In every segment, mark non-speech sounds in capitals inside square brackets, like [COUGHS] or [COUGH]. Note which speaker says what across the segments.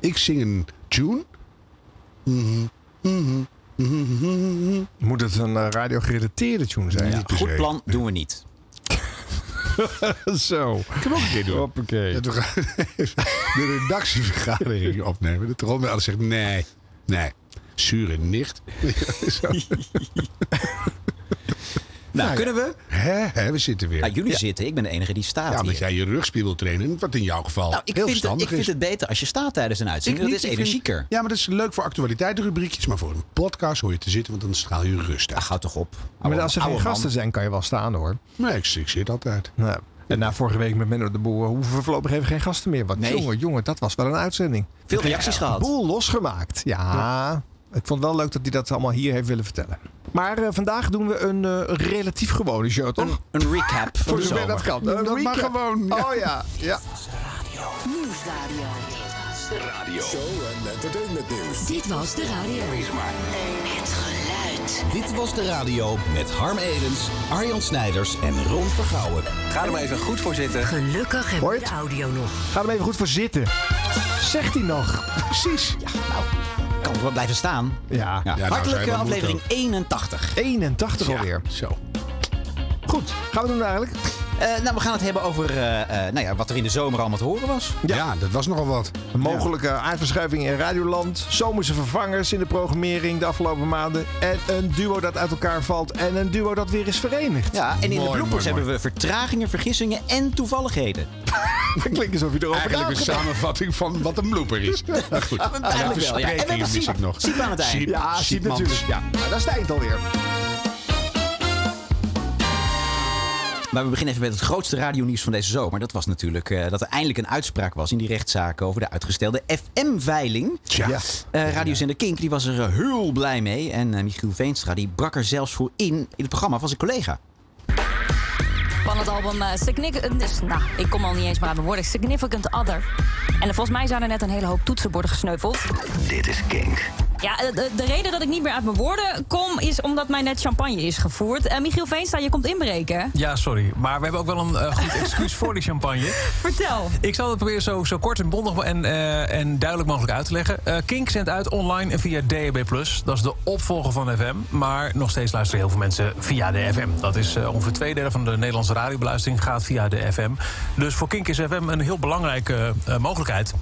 Speaker 1: ik zing een tune. Mhm, mhm, mhm, mhm.
Speaker 2: Moet het een eh, radio-gerelateerde tune zijn?
Speaker 1: Ja, Niet per goed se. plan
Speaker 3: doen we niet.
Speaker 2: [LAUGHS] Zo.
Speaker 1: Ik heb ook een keer doen.
Speaker 2: Hoppakee.
Speaker 1: Dat we gaan [LAUGHS] de redactievergadering opnemen. Dat Ron altijd zegt, nee, nee, zure nicht. [LAUGHS] Zo.
Speaker 3: Nou, kunnen we?
Speaker 1: Hè, hè, we zitten weer.
Speaker 3: Nou, jullie zitten. Ik ben de enige die staat
Speaker 1: Ja,
Speaker 3: hier.
Speaker 1: want jij je rugspier wil trainen. Wat in jouw geval
Speaker 3: Nou, ik,
Speaker 1: heel
Speaker 3: vind het, ik
Speaker 1: verstandig
Speaker 3: vind
Speaker 1: is.
Speaker 3: het beter als je staat tijdens een
Speaker 1: Ik
Speaker 3: uitzending.
Speaker 1: niet,
Speaker 3: dat is
Speaker 1: ik vind-
Speaker 3: energieker.
Speaker 1: Ja, maar dat is leuk voor actualiteitenrubriekjes. Maar voor een podcast hoor je te zitten, want dan straal je rust
Speaker 3: Ach,
Speaker 1: uit.
Speaker 3: hou Ah, toch op.
Speaker 2: Maar
Speaker 3: Oude-
Speaker 2: als er geen
Speaker 3: oude man.
Speaker 2: gasten zijn, kan je wel staan hoor.
Speaker 1: Nee, ik, ik zit altijd.
Speaker 2: Nou, en na vorige week met Menno de Boer hoeven we voorlopig even geen gasten meer. Want
Speaker 3: Nee.
Speaker 2: jongen, jongen, dat was wel een uitzending.
Speaker 3: Veel reacties gehad.
Speaker 2: Boel losgemaakt. Ja, ik vond het wel leuk dat hij dat allemaal hier heeft willen vertellen. Maar eh, vandaag doen we een eh, relatief gewone show, toch?
Speaker 3: Een recap van
Speaker 2: Voor
Speaker 3: de
Speaker 2: zover
Speaker 3: zomer.
Speaker 2: dat kan. Een
Speaker 1: Dat mag
Speaker 2: recap.
Speaker 1: gewoon, ja.
Speaker 2: Oh ja, ja.
Speaker 4: Nieuwsradio.
Speaker 5: Show en entertainment nieuws.
Speaker 4: Dit was de radio. Het geluid.
Speaker 6: Dit was de radio met Harm Edens, Arjan Snijders en Ron Vergouwen.
Speaker 7: Ga er maar even goed voor zitten.
Speaker 4: Gelukkig hebben
Speaker 2: Hoor je
Speaker 4: we
Speaker 2: het?
Speaker 4: de audio nog.
Speaker 2: Ga er maar even goed voor zitten. Zegt hij nog.
Speaker 1: Precies.
Speaker 3: nou, Kan wel blijven staan.
Speaker 2: Ja.
Speaker 3: Ja.
Speaker 1: nou,
Speaker 3: Hartelijk
Speaker 1: zij wel
Speaker 3: eh, aflevering
Speaker 1: moet
Speaker 3: 81.
Speaker 2: 81
Speaker 1: Ja,
Speaker 2: alweer.
Speaker 1: Zo.
Speaker 2: Goed, gaan we doen eigenlijk?
Speaker 3: Eh, nou, we gaan het hebben over eh, eh, nou ja, wat er in de zomer allemaal te horen was.
Speaker 1: Ja. dat was nogal wat.
Speaker 2: Een mogelijke aardverschuiving in Radioland. Zomerse vervangers in de programmering de afgelopen maanden. En een duo dat uit elkaar valt. En een duo dat weer is verenigd.
Speaker 3: Ja, en in
Speaker 1: Mooi,
Speaker 3: de bloopers
Speaker 1: mooi,
Speaker 3: hebben we vertragingen, vergissingen en
Speaker 1: [LAUGHS]
Speaker 3: toevalligheden.
Speaker 2: Dat klinkt alsof je erover
Speaker 1: Eigenlijk een
Speaker 2: nagedacht
Speaker 1: samenvatting van wat een blooper [LAUGHS] is. Maar goed, Nou,
Speaker 3: Eigenlijk wel, ja. En we hebben
Speaker 1: mis
Speaker 3: Siep,
Speaker 1: ik nog.
Speaker 3: Siep aan het eind.
Speaker 1: Siep,
Speaker 2: Ja,
Speaker 1: Siep,
Speaker 2: ziet
Speaker 1: man.
Speaker 2: natuurlijk. Ja, nou, daar sta je het alweer.
Speaker 3: Maar we beginnen even met het grootste radionieuws van deze zomer. Dat was natuurlijk eh, dat er eindelijk een uitspraak was in die rechtszaak over de uitgestelde FM-veiling.
Speaker 1: Tja.
Speaker 2: Ja.
Speaker 3: Eh radiozender Kink die was er eh, heel blij mee. En eh, Michiel Veenstra die brak er zelfs voor in in het programma van zijn collega.
Speaker 8: van het album eh, Signic- eh, dus, nou, ik kom al niet eens meer aan mijn woorden. Significant Other. En volgens mij zijn er net een hele hoop toetsenborden gesneuveld.
Speaker 7: Dit is Kink.
Speaker 8: Ja, eh, de, de reden dat ik niet meer uit mijn woorden kom... is omdat mij net champagne is gevoerd. Eh, Michiel Veenstra, je komt inbreken. hè?
Speaker 9: Ja, sorry. Maar we hebben ook wel een eh, goed excuus voor die champagne.
Speaker 8: Vertel.
Speaker 9: Ik zal het proberen zo, zo kort en bondig en, eh, en duidelijk mogelijk uit te leggen. Eh, Kink zendt uit online en via DAB+. Dat is de opvolger van FM. Maar nog steeds luisteren heel veel mensen via de FM. Dat is eh, ongeveer twee derde van de Nederlandse radiobeluistering gaat via de FM. Dus voor Kink is FM een heel belangrijke eh, mogelijkheid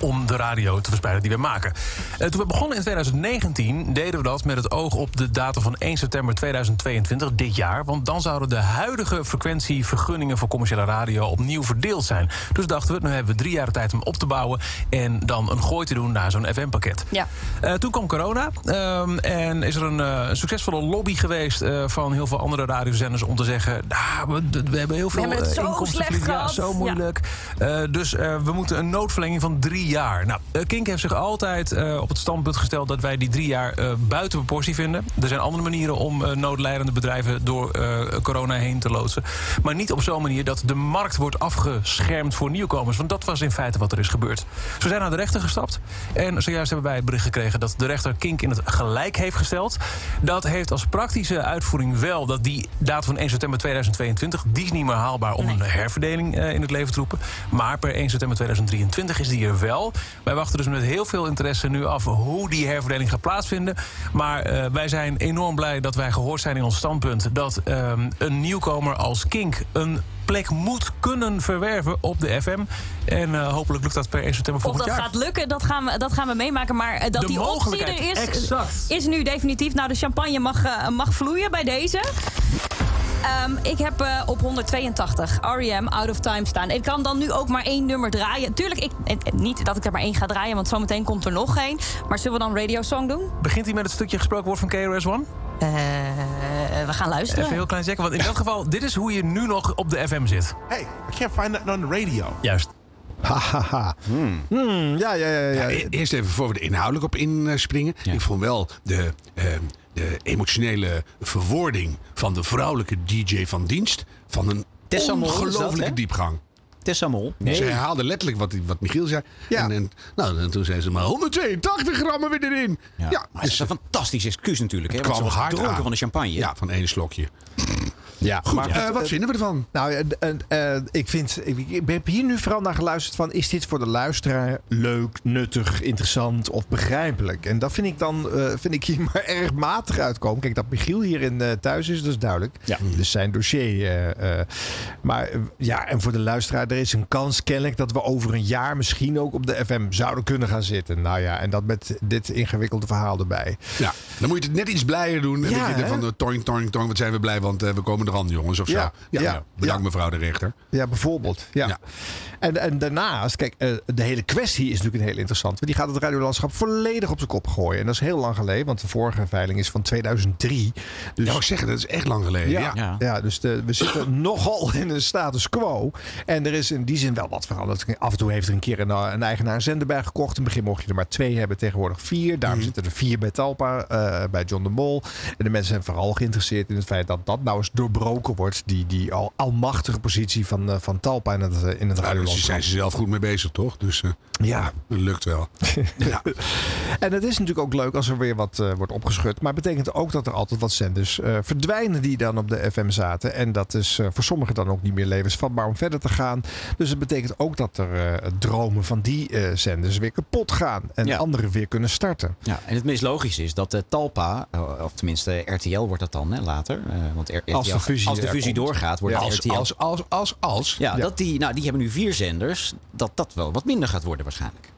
Speaker 9: om de radio te verspreiden die we maken. Eh, toen we begonnen in 2019 deden we dat met het oog op de datum van 1 september 2022, dit jaar. Want dan zouden de huidige frequentievergunningen voor commerciële radio opnieuw verdeeld zijn. Dus dachten we, nu hebben we drie jaar de tijd om op te bouwen en dan een gooi te doen naar zo'n FM-pakket.
Speaker 8: Ja.
Speaker 9: Eh, toen kwam corona ehm, en is er een eh, een succesvolle lobby geweest eh, van heel veel andere radiozenders om te zeggen, "Ah, we, we hebben heel veel
Speaker 8: hebben het
Speaker 9: eh,
Speaker 8: zo
Speaker 9: inkomsten
Speaker 8: slecht
Speaker 9: verliezen." Ja,
Speaker 8: gehad.
Speaker 9: zo
Speaker 8: Ja.
Speaker 9: moeilijk. Eh, dus eh, we moeten een noodverlenging van drie jaar. Nou, eh, Kink heeft zich altijd eh, op het standpunt gesteld dat wij die drie jaar eh, buiten proportie vinden. Er zijn andere manieren om eh, noodlijdende bedrijven door eh, corona heen te loodsen. Maar niet op zo'n manier dat de markt wordt afgeschermd voor nieuwkomers. Want dat was in feite wat er is gebeurd. Dus we zijn naar de rechter gestapt. En zojuist hebben wij het bericht gekregen dat de rechter Kink in het gelijk heeft gesteld. Dat heeft als praktische uitvoering wel dat die datum van 1 september 2022, die is niet meer haalbaar om een herverdeling eh, in het leven te roepen. Maar per 1 september 2023 is die er wel. Wij wachten dus met heel veel interesse nu af hoe die herverdeling gaat plaatsvinden. Maar eh, wij zijn enorm blij dat wij gehoord zijn in ons standpunt dat ehm, een nieuwkomer als Kink een plek moet kunnen verwerven op de FM. En eh, hopelijk lukt dat per 1 september
Speaker 8: Of
Speaker 9: volgend
Speaker 8: dat
Speaker 9: jaar.
Speaker 8: gaat lukken, dat gaan we, dat gaan we meemaken. Maar eh, dat
Speaker 9: De
Speaker 8: die optie
Speaker 9: mogelijkheid,
Speaker 8: er is,
Speaker 9: exact.
Speaker 8: is nu definitief. Nou, de champagne mag, eh, mag vloeien bij deze. Ehm, ik heb eh, op 182 R.E.M. Out of Time staan. Ik kan dan nu ook maar één nummer draaien. Tuurlijk, ik, eh, eh, niet dat ik er maar één ga draaien, want zometeen komt er nog één. Maar zullen we dan Radio Song doen?
Speaker 9: Begint hij met het stukje gesproken woord van KRS One?
Speaker 8: Eh, we gaan luisteren.
Speaker 9: Even heel klein zeggen, want in dat geval, dit is hoe je nu nog op de FM zit.
Speaker 10: Hey, I can't find that on the radio.
Speaker 9: Juist.
Speaker 2: Hahaha. Hmm, ja, ja, ja. ja.
Speaker 1: Ja, e- eerst even voor we er inhoudelijk op inspringen. Ik vond wel de, ehm, de emotionele verwoording van de vrouwelijke DJ van dienst van een
Speaker 3: Tessa Mol is dat,
Speaker 1: ongelofelijke
Speaker 3: hè?
Speaker 1: diepgang.
Speaker 3: Tessa Mol.
Speaker 1: Ze herhaalde letterlijk wat, wat Michiel zei.
Speaker 2: Ja.
Speaker 1: En, en- nou, en toen zei ze maar 182 gram weer erin. Ja,
Speaker 3: maar het is
Speaker 1: dus
Speaker 3: een fantastisch excuus natuurlijk. Hè?
Speaker 1: het
Speaker 3: want
Speaker 1: kwam
Speaker 3: ze was
Speaker 1: hard
Speaker 3: dronken
Speaker 1: aan.
Speaker 3: van de champagne.
Speaker 1: ja, van één slokje. Ja, goed. eh, wat vinden we ervan?
Speaker 2: Nou, eh, eh, eh, ik, vind, ik, ik heb hier nu vooral naar geluisterd van... is dit voor de luisteraar leuk, nuttig, interessant of begrijpelijk? En dat vind ik dan eh, vind ik hier [LAUGHS] maar erg matig uitkomen. Kijk, dat Michiel hierin eh, thuis is, dat is duidelijk.
Speaker 11: Ja.
Speaker 2: Dus zijn dossier. eh, eh, maar eh, ja, en voor de luisteraar, er is een kans kennelijk... dat we over een jaar misschien ook op de FM zouden kunnen gaan zitten. Nou ja, en dat met dit ingewikkelde verhaal erbij.
Speaker 1: Ja, dan moet je het net iets blijer doen. Een
Speaker 2: Ja,
Speaker 1: beetje
Speaker 2: hè?
Speaker 1: van eh, de toing, toing, toing. Wat zijn we blij, want eh, we komen er aan, jongens. Of zo.
Speaker 2: Ja,
Speaker 1: Ja,
Speaker 2: ja,
Speaker 1: nou, bedankt mevrouw de rechter.
Speaker 2: Ja, bijvoorbeeld. Ja. En, en daarnaast, kijk, eh, de hele kwestie is natuurlijk een heel interessant. Want die gaat het radiolandschap volledig op zijn kop gooien. En dat is heel lang geleden, want de vorige veiling is van 2003. Dus,
Speaker 1: ja, ik zeggen, dat is echt lang geleden.
Speaker 2: Ja,
Speaker 1: Ja.
Speaker 2: ja. dus de, we
Speaker 1: [COUGHS]
Speaker 2: zitten nogal in een status quo. En er is in die zin wel wat veranderd. Af en toe heeft er een keer een, eh, een eigenaar een zender bij gekocht. In het begin mocht je er maar twee hebben, tegenwoordig vier. Daarom
Speaker 1: Mhm.
Speaker 2: zitten er vier bij Talpa, eh, bij John de Mol. En de mensen zijn vooral geïnteresseerd in het feit dat dat nou eens doorbroken wordt. Die, die al almachtige positie van, eh, van Talpa in het, eh, in het
Speaker 1: Nou, daar
Speaker 2: radiolandschap.
Speaker 1: zijn ze zelf goed mee bezig, toch? Dus eh,
Speaker 2: Ja.
Speaker 1: dat lukt
Speaker 2: [LAUGHS]
Speaker 1: wel.
Speaker 2: En het is natuurlijk ook leuk als er weer wat eh, wordt opgeschud. Maar het betekent ook dat er altijd wat zenders eh, verdwijnen die dan op de FM zaten. En dat is eh, voor sommigen dan ook niet meer levensvatbaar om verder te gaan. Dus het betekent ook dat er eh, dromen van die eh, zenders weer kapot gaan. En
Speaker 3: Ja.
Speaker 2: anderen weer kunnen starten.
Speaker 3: Ja, en het meest logische is dat eh, Talpa, eh, of tenminste RTL wordt dat dan hè, later. eh, want R-
Speaker 2: Als de
Speaker 3: RTL
Speaker 2: fusie
Speaker 3: als de
Speaker 2: er
Speaker 3: fusie
Speaker 2: komt.
Speaker 3: doorgaat, wordt
Speaker 2: Ja.
Speaker 3: het
Speaker 2: Als-
Speaker 3: RTL.
Speaker 2: als-
Speaker 1: als, als, als.
Speaker 3: Ja,
Speaker 2: Ja.
Speaker 3: Dat die, nou, die hebben nu vier zenders. Dat dat wel wat minder gaat worden waarschijnlijk.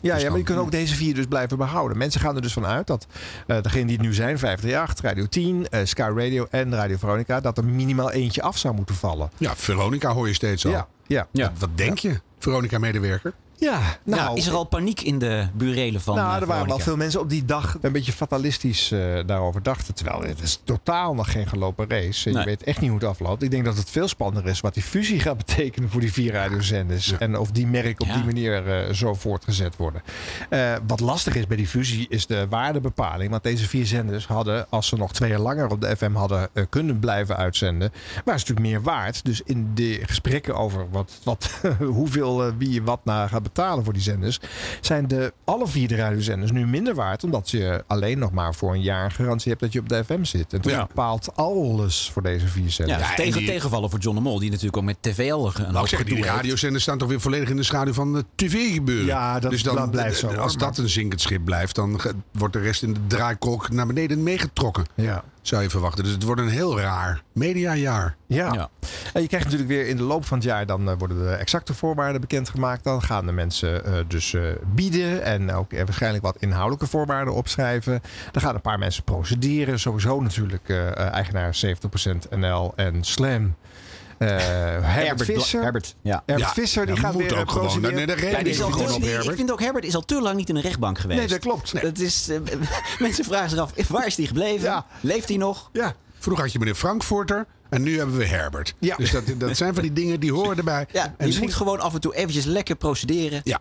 Speaker 2: Ja, ja, maar je kunt ook deze vier dus blijven behouden. Mensen gaan er dus vanuit dat eh degene die het nu zijn, 538, Radio 10, eh, Sky Radio en Radio Veronica, dat er minimaal eentje af zou moeten vallen.
Speaker 1: Ja, Veronica hoor je steeds al.
Speaker 2: Ja, ja.
Speaker 1: Wat, wat denk je, Veronica-medewerker?
Speaker 2: Ja, nou,
Speaker 3: is er al paniek in de burelen van
Speaker 2: nou,
Speaker 3: eh,
Speaker 2: er waren wel
Speaker 3: Veronica?
Speaker 2: veel mensen op die dag een beetje fatalistisch eh, daarover dachten. Terwijl het is totaal nog geen gelopen race. Je
Speaker 3: Nee.
Speaker 2: weet echt niet hoe het afloopt. Ik denk dat het veel spannender is wat die fusie gaat [LAUGHS] betekenen voor die vier radiozenders. En of die merken op die manier eh, zo voortgezet worden. Eh, wat lastig is bij die fusie is de waardebepaling. Want deze vier zenders hadden, als ze nog twee jaar langer op de FM hadden eh, kunnen blijven uitzenden, waren ze natuurlijk meer waard. Dus in de gesprekken over wat, wat, [LAUGHS] hoeveel eh, wie je wat naar gaat betalen voor die zenders, zijn de alle vier de radiozenders nu minder waard. Omdat je alleen nog maar voor een jaar garantie hebt dat je op de FM zit. En dat bepaalt alles voor deze vier
Speaker 3: Ja,
Speaker 2: zenders.
Speaker 3: dus tegen, tegenvallen voor John de Mol, die natuurlijk ook met TVL een
Speaker 1: Nou,
Speaker 3: hoop
Speaker 1: ik zeg,
Speaker 3: gedoe
Speaker 1: die
Speaker 3: heeft.
Speaker 1: radiozenders staan toch weer volledig in de schaduw van het tv-gebeuren.
Speaker 2: Ja, dat-
Speaker 1: dus dan,
Speaker 2: dat blijft zo,
Speaker 1: Als
Speaker 2: hoor,
Speaker 1: dat een zinkend schip blijft, dan ge- wordt de rest in de draaikolk naar beneden meegetrokken.
Speaker 2: Ja.
Speaker 1: Zou je verwachten. Dus het wordt een heel raar mediajaar.
Speaker 2: Ja. En je krijgt natuurlijk weer in de loop van het jaar, dan eh, worden de exacte voorwaarden bekendgemaakt. Dan gaan de mensen eh, dus eh, bieden en ook eh, waarschijnlijk wat inhoudelijke voorwaarden opschrijven. Dan gaan een paar mensen procederen. Sowieso natuurlijk eh, eh, eigenaar 70% NL en Slam.
Speaker 3: [LAUGHS]
Speaker 2: Eh, Herbert
Speaker 3: Bla-
Speaker 2: Visser.
Speaker 3: Herbert, ja.
Speaker 2: Herbert
Speaker 1: Ja,
Speaker 2: Visser, die
Speaker 1: dat
Speaker 2: gaat
Speaker 1: moet
Speaker 2: weer
Speaker 1: ook
Speaker 2: eh,
Speaker 1: gewoon.
Speaker 2: procederen.
Speaker 1: Nee, nee, daar reden
Speaker 3: Maar die is
Speaker 1: Ik
Speaker 3: al
Speaker 1: gewoon
Speaker 3: te-
Speaker 1: op Herbert.
Speaker 3: Ik vind ook Herbert is al te lang niet in de rechtbank geweest.
Speaker 2: Nee, dat klopt.
Speaker 3: Dat is, eh, [LAUGHS] mensen vragen zich af, waar is die gebleven?
Speaker 2: Ja.
Speaker 3: Leeft hij nog?
Speaker 2: Ja.
Speaker 1: Vroeger had je meneer Frankfurter en nu hebben we Herbert.
Speaker 2: Ja.
Speaker 1: Dus dat, dat zijn van die dingen die horen erbij.
Speaker 3: Ja, dus
Speaker 1: en
Speaker 3: je moet gewoon af en toe eventjes lekker procederen.
Speaker 1: Ja.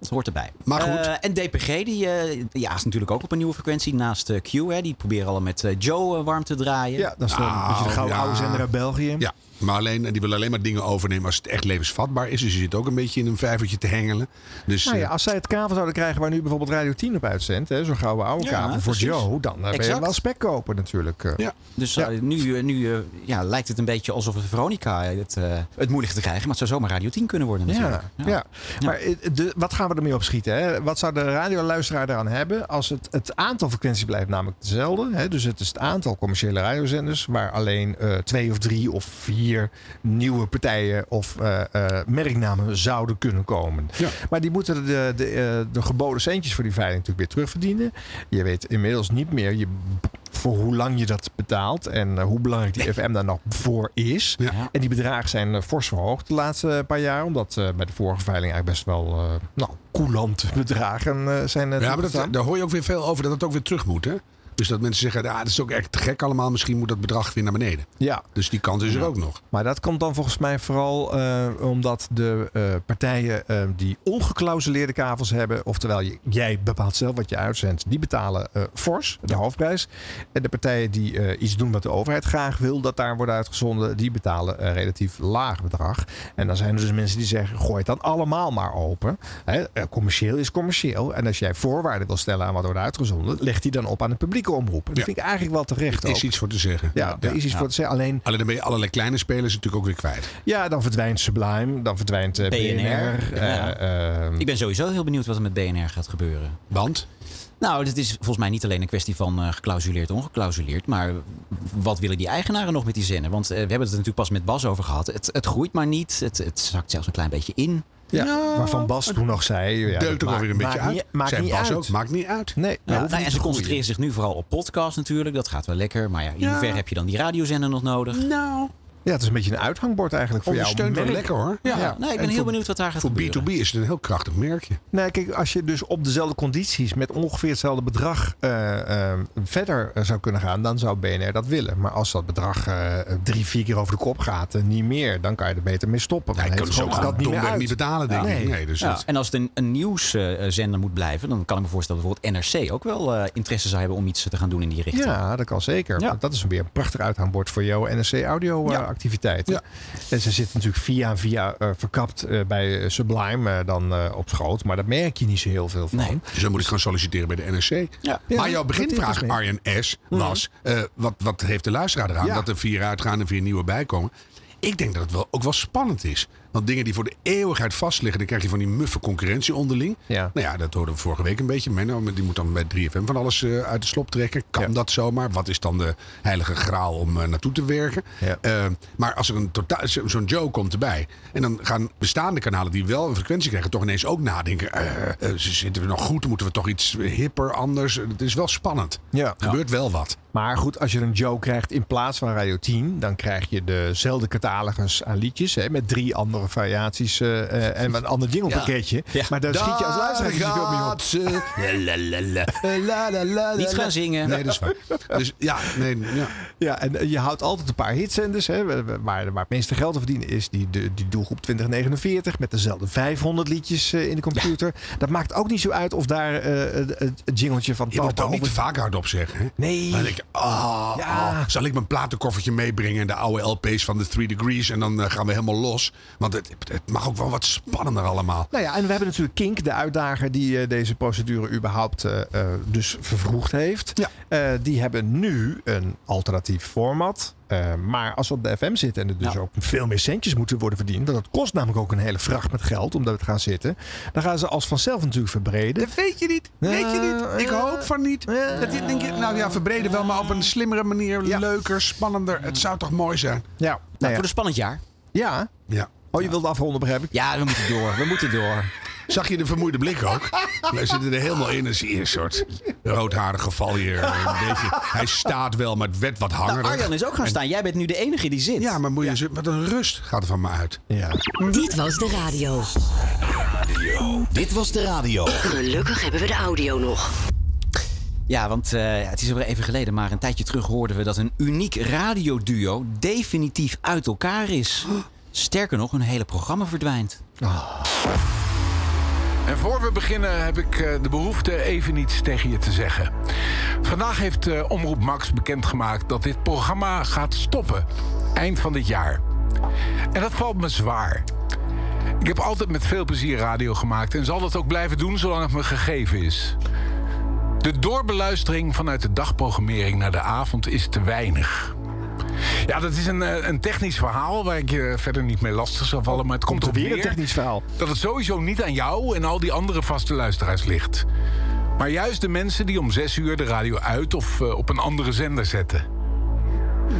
Speaker 3: Dat hoort erbij.
Speaker 1: Maar goed.
Speaker 3: Eh, en DPG, die, eh die jaast natuurlijk ook op een nieuwe frequentie naast eh, Q. Hè. Die proberen al met eh, Joe eh, warm te draaien. Ah,
Speaker 2: Ja, dan is het een beetje de gouden
Speaker 1: Oh, ja.
Speaker 2: oude zender uit België.
Speaker 1: Ja, maar alleen, die willen alleen maar dingen overnemen als het echt levensvatbaar is. Dus je zit ook een beetje in een vijvertje te hengelen. Dus
Speaker 2: Nou ja,
Speaker 1: eh,
Speaker 2: als zij het kavel zouden krijgen waar nu bijvoorbeeld Radio 10 op uitzendt, hè, zo'n gouden oude
Speaker 3: Ja,
Speaker 2: kavel voor
Speaker 3: precies.
Speaker 2: Joe, dan eh, ben je
Speaker 3: Exact.
Speaker 2: wel spek kopen natuurlijk. eh.
Speaker 1: ja.
Speaker 3: Dus eh, nu, eh, nu eh, ja, lijkt het een beetje alsof Veronica het, eh, het moeilijk te krijgen. Maar het zou zomaar Radio 10 kunnen worden natuurlijk.
Speaker 2: Ja, ja. maar eh, de, wat gaan we ermee opschieten? Hè? Wat zou de radioluisteraar eraan hebben als het, het aantal frequenties blijft namelijk hetzelfde? Hè? Dus het is het aantal commerciële radiozenders waar alleen eh, twee of drie of vier nieuwe partijen of eh, eh, merknamen zouden kunnen komen.
Speaker 1: Ja.
Speaker 2: Maar die moeten de, de, eh, de geboden centjes voor die veiling natuurlijk weer terugverdienen. Je weet inmiddels niet meer je, voor hoe lang je dat betaalt en eh, hoe belangrijk die FM daar nog voor is.
Speaker 1: Ja.
Speaker 2: En die bedragen zijn eh, fors verhoogd de laatste eh, paar jaar. Omdat eh, bij de vorige veiling eigenlijk best wel eh nou, coulante bedragen eh, zijn. eh,
Speaker 1: Ja, maar
Speaker 2: toegestaan.
Speaker 1: dat, daar hoor je ook weer veel over dat het ook weer terug moet. Hè? Dus dat mensen zeggen, ah, dat is ook echt te gek allemaal. Misschien moet dat bedrag weer naar beneden.
Speaker 2: ja,
Speaker 1: Dus die kans is er ook nog.
Speaker 2: maar dat komt dan volgens mij vooral eh, omdat de eh, partijen eh, die ongeklausuleerde kavels hebben, oftewel je- jij bepaalt zelf wat je uitzendt, die betalen eh, fors, de hoofdprijs. En de partijen die eh, iets doen wat de overheid graag wil dat daar wordt uitgezonden, die betalen een relatief laag bedrag. En dan zijn er dus mensen die zeggen, gooi het dan allemaal maar open. Hè, eh, commercieel is commercieel. En als jij voorwaarden wil stellen aan wat wordt uitgezonden, leg die dan op aan het publiek. publieke omroep. Dat vind ik eigenlijk wel terecht.
Speaker 1: Er is
Speaker 2: ook.
Speaker 1: iets voor te zeggen.
Speaker 2: Ja, er is iets voor te zeggen. Alleen,
Speaker 1: Alleen dan ben je allerlei kleine spelers natuurlijk ook weer kwijt.
Speaker 2: ja, dan verdwijnt Sublime, dan verdwijnt eh, BNR.
Speaker 3: BNR,
Speaker 2: eh,
Speaker 3: ja.
Speaker 2: ehm,
Speaker 3: Ik ben sowieso heel benieuwd wat er met BNR gaat gebeuren.
Speaker 1: Want?
Speaker 3: Nou, het is volgens mij niet alleen een kwestie van eh geclausuleerd, ongeclausuleerd. Maar wat willen die eigenaren nog met die zinnen? Want eh, we hebben het er natuurlijk pas met Bas over gehad. Het, het groeit maar niet. Het, het zakt zelfs een klein beetje in.
Speaker 2: ja, waarvan Bas toen nog zei... Ja, dat
Speaker 1: Deukt ook
Speaker 2: maakt-
Speaker 1: alweer een beetje
Speaker 2: maakt
Speaker 1: uit.
Speaker 2: Niet, maakt
Speaker 1: Zijn
Speaker 2: niet
Speaker 1: Bas
Speaker 2: uit.
Speaker 1: ook. Maakt niet uit.
Speaker 2: Nee,
Speaker 3: Ja,
Speaker 2: we hoeven
Speaker 3: nou,
Speaker 2: niet
Speaker 3: en ze
Speaker 2: te groeien.
Speaker 3: concentreren zich nu vooral op podcast natuurlijk. Dat gaat wel lekker. Maar ja, in hoeverre heb je dan die radiozender nog nodig?
Speaker 1: Nou,
Speaker 2: Ja, het is een beetje een uithangbord eigenlijk voor jou.
Speaker 1: ondersteunt wel
Speaker 2: Merk.
Speaker 1: lekker hoor. Ja.
Speaker 3: Ja, nee, ik ben
Speaker 2: en
Speaker 3: heel
Speaker 2: voor-
Speaker 3: benieuwd wat daar gaat
Speaker 1: Voor
Speaker 3: gebeuren.
Speaker 1: B2B is het een heel krachtig merkje.
Speaker 2: Nou, kijk, als je dus op dezelfde condities met ongeveer hetzelfde bedrag eh, eh, verder eh, zou kunnen gaan, dan zou BNR dat willen. Maar als dat bedrag eh, drie, vier keer over de kop gaat en niet meer, dan kan je er beter mee stoppen.
Speaker 1: Hij
Speaker 2: Want
Speaker 1: kan
Speaker 2: dan
Speaker 1: ze ook
Speaker 2: heeft
Speaker 1: gewoon
Speaker 2: dat niet meer
Speaker 1: domweg
Speaker 2: uit.
Speaker 1: niet betalen, denk ik. Nee, dus
Speaker 3: Ja,
Speaker 1: dat-
Speaker 3: en als het een, een nieuwszender moet blijven, dan kan ik me voorstellen dat bijvoorbeeld NRC ook wel eh, interesse zou hebben om iets te gaan doen in die richting.
Speaker 2: Ja, dat kan zeker.
Speaker 3: Ja.
Speaker 2: Want Dat is weer een prachtig uithangbord voor jouw NSC audio eh,
Speaker 3: Ja.
Speaker 2: activiteiten.
Speaker 1: Ja.
Speaker 2: En ze zitten natuurlijk via en via eh, verkapt eh, bij eh, Sublime eh, dan eh, op schoot. Maar daar merk je niet zo heel veel van.
Speaker 3: Nee.
Speaker 1: Dus dan moet ik gaan solliciteren bij de NRC.
Speaker 3: Ja.
Speaker 1: maar jouw
Speaker 2: dat
Speaker 1: beginvraag,
Speaker 2: is mee.
Speaker 1: Arjen S., was... eh, wat, wat heeft de luisteraar eraan?
Speaker 2: Mhm. Ja.
Speaker 1: Dat er vier uitgaan en vier nieuwe bijkomen. Ik denk dat het wel, ook wel spannend is. Want dingen die voor de eeuwigheid vastliggen... dan krijg je van die muffe concurrentie onderling.
Speaker 2: Ja.
Speaker 1: Nou ja, dat hoorden we vorige week een beetje. Menno die moet dan bij 3FM van alles eh, uit de slop trekken. Kan
Speaker 2: Ja.
Speaker 1: dat zomaar? Wat is dan de heilige graal om eh, naartoe te werken?
Speaker 2: Ja.
Speaker 1: Eh, maar als er een totaal, zo- zo'n Joe komt erbij. En dan gaan bestaande kanalen die wel een frequentie krijgen, toch ineens ook nadenken. eh, eh, z- zitten we nog goed? Moeten we toch iets hipper, anders? Het is wel spannend.
Speaker 2: Ja.
Speaker 1: Er gebeurt wel wat.
Speaker 2: Maar goed, als je een Joe krijgt in plaats van Radio 10, dan krijg je dezelfde catalogus aan liedjes. Hè, met drie andere variaties eh, eh, en een ander jinglepakketje. Maar daar schiet je als luisteraar niet veel mee op.
Speaker 1: gaat ze. La, la, la, la, la, la,
Speaker 3: Niet
Speaker 1: la.
Speaker 3: gaan zingen.
Speaker 1: Nee, dat is waar. Dus ja, nee, ja.
Speaker 2: Ja, en eh, je houdt altijd een paar hitzenders. Hè, waar, waar het meeste geld te verdienen is die, de, die doelgroep 2049. Met dezelfde 500 liedjes eh, in de computer. Dat maakt ook niet zo uit of daar eh, het, het jingletje van
Speaker 1: Je moet het
Speaker 2: Talpa
Speaker 1: ook niet te
Speaker 2: over-
Speaker 1: vaak hardop zeggen. Hè?
Speaker 2: Nee.
Speaker 1: Dan denk je, ah,
Speaker 2: Ja.
Speaker 1: ah, zal ik mijn platenkoffertje meebrengen en de oude LP's van de Three Degrees en dan eh, gaan we helemaal los. Want het, het mag ook wel wat spannender allemaal.
Speaker 2: Nou ja, en we hebben natuurlijk Kink, de uitdager die eh, deze procedure überhaupt eh, eh, dus vervroegd heeft.
Speaker 1: Ja.
Speaker 2: Eh, die hebben nu een alternatief format. Eh, maar als we op de FM zitten en er dus
Speaker 3: Ja.
Speaker 2: ook veel meer centjes moeten worden verdiend. Want dat kost namelijk ook een hele vracht met geld om daar te gaan zitten. Dan gaan ze als vanzelf natuurlijk verbreden.
Speaker 1: weet je niet, weet je niet. Ik
Speaker 2: Eh,
Speaker 1: hoop van niet.
Speaker 2: eh.
Speaker 1: Dat dit, denk je, nou ja, verbreden wel, maar op een slimmere manier.
Speaker 2: Ja.
Speaker 1: Leuker, spannender. Het zou toch mooi zijn?
Speaker 2: Ja,
Speaker 3: Nou,
Speaker 2: nou
Speaker 3: voor
Speaker 2: ja.
Speaker 3: een spannend jaar.
Speaker 2: ja.
Speaker 1: Ja.
Speaker 2: Oh, je wilde afronden, begrijp ik.
Speaker 3: Ja, we moeten door. We moeten door.
Speaker 1: Zag je de vermoeide blik ook? Wij zitten er helemaal in en zie je een soort roodharig geval hier. Een beetje, hij staat wel, maar het werd wat
Speaker 3: Nou,
Speaker 1: hangerig.
Speaker 3: Arjan is ook gaan staan. Jij bent nu de enige die zit.
Speaker 1: Ja, maar moet je eens- wat een rust gaat er van me uit.
Speaker 2: Ja.
Speaker 4: Dit was de radio.
Speaker 6: Dit was de radio.
Speaker 4: Gelukkig hebben we de audio nog.
Speaker 3: Ja, want eh, het is alweer even geleden, maar een tijdje terug hoorden we dat een uniek radioduo definitief uit elkaar is. Sterker nog, hun hele programma verdwijnt.
Speaker 2: Ah.
Speaker 5: En voor we beginnen heb ik eh, de behoefte even iets tegen je te zeggen. Vandaag heeft eh, Omroep Max bekendgemaakt dat dit programma gaat stoppen. Eind van dit jaar. En dat valt me zwaar. Ik heb altijd met veel plezier radio gemaakt en zal dat ook blijven doen zolang het me gegeven is. De doorbeluistering vanuit de dagprogrammering naar de avond is te weinig. Ja, dat is een, eh, een technisch verhaal waar ik je verder niet mee lastig zal vallen. Maar het komt, op
Speaker 2: Weer een
Speaker 5: neer
Speaker 2: technisch verhaal.
Speaker 5: dat het sowieso niet aan jou en al die andere vaste luisteraars ligt. Maar juist de mensen die om zes uur de radio uit of eh, op een andere zender zetten.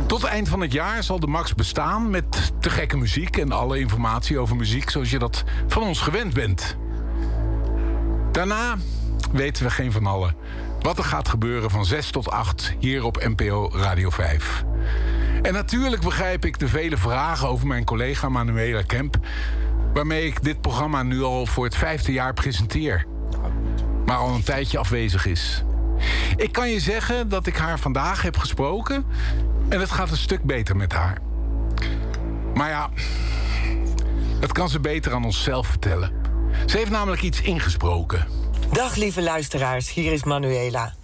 Speaker 5: Tot eind van het jaar zal de Max bestaan met te gekke muziek en alle informatie over muziek zoals je dat van ons gewend bent. Daarna weten we geen van allen wat er gaat gebeuren van 6 tot 8 hier op NPO Radio 5. En natuurlijk begrijp ik de vele vragen over mijn collega Manuela Kemp, waarmee ik dit programma nu al voor het vijfde jaar presenteer, maar al een tijdje afwezig is. Ik kan je zeggen dat ik haar vandaag heb gesproken en het gaat een stuk beter met haar. Maar ja, dat kan ze beter aan onszelf vertellen. Ze heeft namelijk iets ingesproken.
Speaker 11: Dag lieve luisteraars, hier is Manuela.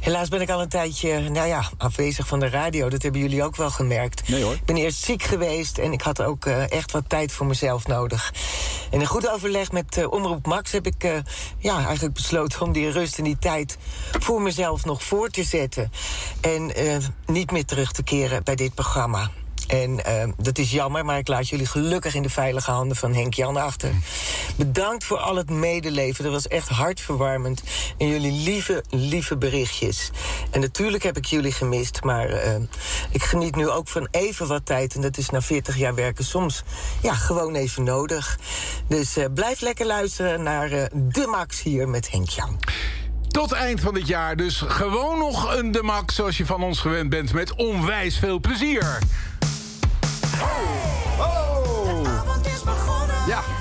Speaker 11: Helaas ben ik al een tijdje nou ja, afwezig van de radio. Dat hebben jullie ook wel gemerkt.
Speaker 3: Nee hoor.
Speaker 11: Ik ben eerst ziek geweest en ik had ook eh, echt wat tijd voor mezelf nodig. En in goed overleg met eh, Omroep Max heb ik eh, ja, eigenlijk besloten om die rust en die tijd voor mezelf nog voor te zetten. En eh, niet meer terug te keren bij dit programma. En eh, dat is jammer, maar ik laat jullie gelukkig in de veilige handen van Henk Jan achter. Bedankt voor al het medeleven. Dat was echt hartverwarmend. En jullie lieve, lieve berichtjes. En natuurlijk heb ik jullie gemist, maar eh, ik geniet nu ook van even wat tijd. En dat is na 40 jaar werken soms ja, gewoon even nodig. Dus eh, blijf lekker luisteren naar eh, De Max hier met Henk Jan.
Speaker 5: Tot eind van dit jaar dus gewoon nog een De Max zoals je van ons gewend bent. Met onwijs veel plezier.
Speaker 6: Oh.
Speaker 3: Ja. [LAUGHS]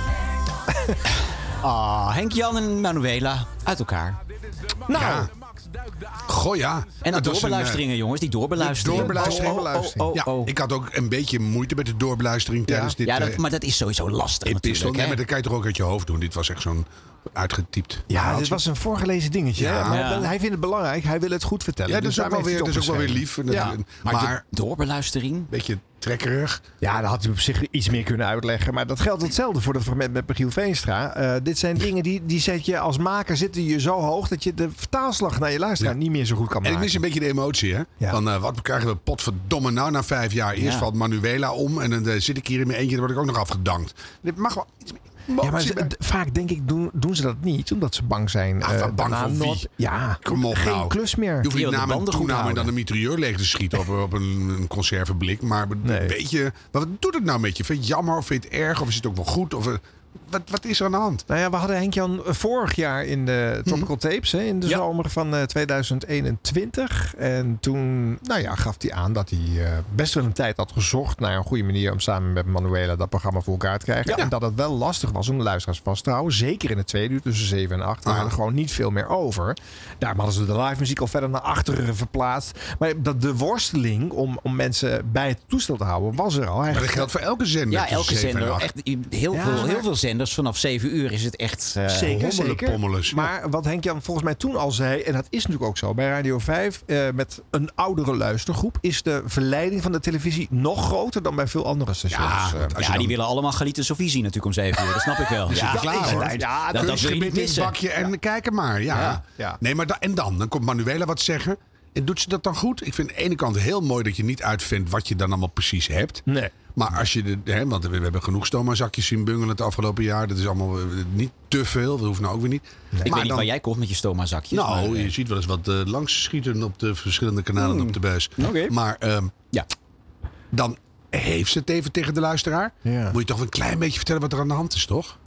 Speaker 3: Ah, Henk Jan en Manuela uit elkaar. Nou.
Speaker 1: Goh ja.
Speaker 3: En dan
Speaker 1: Het was een,
Speaker 3: doorbeluisteringen,
Speaker 1: eh,
Speaker 3: jongens. Die doorbeluisteringen.
Speaker 1: Doorbeluistering.
Speaker 3: Oh, oh, oh, oh,
Speaker 1: Ja,
Speaker 3: oh.
Speaker 1: Ik had ook een beetje moeite met de doorbeluistering tijdens dit.
Speaker 3: Ja, dat- maar
Speaker 1: dat
Speaker 3: is sowieso lastig
Speaker 1: Epistel.
Speaker 3: natuurlijk,
Speaker 1: Nee,
Speaker 3: hè?
Speaker 1: maar dat kan je toch ook uit je hoofd doen. Dit was echt zo'n uitgetypt.
Speaker 2: Ja, dit was een voorgelezen dingetje.
Speaker 1: Ja.
Speaker 2: hè, Maar
Speaker 1: Ja.
Speaker 2: hij vindt het belangrijk. Hij wil het goed vertellen. dus
Speaker 1: Ja, dat is ook wel
Speaker 2: daarmee
Speaker 1: weer, dat is
Speaker 2: heeft
Speaker 1: ook wel
Speaker 2: hij
Speaker 1: weer
Speaker 2: het
Speaker 1: lief. En dat-
Speaker 2: opgeschreven.
Speaker 1: en-
Speaker 2: Ja.
Speaker 1: Maar
Speaker 3: doorbeluistering.
Speaker 1: Beetje trekkerig.
Speaker 2: Ja, dan had hij op zich iets meer kunnen uitleggen. Maar dat geldt hetzelfde voor dat fragment met Michiel Veenstra. Eh, dit zijn dingen die, die zet je als maker zitten je zo hoog dat je de vertaalslag naar je luisteraar niet meer zo goed kan
Speaker 1: En ik
Speaker 2: maken.
Speaker 1: mis een beetje de emotie, hè? Van eh, wat krijgen we potverdomme nou na vijf jaar? Eerst
Speaker 2: Ja.
Speaker 1: valt Manuela om en dan eh, zit ik hier in mijn eentje. Dan word ik ook nog afgedankt. Dit mag wel iets meer
Speaker 2: Ja, maar
Speaker 1: emotie
Speaker 2: ze-
Speaker 1: bij.
Speaker 2: d- vaak denk ik doen, doen ze dat niet omdat ze bang zijn.
Speaker 1: Ah,
Speaker 2: eh,
Speaker 1: van bang
Speaker 2: daarna
Speaker 1: voor wie?
Speaker 2: nooit- Ja,
Speaker 1: Kom op
Speaker 2: geen
Speaker 1: nou.
Speaker 2: klus meer.
Speaker 1: Je hoeft niet naam en toename en dan een mitrailleur leeg te schieten op, op een, een conservenblik. Maar een beetje... maar wat doet het nou met je? Vind je het jammer of vind je het erg? Of is het ook wel goed? Of, eh, wat, wat is er aan de hand?
Speaker 2: Nou ja, we hadden Henk-Jan vorig jaar in de Tropical
Speaker 1: Mhm.
Speaker 2: Tapes, hè, in de zomer van eh, 2021. En toen nou ja, gaf hij aan dat hij eh, best wel een tijd had gezocht naar een goede manier om samen met Manuela dat programma voor elkaar te krijgen. En dat het wel lastig was om de luisteraars vast te houden. Zeker in het tweede uur tussen 7 en 8.
Speaker 1: Ah.
Speaker 2: We hadden gewoon niet veel meer over. Daarom hadden ze de live muziek al verder naar achteren verplaatst. Maar dat de worsteling om, om mensen bij het toestel te houden was er al. Hij-
Speaker 1: Maar dat geldt voor elke zender.
Speaker 3: Ja,
Speaker 1: tussen
Speaker 3: elke
Speaker 1: zeven en
Speaker 3: zender.
Speaker 1: acht.
Speaker 3: Echt, heel,
Speaker 2: Ja,
Speaker 3: veel, heel
Speaker 2: maar-
Speaker 3: veel zenders vanaf 7 uur is het echt. eh,
Speaker 2: zeker, zeker. Maar wat Henk-Jan volgens mij toen al zei, en dat is natuurlijk ook zo, bij Radio 5 eh, met een oudere luistergroep is de verleiding van de televisie nog groter dan bij veel andere stations.
Speaker 3: Ja,
Speaker 2: Eh,
Speaker 3: ja die willen allemaal Galite Sofie zien natuurlijk om 7 uur. Dat snap ik wel.
Speaker 1: Ja,
Speaker 3: ja,
Speaker 1: klaar hoor.
Speaker 3: Ja, dat, dat wil je niet
Speaker 1: Kunstgebit nou, in het
Speaker 3: missen.
Speaker 1: bakje en kijken maar. Ja.
Speaker 3: Ja.
Speaker 1: Nee, maar da- en dan? Dan komt Manuela wat zeggen. En doet ze dat dan goed? Ik vind aan de ene kant heel mooi dat je niet uitvindt wat je dan allemaal precies hebt.
Speaker 2: Nee.
Speaker 1: Maar als je, de, hè, want we, we hebben genoeg stoma-zakjes zien bungelen het afgelopen jaar. Dat is allemaal eh, niet te veel. Dat hoeft nou ook weer niet.
Speaker 3: Ik weet niet waar jij komt met je stoma-zakjes.
Speaker 1: Nou,
Speaker 3: maar, eh, Hmm.
Speaker 1: je ziet wel eens wat eh, langs schieten op de verschillende kanalen op de buis. Maar ehm, dan heeft ze het even tegen de luisteraar. Moet je toch een klein beetje vertellen wat er aan de hand is, toch?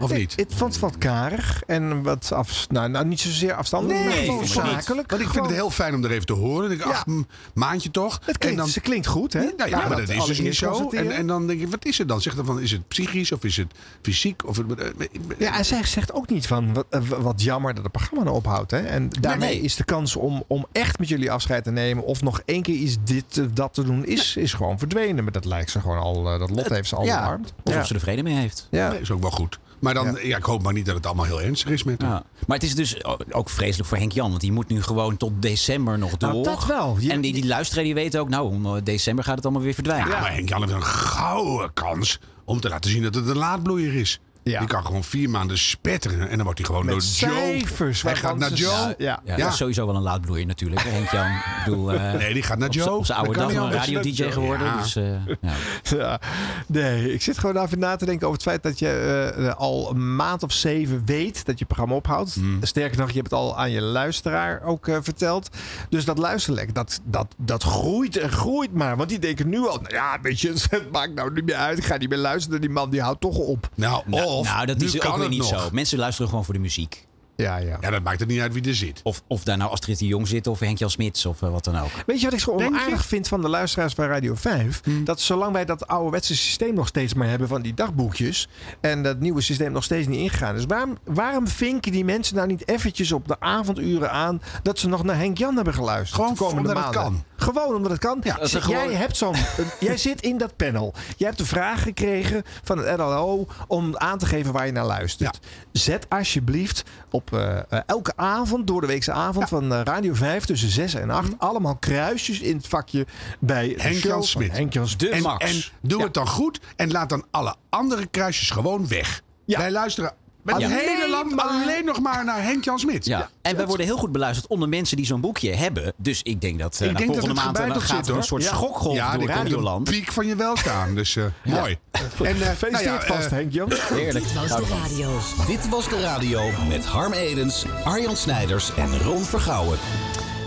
Speaker 1: Of niet?
Speaker 2: Ik vond het wat karig en wat af, nou, nou niet zozeer afstandelijk, maar gewoon zakelijk.
Speaker 1: Want ik vind het heel fijn om er even te horen. Ik dacht, ach, een maandje toch? Het
Speaker 2: klinkt- ze klinkt goed, hè?
Speaker 1: Nou ja,
Speaker 2: Ja,
Speaker 1: maar
Speaker 2: dat
Speaker 1: dat is dus
Speaker 2: allereerst
Speaker 1: niet zo. En,
Speaker 2: constateren.
Speaker 1: en dan denk ik, wat is het dan? Zeg dan van, is het psychisch of is het fysiek? Of, het- eh, eh,
Speaker 2: Ja, en zij zegt ook niet van wat, eh, wat jammer dat het programma nou ophoudt. Hè? En daarmee
Speaker 1: nee.
Speaker 2: is de kans om, om echt met jullie afscheid te nemen of nog één keer iets dit eh, dat te doen, is, is gewoon verdwenen. Maar dat lijkt ze gewoon al, eh, dat lot heeft ze al
Speaker 3: ja,
Speaker 2: omarmd.
Speaker 3: alsof ze er vrede mee heeft.
Speaker 2: Ja.
Speaker 1: nee, is ook wel goed. Maar dan, ja. ik hoop maar niet dat het allemaal heel ernstig is met hem.
Speaker 3: Ja. Maar het is dus o- ook vreselijk voor Henk Jan. Want die moet nu gewoon tot december nog door.
Speaker 1: Nou, dat wel.
Speaker 3: en die, die luisteraar die weet ook, nou, om eh, december gaat het allemaal weer verdwijnen.
Speaker 1: Ja, maar Henk Jan heeft een gouden kans om te laten zien dat het een laadbloeier is. Die kan gewoon vier maanden spetteren en dan wordt hij gewoon
Speaker 3: Met
Speaker 1: door
Speaker 3: cijfers,
Speaker 1: Joe. Hij gaat
Speaker 3: waarvan
Speaker 1: naar
Speaker 3: ze-
Speaker 1: Joe.
Speaker 3: Ja, ja. dat is sowieso wel een laadbloeier natuurlijk. hè, Henk Jan, ik bedoel, eh,
Speaker 1: Nee, die gaat naar
Speaker 3: op z'n-
Speaker 1: Joe.
Speaker 3: Op zijn
Speaker 1: Dat
Speaker 3: oude
Speaker 1: kan
Speaker 3: dag
Speaker 1: niet
Speaker 3: nog een
Speaker 1: anders.
Speaker 3: radio DJ
Speaker 1: Dat-
Speaker 3: geworden.
Speaker 1: Ja.
Speaker 3: Dus, eh, ja.
Speaker 2: [LAUGHS] Ja, nee, ik zit gewoon even na te denken over het feit dat je eh, eh, al een maand of zeven weet dat je programma ophoudt. Sterker nog, je hebt het al aan je luisteraar ook eh, verteld. Dus dat luisterlek, dat, dat, dat groeit en groeit maar. Want die denken nu al, nou ja, weet je, [LAUGHS] het maakt nou niet meer uit. Ik ga niet meer luisteren, die man die houdt toch op.
Speaker 1: Nou,
Speaker 3: nou,
Speaker 1: of,
Speaker 3: nou, dat
Speaker 1: nu
Speaker 3: is
Speaker 1: kan
Speaker 3: ook weer
Speaker 1: het
Speaker 3: niet
Speaker 1: nog.
Speaker 3: zo. Mensen luisteren gewoon voor de muziek.
Speaker 2: Ja, ja.
Speaker 1: Ja, dat maakt het niet uit wie er zit.
Speaker 3: Of, of daar nou Astrid de Jong zit of Henk Jan Smits of eh, wat dan ook.
Speaker 2: Weet je wat ik zo
Speaker 3: Denk je?
Speaker 2: onaardig vind van de luisteraars bij Radio 5? Dat zolang wij dat ouderwetse systeem nog steeds maar hebben van die dagboekjes. En dat nieuwe systeem nog steeds niet ingegaan is. Waarom, waarom vinken die mensen nou niet eventjes op de avonduren aan dat ze nog naar Henk Jan hebben geluisterd? Gewoon de komende
Speaker 1: omdat het
Speaker 2: maanden?
Speaker 1: kan.
Speaker 2: Gewoon omdat het kan.
Speaker 1: dat is
Speaker 2: Jij,
Speaker 1: gewoon-
Speaker 2: hebt zo'n,
Speaker 1: [LAUGHS]
Speaker 2: een- jij zit in dat panel. Jij hebt een vraag gekregen van het RLO om aan te geven waar je naar luistert. Zet alsjeblieft op eh, eh, elke avond, door de weekse avond van eh, Radio 5 tussen 6 en
Speaker 1: Mhm.
Speaker 2: 8, allemaal kruisjes in het vakje bij de
Speaker 1: Henk
Speaker 2: show
Speaker 1: Jan
Speaker 2: van
Speaker 1: Smit.
Speaker 2: Henk Jan Smit.
Speaker 1: en, en doe het dan goed en laat dan alle andere kruisjes gewoon weg. Wij luisteren met het
Speaker 3: Ja.
Speaker 1: hele
Speaker 3: Alleen
Speaker 1: land alleen nog maar naar Henk Jan Smit.
Speaker 3: Ja. En wij
Speaker 1: Dat-
Speaker 3: worden heel goed beluisterd onder mensen die zo'n boekje hebben. Dus ik denk dat eh,
Speaker 1: Ik
Speaker 3: na
Speaker 1: denk dat
Speaker 3: volgende
Speaker 1: het
Speaker 3: maand
Speaker 1: gebeiteld
Speaker 3: dan gaat
Speaker 1: zit,
Speaker 3: er een
Speaker 1: hoor.
Speaker 3: soort
Speaker 1: Ja.
Speaker 3: schokgolf
Speaker 1: Ja,
Speaker 3: door
Speaker 1: dit komt
Speaker 3: Radioland.
Speaker 1: een piek van je welstaan, dus eh,
Speaker 3: [LAUGHS]
Speaker 1: mooi. En, eh,
Speaker 6: Feest
Speaker 1: nou ja, eh, Nou,
Speaker 6: Heerlijk. Nou,
Speaker 1: Dit was de radio.
Speaker 6: Dit was de radio met Harm Edens, Arjan Snijders en Ron Vergouwen.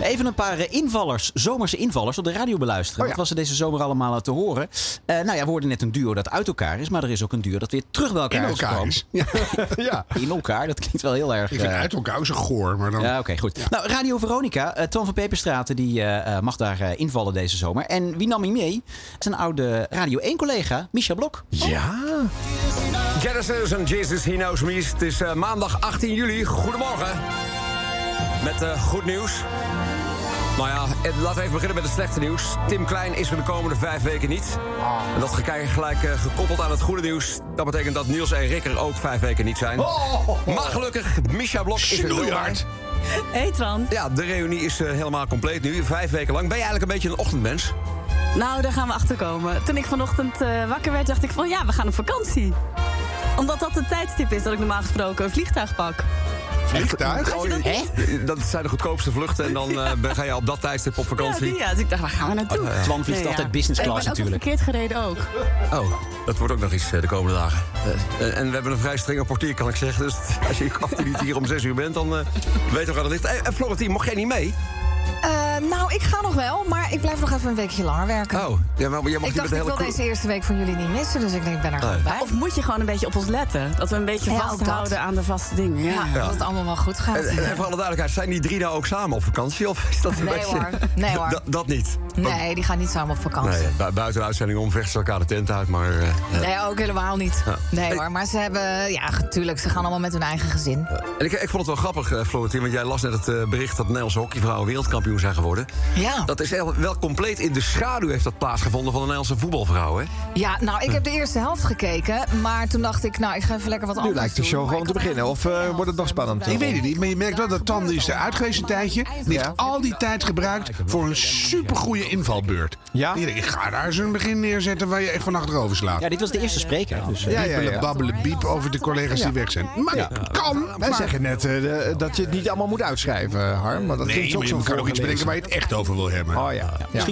Speaker 3: Even een paar eh, invallers, zomerse invallers op de radio beluisteren.
Speaker 1: Oh
Speaker 3: Wat was er deze zomer allemaal eh, te horen? Eh, nou ja, we hoorden net een duo dat uit elkaar is. Maar er is ook een duo dat weer terug bij elkaar
Speaker 1: In
Speaker 3: is
Speaker 1: elkaar
Speaker 3: gekomen.
Speaker 1: is. [LAUGHS]
Speaker 2: Ja.
Speaker 3: [LAUGHS] In elkaar, dat klinkt wel heel erg...
Speaker 1: Ik vind
Speaker 3: eh,
Speaker 1: uit elkaar ook zo goor, maar dan...
Speaker 3: Ja, oké, goed. Nou, Radio Veronica, eh Twan van Peperstraten, die eh, eh, mag daar eh, invallen deze zomer. En wie nam hij mee? Zijn oude Radio 1-collega, Micha Blok.
Speaker 2: Ja.
Speaker 12: Genesis en Jesus He Knows Me. Het is eh, maandag 18 juli. Goedemorgen. Met eh, goed nieuws. Nou ja, eh, laten we even beginnen met het slechte nieuws. Tim Klein is er de komende vijf weken niet. En dat gekijk gelijk eh, gekoppeld aan het goede nieuws. Dat betekent dat Niels en Rick er ook vijf weken niet zijn. Maar gelukkig, Misha Blok is er wel bij.
Speaker 13: Hey Tran.
Speaker 12: Ja, de reunie is eh, helemaal compleet nu. Vijf weken lang. Ben je eigenlijk een beetje een ochtendmens?
Speaker 13: Nou, daar gaan we achter komen. Toen ik vanochtend eh, wakker werd, dacht ik van ja, we gaan op vakantie. Omdat dat het tijdstip is dat ik normaal gesproken een vliegtuig pak.
Speaker 1: Vliegtuig?
Speaker 12: Oh, je- dat zijn de goedkoopste vluchten. En
Speaker 14: [LAUGHS]
Speaker 12: dan eh, ben- ga je op dat tijdstip op
Speaker 13: Ja,
Speaker 12: vakantie.
Speaker 13: die, ja. Dus ik dacht, waar gaan we naartoe?
Speaker 12: Oh, ja. Twan vliegt altijd business
Speaker 13: En
Speaker 12: class
Speaker 13: ik ben ook
Speaker 12: natuurlijk.
Speaker 13: verkeerd gereden ook.
Speaker 12: Oh, dat wordt ook nog iets eh, de komende dagen. Eh, en, en we hebben een vrij strenge portier, kan ik zeggen. Dus [LAUGHS] als je af en toe niet hier om zes uur bent, dan eh, weet je waar dat ligt. En Florentien, mocht jij niet mee?
Speaker 14: Eh, nou, ik ga nog wel, maar ik blijf nog even een weekje langer werken.
Speaker 12: Oh, ja, maar jij mag
Speaker 14: ik
Speaker 12: niet
Speaker 14: dacht,
Speaker 12: met de
Speaker 14: ik
Speaker 12: hele
Speaker 14: wil
Speaker 12: crew-
Speaker 14: deze eerste week van jullie niet missen, dus ik denk, ik ben er gewoon
Speaker 12: Nee.
Speaker 14: bij.
Speaker 13: Of moet je gewoon een beetje op ons letten? Dat we een beetje
Speaker 14: Ja, ook
Speaker 13: vasthouden
Speaker 14: dat.
Speaker 13: aan de vaste dingen. Ja,
Speaker 12: Ja. dat het
Speaker 14: allemaal wel goed gaat.
Speaker 12: En, en Eh, voor alle duidelijkheid, zijn die drie nou ook samen op vakantie? Of is dat een
Speaker 14: Nee,
Speaker 12: beetje...
Speaker 14: hoor. Nee, hoor.
Speaker 12: [LAUGHS] Dat- Dat niet.
Speaker 14: Nee, die gaan niet samen op vakantie.
Speaker 12: Nee, eh,
Speaker 14: Nee,
Speaker 12: bu- buiten de uitzending om vechten ze elkaar de tent uit, maar... eh, ja.
Speaker 14: ook helemaal niet.
Speaker 12: Ja.
Speaker 14: Nee hoor, maar ze hebben... Ja, natuurlijk, ze gaan allemaal met hun eigen gezin.
Speaker 12: En ik, ik vond het wel grappig, eh, Florentien, want jij las net het eh, bericht dat Nederlandse hockeyvrouwen wereldkampioen zijn geworden.
Speaker 14: Ja.
Speaker 12: Dat is echt wel compleet in de schaduw heeft dat plaatsgevonden van de Nederlandse voetbalvrouwen. hè?
Speaker 14: Ja, nou, ik heb de eerste helft gekeken, maar toen dacht ik, nou, ik ga even lekker wat
Speaker 2: Nu
Speaker 14: anders
Speaker 2: lijkt de
Speaker 14: doen.
Speaker 2: show gewoon te beginnen. Of eh, wordt het nog spannend?
Speaker 1: Ik weet het niet, maar je merkt wel dat Tan die is eruit geweest een tijdje. Die heeft al die tijd gebruikt voor een supergoeie invalbeurt. Ja? Ik denk, ik ga daar eens een begin neerzetten waar je echt van achterover slaat.
Speaker 3: Ja, dit was de eerste spreker. Dus,
Speaker 1: ja, ja, ja. eh, babbelen, biep over de collega's die weg zijn. Maar
Speaker 2: Ja.
Speaker 1: dat kan.
Speaker 2: Wij
Speaker 1: maar-
Speaker 2: zeggen net eh, de- dat je het niet allemaal moet uitschrijven, eh, Harm. Maar dat
Speaker 1: Nee,
Speaker 2: klinkt
Speaker 1: maar je
Speaker 2: ook zo
Speaker 1: kan ook iets bedenken waar je het echt over wil hebben.
Speaker 2: Oh ja. ja.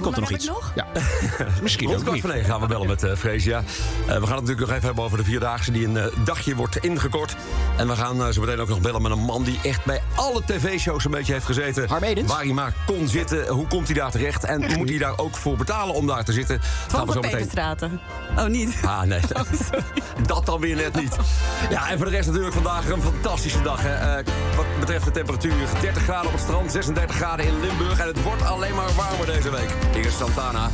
Speaker 2: Ja. [LAUGHS]
Speaker 12: Misschien
Speaker 1: ook
Speaker 12: Rond kwart
Speaker 1: niet.
Speaker 12: van negen gaan we bellen met eh Freesia. Eh, we gaan het natuurlijk nog even hebben over de Vierdaagse... die een eh, dagje wordt ingekort. En we gaan eh, zo meteen ook nog bellen met een man... die echt bij alle tv-shows een beetje heeft gezeten. Waar hij maar kon zitten. Hoe komt hij daar terecht? En moet hij daar ook voor betalen om daar te zitten? gaan
Speaker 13: Van
Speaker 12: we
Speaker 13: de
Speaker 12: zo meteen...
Speaker 13: Peperstraten. Oh, niet.
Speaker 12: [LAUGHS] Ah, nee. dat dan weer net niet. Ja, en voor de rest natuurlijk vandaag een fantastische dag. Hè. Eh, wat betreft de temperatuur. 30 graden op het strand, 36 graden in Limburg. En het wordt alleen maar warmer deze week. Hier is Santana.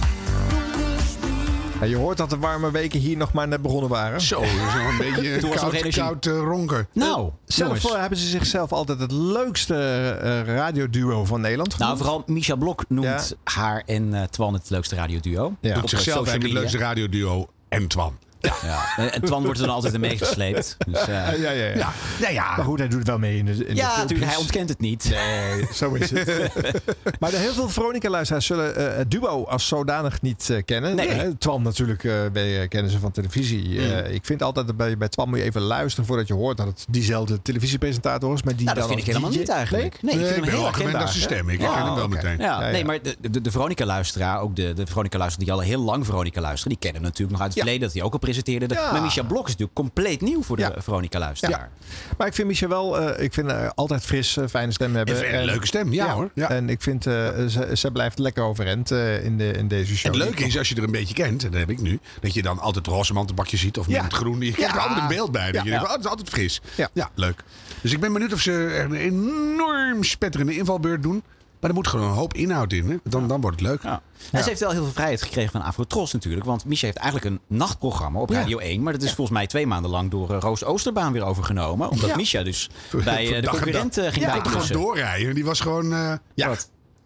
Speaker 2: Ja, je hoort dat de warme weken hier nog maar net begonnen waren.
Speaker 1: Zo, dat is nog
Speaker 2: [LAUGHS]
Speaker 1: een beetje Toen was er koud- nog energie. koud, eh, ronken.
Speaker 3: Nou,
Speaker 2: zelf
Speaker 3: jongens.
Speaker 2: eh, hebben ze zichzelf altijd het leukste eh, radioduo van Nederland
Speaker 3: Nou,
Speaker 2: genoemd.
Speaker 3: vooral Misha Blok noemt haar en eh, Twan het leukste radioduo.
Speaker 2: Ja.
Speaker 3: Op, eh,
Speaker 1: Doet zichzelf
Speaker 3: social
Speaker 1: eigenlijk het
Speaker 3: media.
Speaker 1: leukste radioduo en Twan.
Speaker 3: Ja. En, en Twan wordt er dan altijd in
Speaker 2: [LAUGHS]
Speaker 3: meegesleept. Dus, eh,
Speaker 2: ja, ja, ja,
Speaker 1: Ja. Nou ja.
Speaker 2: Maar goed, hij doet het wel mee in de, in de
Speaker 3: Ja,
Speaker 2: filmpjes.
Speaker 3: natuurlijk, hij ontkent het niet.
Speaker 2: Nee, zo
Speaker 3: [LAUGHS]
Speaker 2: is het. maar de heel veel Veronica-luisteraars zullen eh, het duo als zodanig niet eh, kennen.
Speaker 3: Nee. Mm.
Speaker 2: Eh, Twan natuurlijk, eh, wij, eh, kennen ze van televisie. Eh, ik vind altijd dat bij, bij Twan moet je even luisteren voordat je hoort dat het diezelfde televisiepresentator is. Maar die
Speaker 3: Nou, dat
Speaker 2: dan
Speaker 3: vind ik
Speaker 2: als
Speaker 3: helemaal
Speaker 2: DJ
Speaker 3: niet eigenlijk.
Speaker 2: Nee,
Speaker 3: ik vind
Speaker 2: hem
Speaker 3: hem heel herkenbaar. Ja.
Speaker 2: oké.
Speaker 3: Ja, Nee, maar de, de, de Veronica-luisteraar, ook de, de Veronica-luisteraar die al heel lang Veronica luisteren, die kennen hem natuurlijk nog uit het verleden dat hij ook al presenteerde.
Speaker 2: Ja.
Speaker 3: Maar Micha Blok is natuurlijk compleet nieuw voor de Veronica-luisteraar.
Speaker 2: Maar ik vind Michel wel, eh, ik vind eh, altijd fris, eh, fijne stem hebben.
Speaker 1: En een leuke stem, ja, hoor. Ja.
Speaker 2: En ik vind, eh, ze, ze blijft lekker overeind eh, in, de, in deze show.
Speaker 1: Het leuke is, als je er een beetje kent, en dat heb ik nu, dat je dan altijd roze mantenbakje ziet of met het groen. Je krijgt
Speaker 2: Ja.
Speaker 1: er altijd een beeld bij. Dat
Speaker 2: Ja.
Speaker 1: je denkt, oh, het is altijd fris. Ja. leuk. Dus ik ben benieuwd of ze echt een enorm spetterende invalbeurt doen. Maar er moet gewoon een hoop inhoud in. Hè? Dan, dan wordt het leuk.
Speaker 3: En ze heeft wel heel veel vrijheid gekregen van Afrotros natuurlijk. Want Micha heeft eigenlijk een nachtprogramma op
Speaker 1: Ja.
Speaker 3: Radio 1. Maar dat is volgens mij twee maanden lang door eh, Roos Oosterbaan weer overgenomen. Omdat
Speaker 1: Ja.
Speaker 3: Micha dus
Speaker 1: [LAUGHS] [LAUGHS] Voor-
Speaker 3: bij
Speaker 1: voor
Speaker 3: eh, de
Speaker 1: dag en
Speaker 3: concurrent
Speaker 1: dag.
Speaker 3: eh, ging
Speaker 1: Ja, die kon
Speaker 3: bijklussen.
Speaker 1: gewoon doorrijden. Die was gewoon... eh,
Speaker 3: ja.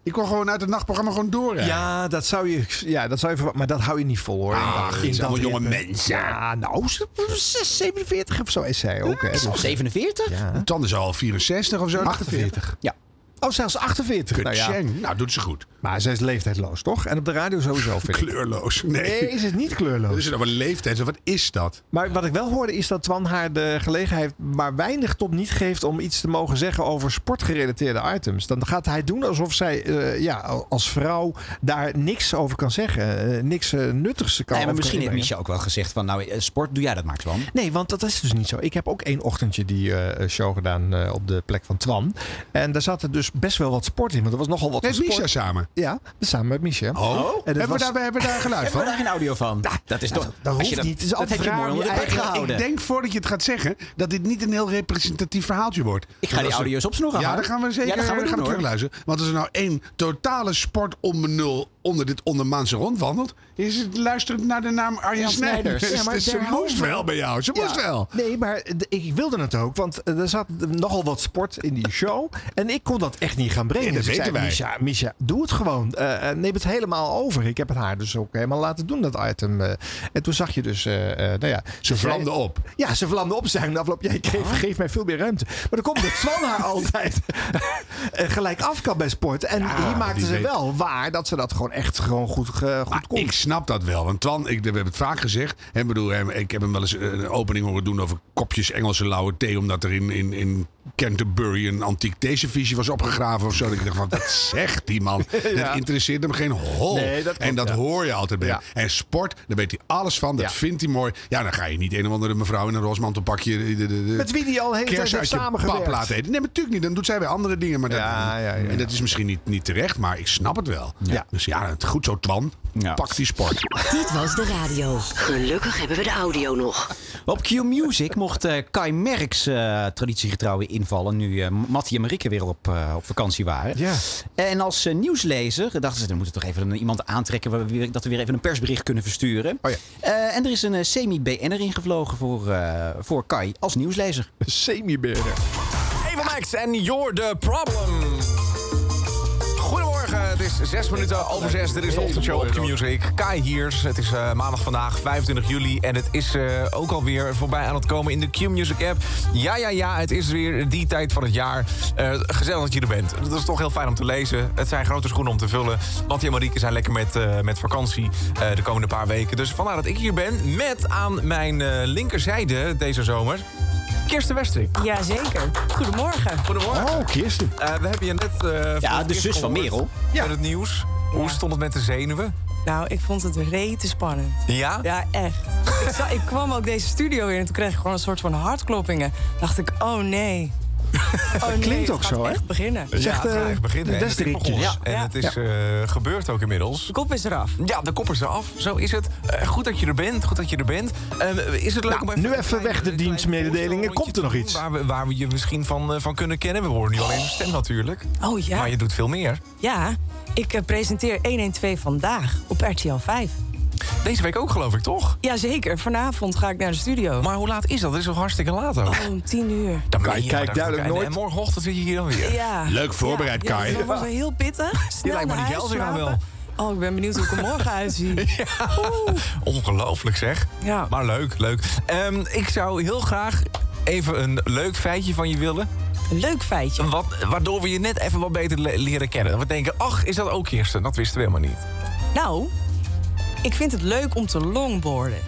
Speaker 1: Ik kon gewoon uit het nachtprogramma gewoon doorrijden.
Speaker 2: Ja, dat zou je, ja, dat zou je verwa- maar dat hou je niet vol hoor. in
Speaker 1: Ach,
Speaker 2: dat-
Speaker 1: het
Speaker 2: in
Speaker 1: zijn
Speaker 2: dat
Speaker 1: allemaal jonge
Speaker 2: ritme.
Speaker 1: mensen.
Speaker 2: Ja, nou, ze- ze- 47 of zo is zij ook. Hè, dus-
Speaker 3: 47?
Speaker 2: Ja.
Speaker 1: Dan is ze al 64 of zo.
Speaker 2: 48. Ja. Oh, zelfs 48. Nou, ja.
Speaker 1: Kutjeng. nou, doet ze goed.
Speaker 2: Maar ze is leeftijdloos, toch? En op de radio sowieso vind ik.
Speaker 1: Kleurloos. Nee.
Speaker 2: Nee, is het niet kleurloos?
Speaker 1: Dat is dan Dus wel leeftijd. Wat is dat?
Speaker 2: Maar wat ik wel hoorde is dat Twan haar de gelegenheid maar weinig tot niet geeft om iets te mogen zeggen over sportgerelateerde items. Dan gaat hij doen alsof zij eh, ja, als vrouw daar niks over kan zeggen. eh, niks eh, nuttigs kan
Speaker 3: Nee, maar misschien
Speaker 2: over
Speaker 3: heeft
Speaker 2: inbrengen.
Speaker 3: Michel ook wel gezegd van, nou, eh, sport, doe jij dat maar, Twan.
Speaker 2: Nee, want dat is dus niet zo. Ik heb ook één ochtendje die eh, show gedaan eh, op de plek van Twan. En daar zaten dus best wel wat sport in. Want er was nogal wat
Speaker 1: Met
Speaker 2: sport.
Speaker 1: Misha samen?
Speaker 2: Ja, samen met Misha.
Speaker 1: Oh. Hebben we daar- we hebben daar
Speaker 2: [LAUGHS]
Speaker 1: geluid
Speaker 3: Hebben we
Speaker 1: van?
Speaker 3: daar geen audio van? dat is toch...
Speaker 2: dat
Speaker 3: als
Speaker 2: hoeft
Speaker 3: je
Speaker 2: niet. Het is
Speaker 3: Dat
Speaker 2: altijd
Speaker 3: heb je
Speaker 2: raar
Speaker 3: mooi
Speaker 2: om
Speaker 3: onder
Speaker 2: je
Speaker 3: de pet
Speaker 2: eigen- ik
Speaker 3: gehouden.
Speaker 1: Ik denk voordat je het gaat zeggen dat dit niet een heel representatief verhaaltje wordt.
Speaker 3: Ik ga die audio's opsnoeren,
Speaker 1: Ja,
Speaker 3: Harm.
Speaker 1: dat gaan we zeker
Speaker 3: Ja, dat gaan we doen, hoor.
Speaker 1: terugluisteren. Want als er nou één totale sport nul onder dit ondermaanse rondwandelt, is het luisterend naar de naam Arjen
Speaker 2: Ja,
Speaker 1: Snijders.
Speaker 2: Ja, maar
Speaker 1: Dus ze
Speaker 2: derhalve-
Speaker 1: moest wel bij jou. Ze moest
Speaker 2: Ja,
Speaker 1: wel.
Speaker 2: Nee, maar d- ik wilde het ook, want eh, er zat nogal wat sport in die show. En ik kon dat echt niet gaan brengen.
Speaker 1: Nee, dat
Speaker 2: Dus ik
Speaker 1: weten
Speaker 2: zei,
Speaker 1: wij.
Speaker 2: Misha, Misha, doe het gewoon. Eh, eh, neem het helemaal over. Ik heb het haar dus ook helemaal laten doen, dat item. eh. en toen zag je dus, eh, eh, nou ja...
Speaker 1: Ze vlamde
Speaker 2: zei-
Speaker 1: op.
Speaker 2: Ja, ze vlamde op. Zijn afloop, jij geeft geef mij veel meer ruimte. Maar dan komt de
Speaker 1: [LAUGHS]
Speaker 2: Twan haar altijd eh, gelijk af kan bij sport. En hier maakte
Speaker 1: die
Speaker 2: ze
Speaker 1: weet-
Speaker 2: wel waar dat ze dat gewoon echt gewoon goed, ge- goed kon.
Speaker 1: Ik snap dat wel. Want Twan, ik, we hebben het vaak gezegd. Hè, bedoel, hè, ik heb hem wel eens eh, een opening horen doen over kopjes Engelse lauwe thee. Omdat er in, in, in Canterbury een antiek theeserviesje was opgegraven of zo. Dat ik dacht van,
Speaker 2: [LAUGHS]
Speaker 1: wat zegt die man?
Speaker 2: Ja.
Speaker 1: Dat interesseert hem geen hol.
Speaker 2: Nee, dat klopt,
Speaker 1: en dat
Speaker 2: ja.
Speaker 1: hoor je altijd bij hem. En sport, daar weet hij alles van. Dat
Speaker 2: Ja.
Speaker 1: vindt hij mooi. Ja, dan ga je niet een of andere mevrouw in een rosmantelpakje... De, de, de,
Speaker 2: Met wie die al de hele tijd
Speaker 1: kers
Speaker 2: heeft
Speaker 1: uit je
Speaker 2: samengewerkt.
Speaker 1: pap laten eten. Nee, maar natuurlijk niet. Dan doet zij weer andere dingen. Maar dat, en dat is misschien niet, niet terecht, maar ik snap het wel. Dus ja, het- goed zo, Twan. Pak die sport.
Speaker 4: Dit was de radio. Gelukkig hebben we de audio nog.
Speaker 3: Op Q Music mocht eh, Kai Merks eh, traditiegetrouw weer invallen. Nu eh Mattie en Marieke weer op, eh, op vakantie waren.
Speaker 2: Ja.
Speaker 3: En als eh, nieuwslezer dachten ze, dan moeten we toch even een- iemand aantrekken. Waar we weer, dat we weer even een persbericht kunnen versturen.
Speaker 1: Oh
Speaker 3: Eh, en er is een eh, semi-BN'er ingevlogen voor, eh, voor Kai als nieuwslezer.
Speaker 2: Semi-BN'er.
Speaker 15: Even Max en You're the Problem. Goedemorgen, het is zes minuten over zes. Dit is de ochtendshow op Q-Music. Kai Hiers, het is eh, maandag vandaag, 25 juli. En het is eh, ook alweer voorbij aan het komen in de Q-Music app. Ja, ja, ja, het is weer die tijd van het jaar. Eh, gezellig dat je er bent. Dat is toch heel fijn om te lezen. Het zijn grote schoenen om te vullen. Mattie en Marieke zijn lekker met, eh, met vakantie eh, de komende paar weken. Dus vandaar dat ik hier ben met aan mijn eh, linkerzijde deze zomer... Kirsten Westrik.
Speaker 16: Jazeker. Goedemorgen.
Speaker 15: Goedemorgen.
Speaker 2: Oh, Kirsten.
Speaker 15: we hebben je net... eh,
Speaker 3: Ja,
Speaker 15: voor
Speaker 3: de
Speaker 15: het eerst
Speaker 3: zus van
Speaker 15: gehoord
Speaker 3: Merel.
Speaker 15: Met het nieuws. Hoe stond het met de zenuwen?
Speaker 16: Nou, ik vond het rete spannend.
Speaker 15: Ja?
Speaker 16: Ja, echt. ik, zag- ik kwam ook deze studio in en toen kreeg ik gewoon een soort van hartkloppingen. Dacht ik, oh nee.
Speaker 2: [LAUGHS]
Speaker 16: Oh nee,
Speaker 2: klinkt ook
Speaker 16: het gaat
Speaker 2: zo, hè? eh,
Speaker 16: echt beginnen.
Speaker 15: ja, het gaat echt eh, beginnen. En het is begonnen.
Speaker 16: Ja.
Speaker 15: En het is eh, gebeurd ook inmiddels. De
Speaker 16: kop is eraf.
Speaker 15: Ja, de kop is eraf. Zo is het. Eh, goed dat je er bent. Goed dat je er bent. Eh, is het leuk om even...
Speaker 2: Nou, Nu even weg de dienstmededelingen. Komt er nog iets?
Speaker 15: Waar we, waar we je misschien van, eh, van kunnen kennen. We horen nu alleen je stem natuurlijk.
Speaker 16: Oh ja.
Speaker 15: Maar je doet veel meer.
Speaker 16: Ja, ik eh, presenteer 112 vandaag op RTL 5.
Speaker 15: Deze week ook geloof ik, toch?
Speaker 16: Jazeker, vanavond ga ik naar de studio.
Speaker 15: Maar hoe laat is dat? Het is al hartstikke laat ook.
Speaker 16: Oh, om tien uur.
Speaker 15: Dan kan
Speaker 2: Kai
Speaker 15: je
Speaker 2: kijkt
Speaker 15: maar
Speaker 2: duidelijk
Speaker 15: even-
Speaker 2: nooit.
Speaker 15: En morgenochtend zit je hier dan weer.
Speaker 16: Ja.
Speaker 1: Leuk voorbereid,
Speaker 16: Ja,
Speaker 1: Kai.
Speaker 16: dat wordt wel heel
Speaker 15: [LAUGHS]
Speaker 16: pittig. Snel
Speaker 15: lijkt me
Speaker 16: naar
Speaker 15: die
Speaker 16: huis
Speaker 15: Gelderaan
Speaker 16: slapen. Oh, ik ben benieuwd hoe ik er
Speaker 15: [LAUGHS]
Speaker 16: morgen uitzie. Oeh.
Speaker 15: Ongelooflijk zeg.
Speaker 16: Ja.
Speaker 15: Maar leuk, leuk. Ehm, ik zou heel graag even een leuk feitje van je willen.
Speaker 16: Een leuk feitje?
Speaker 15: Wat, waardoor we je net even wat beter le- leren kennen. Dat we denken, ach, is dat ook Kirsten? Dat wisten we helemaal niet.
Speaker 16: Nou, ik vind het leuk om te longboarden.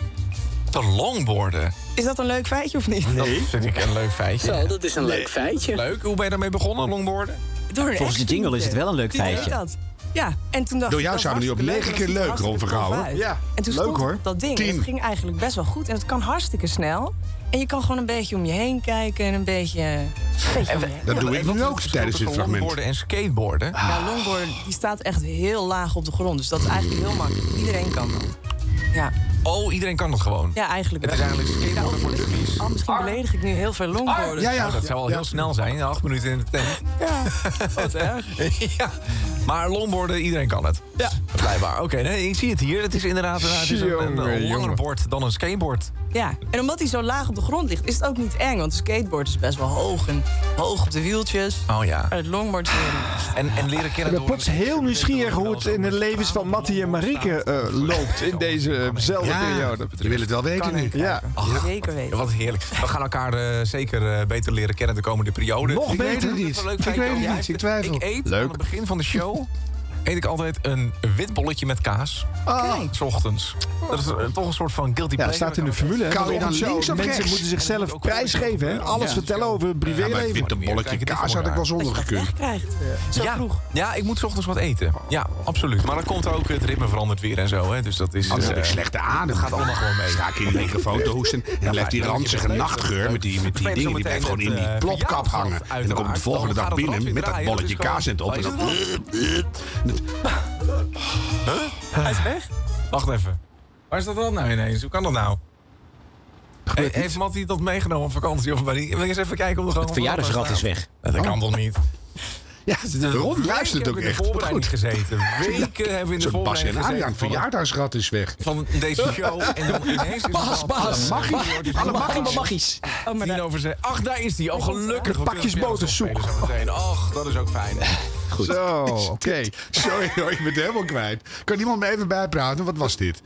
Speaker 15: Te longboarden.
Speaker 16: Is dat een leuk feitje of niet?
Speaker 15: Dat vind ik een leuk feitje.
Speaker 16: Zo, dat is een leuk feitje.
Speaker 15: Leuk. Hoe ben je daarmee begonnen, longboarden?
Speaker 16: Door een
Speaker 3: Volgens de
Speaker 16: ex
Speaker 3: jingle
Speaker 16: die
Speaker 3: is het wel een leuk
Speaker 16: die deed
Speaker 3: feitje.
Speaker 16: dat. Ja, en toen dacht
Speaker 1: Door
Speaker 16: ik,
Speaker 1: jou
Speaker 16: dat
Speaker 1: zijn we nu op
Speaker 16: hartstikke leuk,
Speaker 1: negen keer
Speaker 16: dat
Speaker 1: leuk,
Speaker 16: ziet er
Speaker 1: Ron van
Speaker 16: hartstikke
Speaker 1: Gouwen.
Speaker 16: tof uit.
Speaker 1: Ja,
Speaker 16: En toen
Speaker 1: leuk,
Speaker 16: stond
Speaker 1: hoor.
Speaker 16: op dat ding, en
Speaker 1: Tien.
Speaker 16: het ging eigenlijk best wel goed. En het kan hartstikke snel. En je kan gewoon een beetje om je heen kijken en een beetje... een beetje om je heen.
Speaker 1: Dat doe ik nu ook tijdens dit fragment. Ah,
Speaker 15: Longboarden en skateboarden.
Speaker 16: Ja, longboarden die staat echt heel laag op de grond. Dus dat is eigenlijk heel makkelijk. Iedereen kan dat. Ja,
Speaker 15: Oh, iedereen kan dat gewoon.
Speaker 16: ja eigenlijk
Speaker 15: Het
Speaker 16: wel.
Speaker 15: is eigenlijk skateboarden voor dummies.
Speaker 16: Oh, misschien beledig ik nu heel veel longboarders.
Speaker 15: Ah, Ja, ja. Oh, Dat zou al heel snel zijn. Acht minuten in de tent. [LAUGHS]
Speaker 16: Ja, wat erg.
Speaker 15: ja. Maar longboarden, iedereen kan het. Ja. Blijkbaar. Oké, nee, ik zie het hier. Het is inderdaad een, het is een, een,
Speaker 2: Jongen,
Speaker 15: langer
Speaker 2: jongen.
Speaker 15: bord dan een skateboard.
Speaker 16: Ja, en omdat hij zo laag op de grond ligt, is het ook niet eng. Want een skateboard is best wel hoog en hoog op de wieltjes.
Speaker 15: Oh ja.
Speaker 16: En het longboard is weer-
Speaker 15: En, en leren kennen
Speaker 2: Ik ben plots heel nieuwsgierig hoe het in de levens van Mattie en Marieke eh, loopt in dezezelfde
Speaker 15: Ja,
Speaker 2: periode.
Speaker 1: Je wil het wel weten nu.
Speaker 2: Ja.
Speaker 16: Zeker weten.
Speaker 15: Wat heerlijk. We gaan elkaar eh, zeker eh, beter leren kennen de komende periode.
Speaker 1: Nog Ik beter. weet het niet.
Speaker 15: Dat is wel leuk
Speaker 1: Ik
Speaker 15: feitje
Speaker 1: weet het
Speaker 15: over
Speaker 1: niet.
Speaker 15: jou.
Speaker 1: Ik twijfel.
Speaker 15: Ik eet
Speaker 1: Leuk.
Speaker 15: aan het begin van de show eet ik altijd een wit bolletje met kaas. Ah. S ochtends. Dat is eh, toch een soort van guilty
Speaker 2: Ja,
Speaker 15: pleasure.
Speaker 2: dat staat in de formule. hè.
Speaker 1: Kan je dan
Speaker 2: Want
Speaker 1: links of
Speaker 2: Mensen
Speaker 1: rechts?
Speaker 2: moeten zichzelf prijsgeven. Hè? Alles
Speaker 15: Ja.
Speaker 2: vertellen over het
Speaker 15: Ja, maar
Speaker 2: privéleven.
Speaker 15: het witte bolletje kaas had ik wel zonder gekund.
Speaker 16: krijgt.
Speaker 15: ja, Ja, ik moet 's ochtends wat eten. Ja, absoluut. eh, Maar dan komt er ook het ritme verandert weer en zo. Hè. Dus dat is...
Speaker 1: Anders heb ik
Speaker 15: eh,
Speaker 1: slechte adem.
Speaker 15: Dat gaat allemaal gewoon mee.
Speaker 1: Ga ik in de
Speaker 15: [LAUGHS]
Speaker 1: microfoon te hoesten. En dan blijft die ranzige nachtgeur met die, met eh, die dingen... die blijft gewoon in die plopkap hangen. En dan kom ik de volgende dag binnen met dat bolletje kaas in het op. En dan...
Speaker 15: Huh? Hij is weg. Wacht even. Waar is dat dan nou ineens? Hoe kan dat nou? Hey, heeft Matty dat meegenomen op vakantie? Of bij die... Wil je eens even kijken op de gang?
Speaker 3: Het verjaardagsrad is weg.
Speaker 15: Dat kan toch niet?
Speaker 1: Oh. Ja, Ron
Speaker 15: Weken
Speaker 1: luistert
Speaker 15: hebben we
Speaker 1: ook
Speaker 15: in
Speaker 1: echt.
Speaker 15: de voorbereiding gezeten. Weken hebben we in de
Speaker 1: Zo'n Bas
Speaker 15: voorbereiding
Speaker 1: en
Speaker 15: gezeten.
Speaker 1: Adriaan,
Speaker 15: van-
Speaker 1: verjaardagsrat is weg.
Speaker 15: Van deze show. En dan ineens is het
Speaker 1: Bas,
Speaker 15: allemaal-
Speaker 1: Bas.
Speaker 15: Alle
Speaker 1: Maggie.
Speaker 15: wordt-
Speaker 1: Alle Maggie.
Speaker 15: Alle
Speaker 1: Maggies.
Speaker 15: Tien over zes. Ach, daar is die. Oh, gelukkig.
Speaker 2: De pakjes boter zoek.
Speaker 15: Ach, dat is ook fijn.
Speaker 1: Goed. Zo, oké. [LAUGHS] Sorry hoor, ik ben het helemaal kwijt. Kan iemand me even bijpraten? Wat was dit?
Speaker 2: [LAUGHS]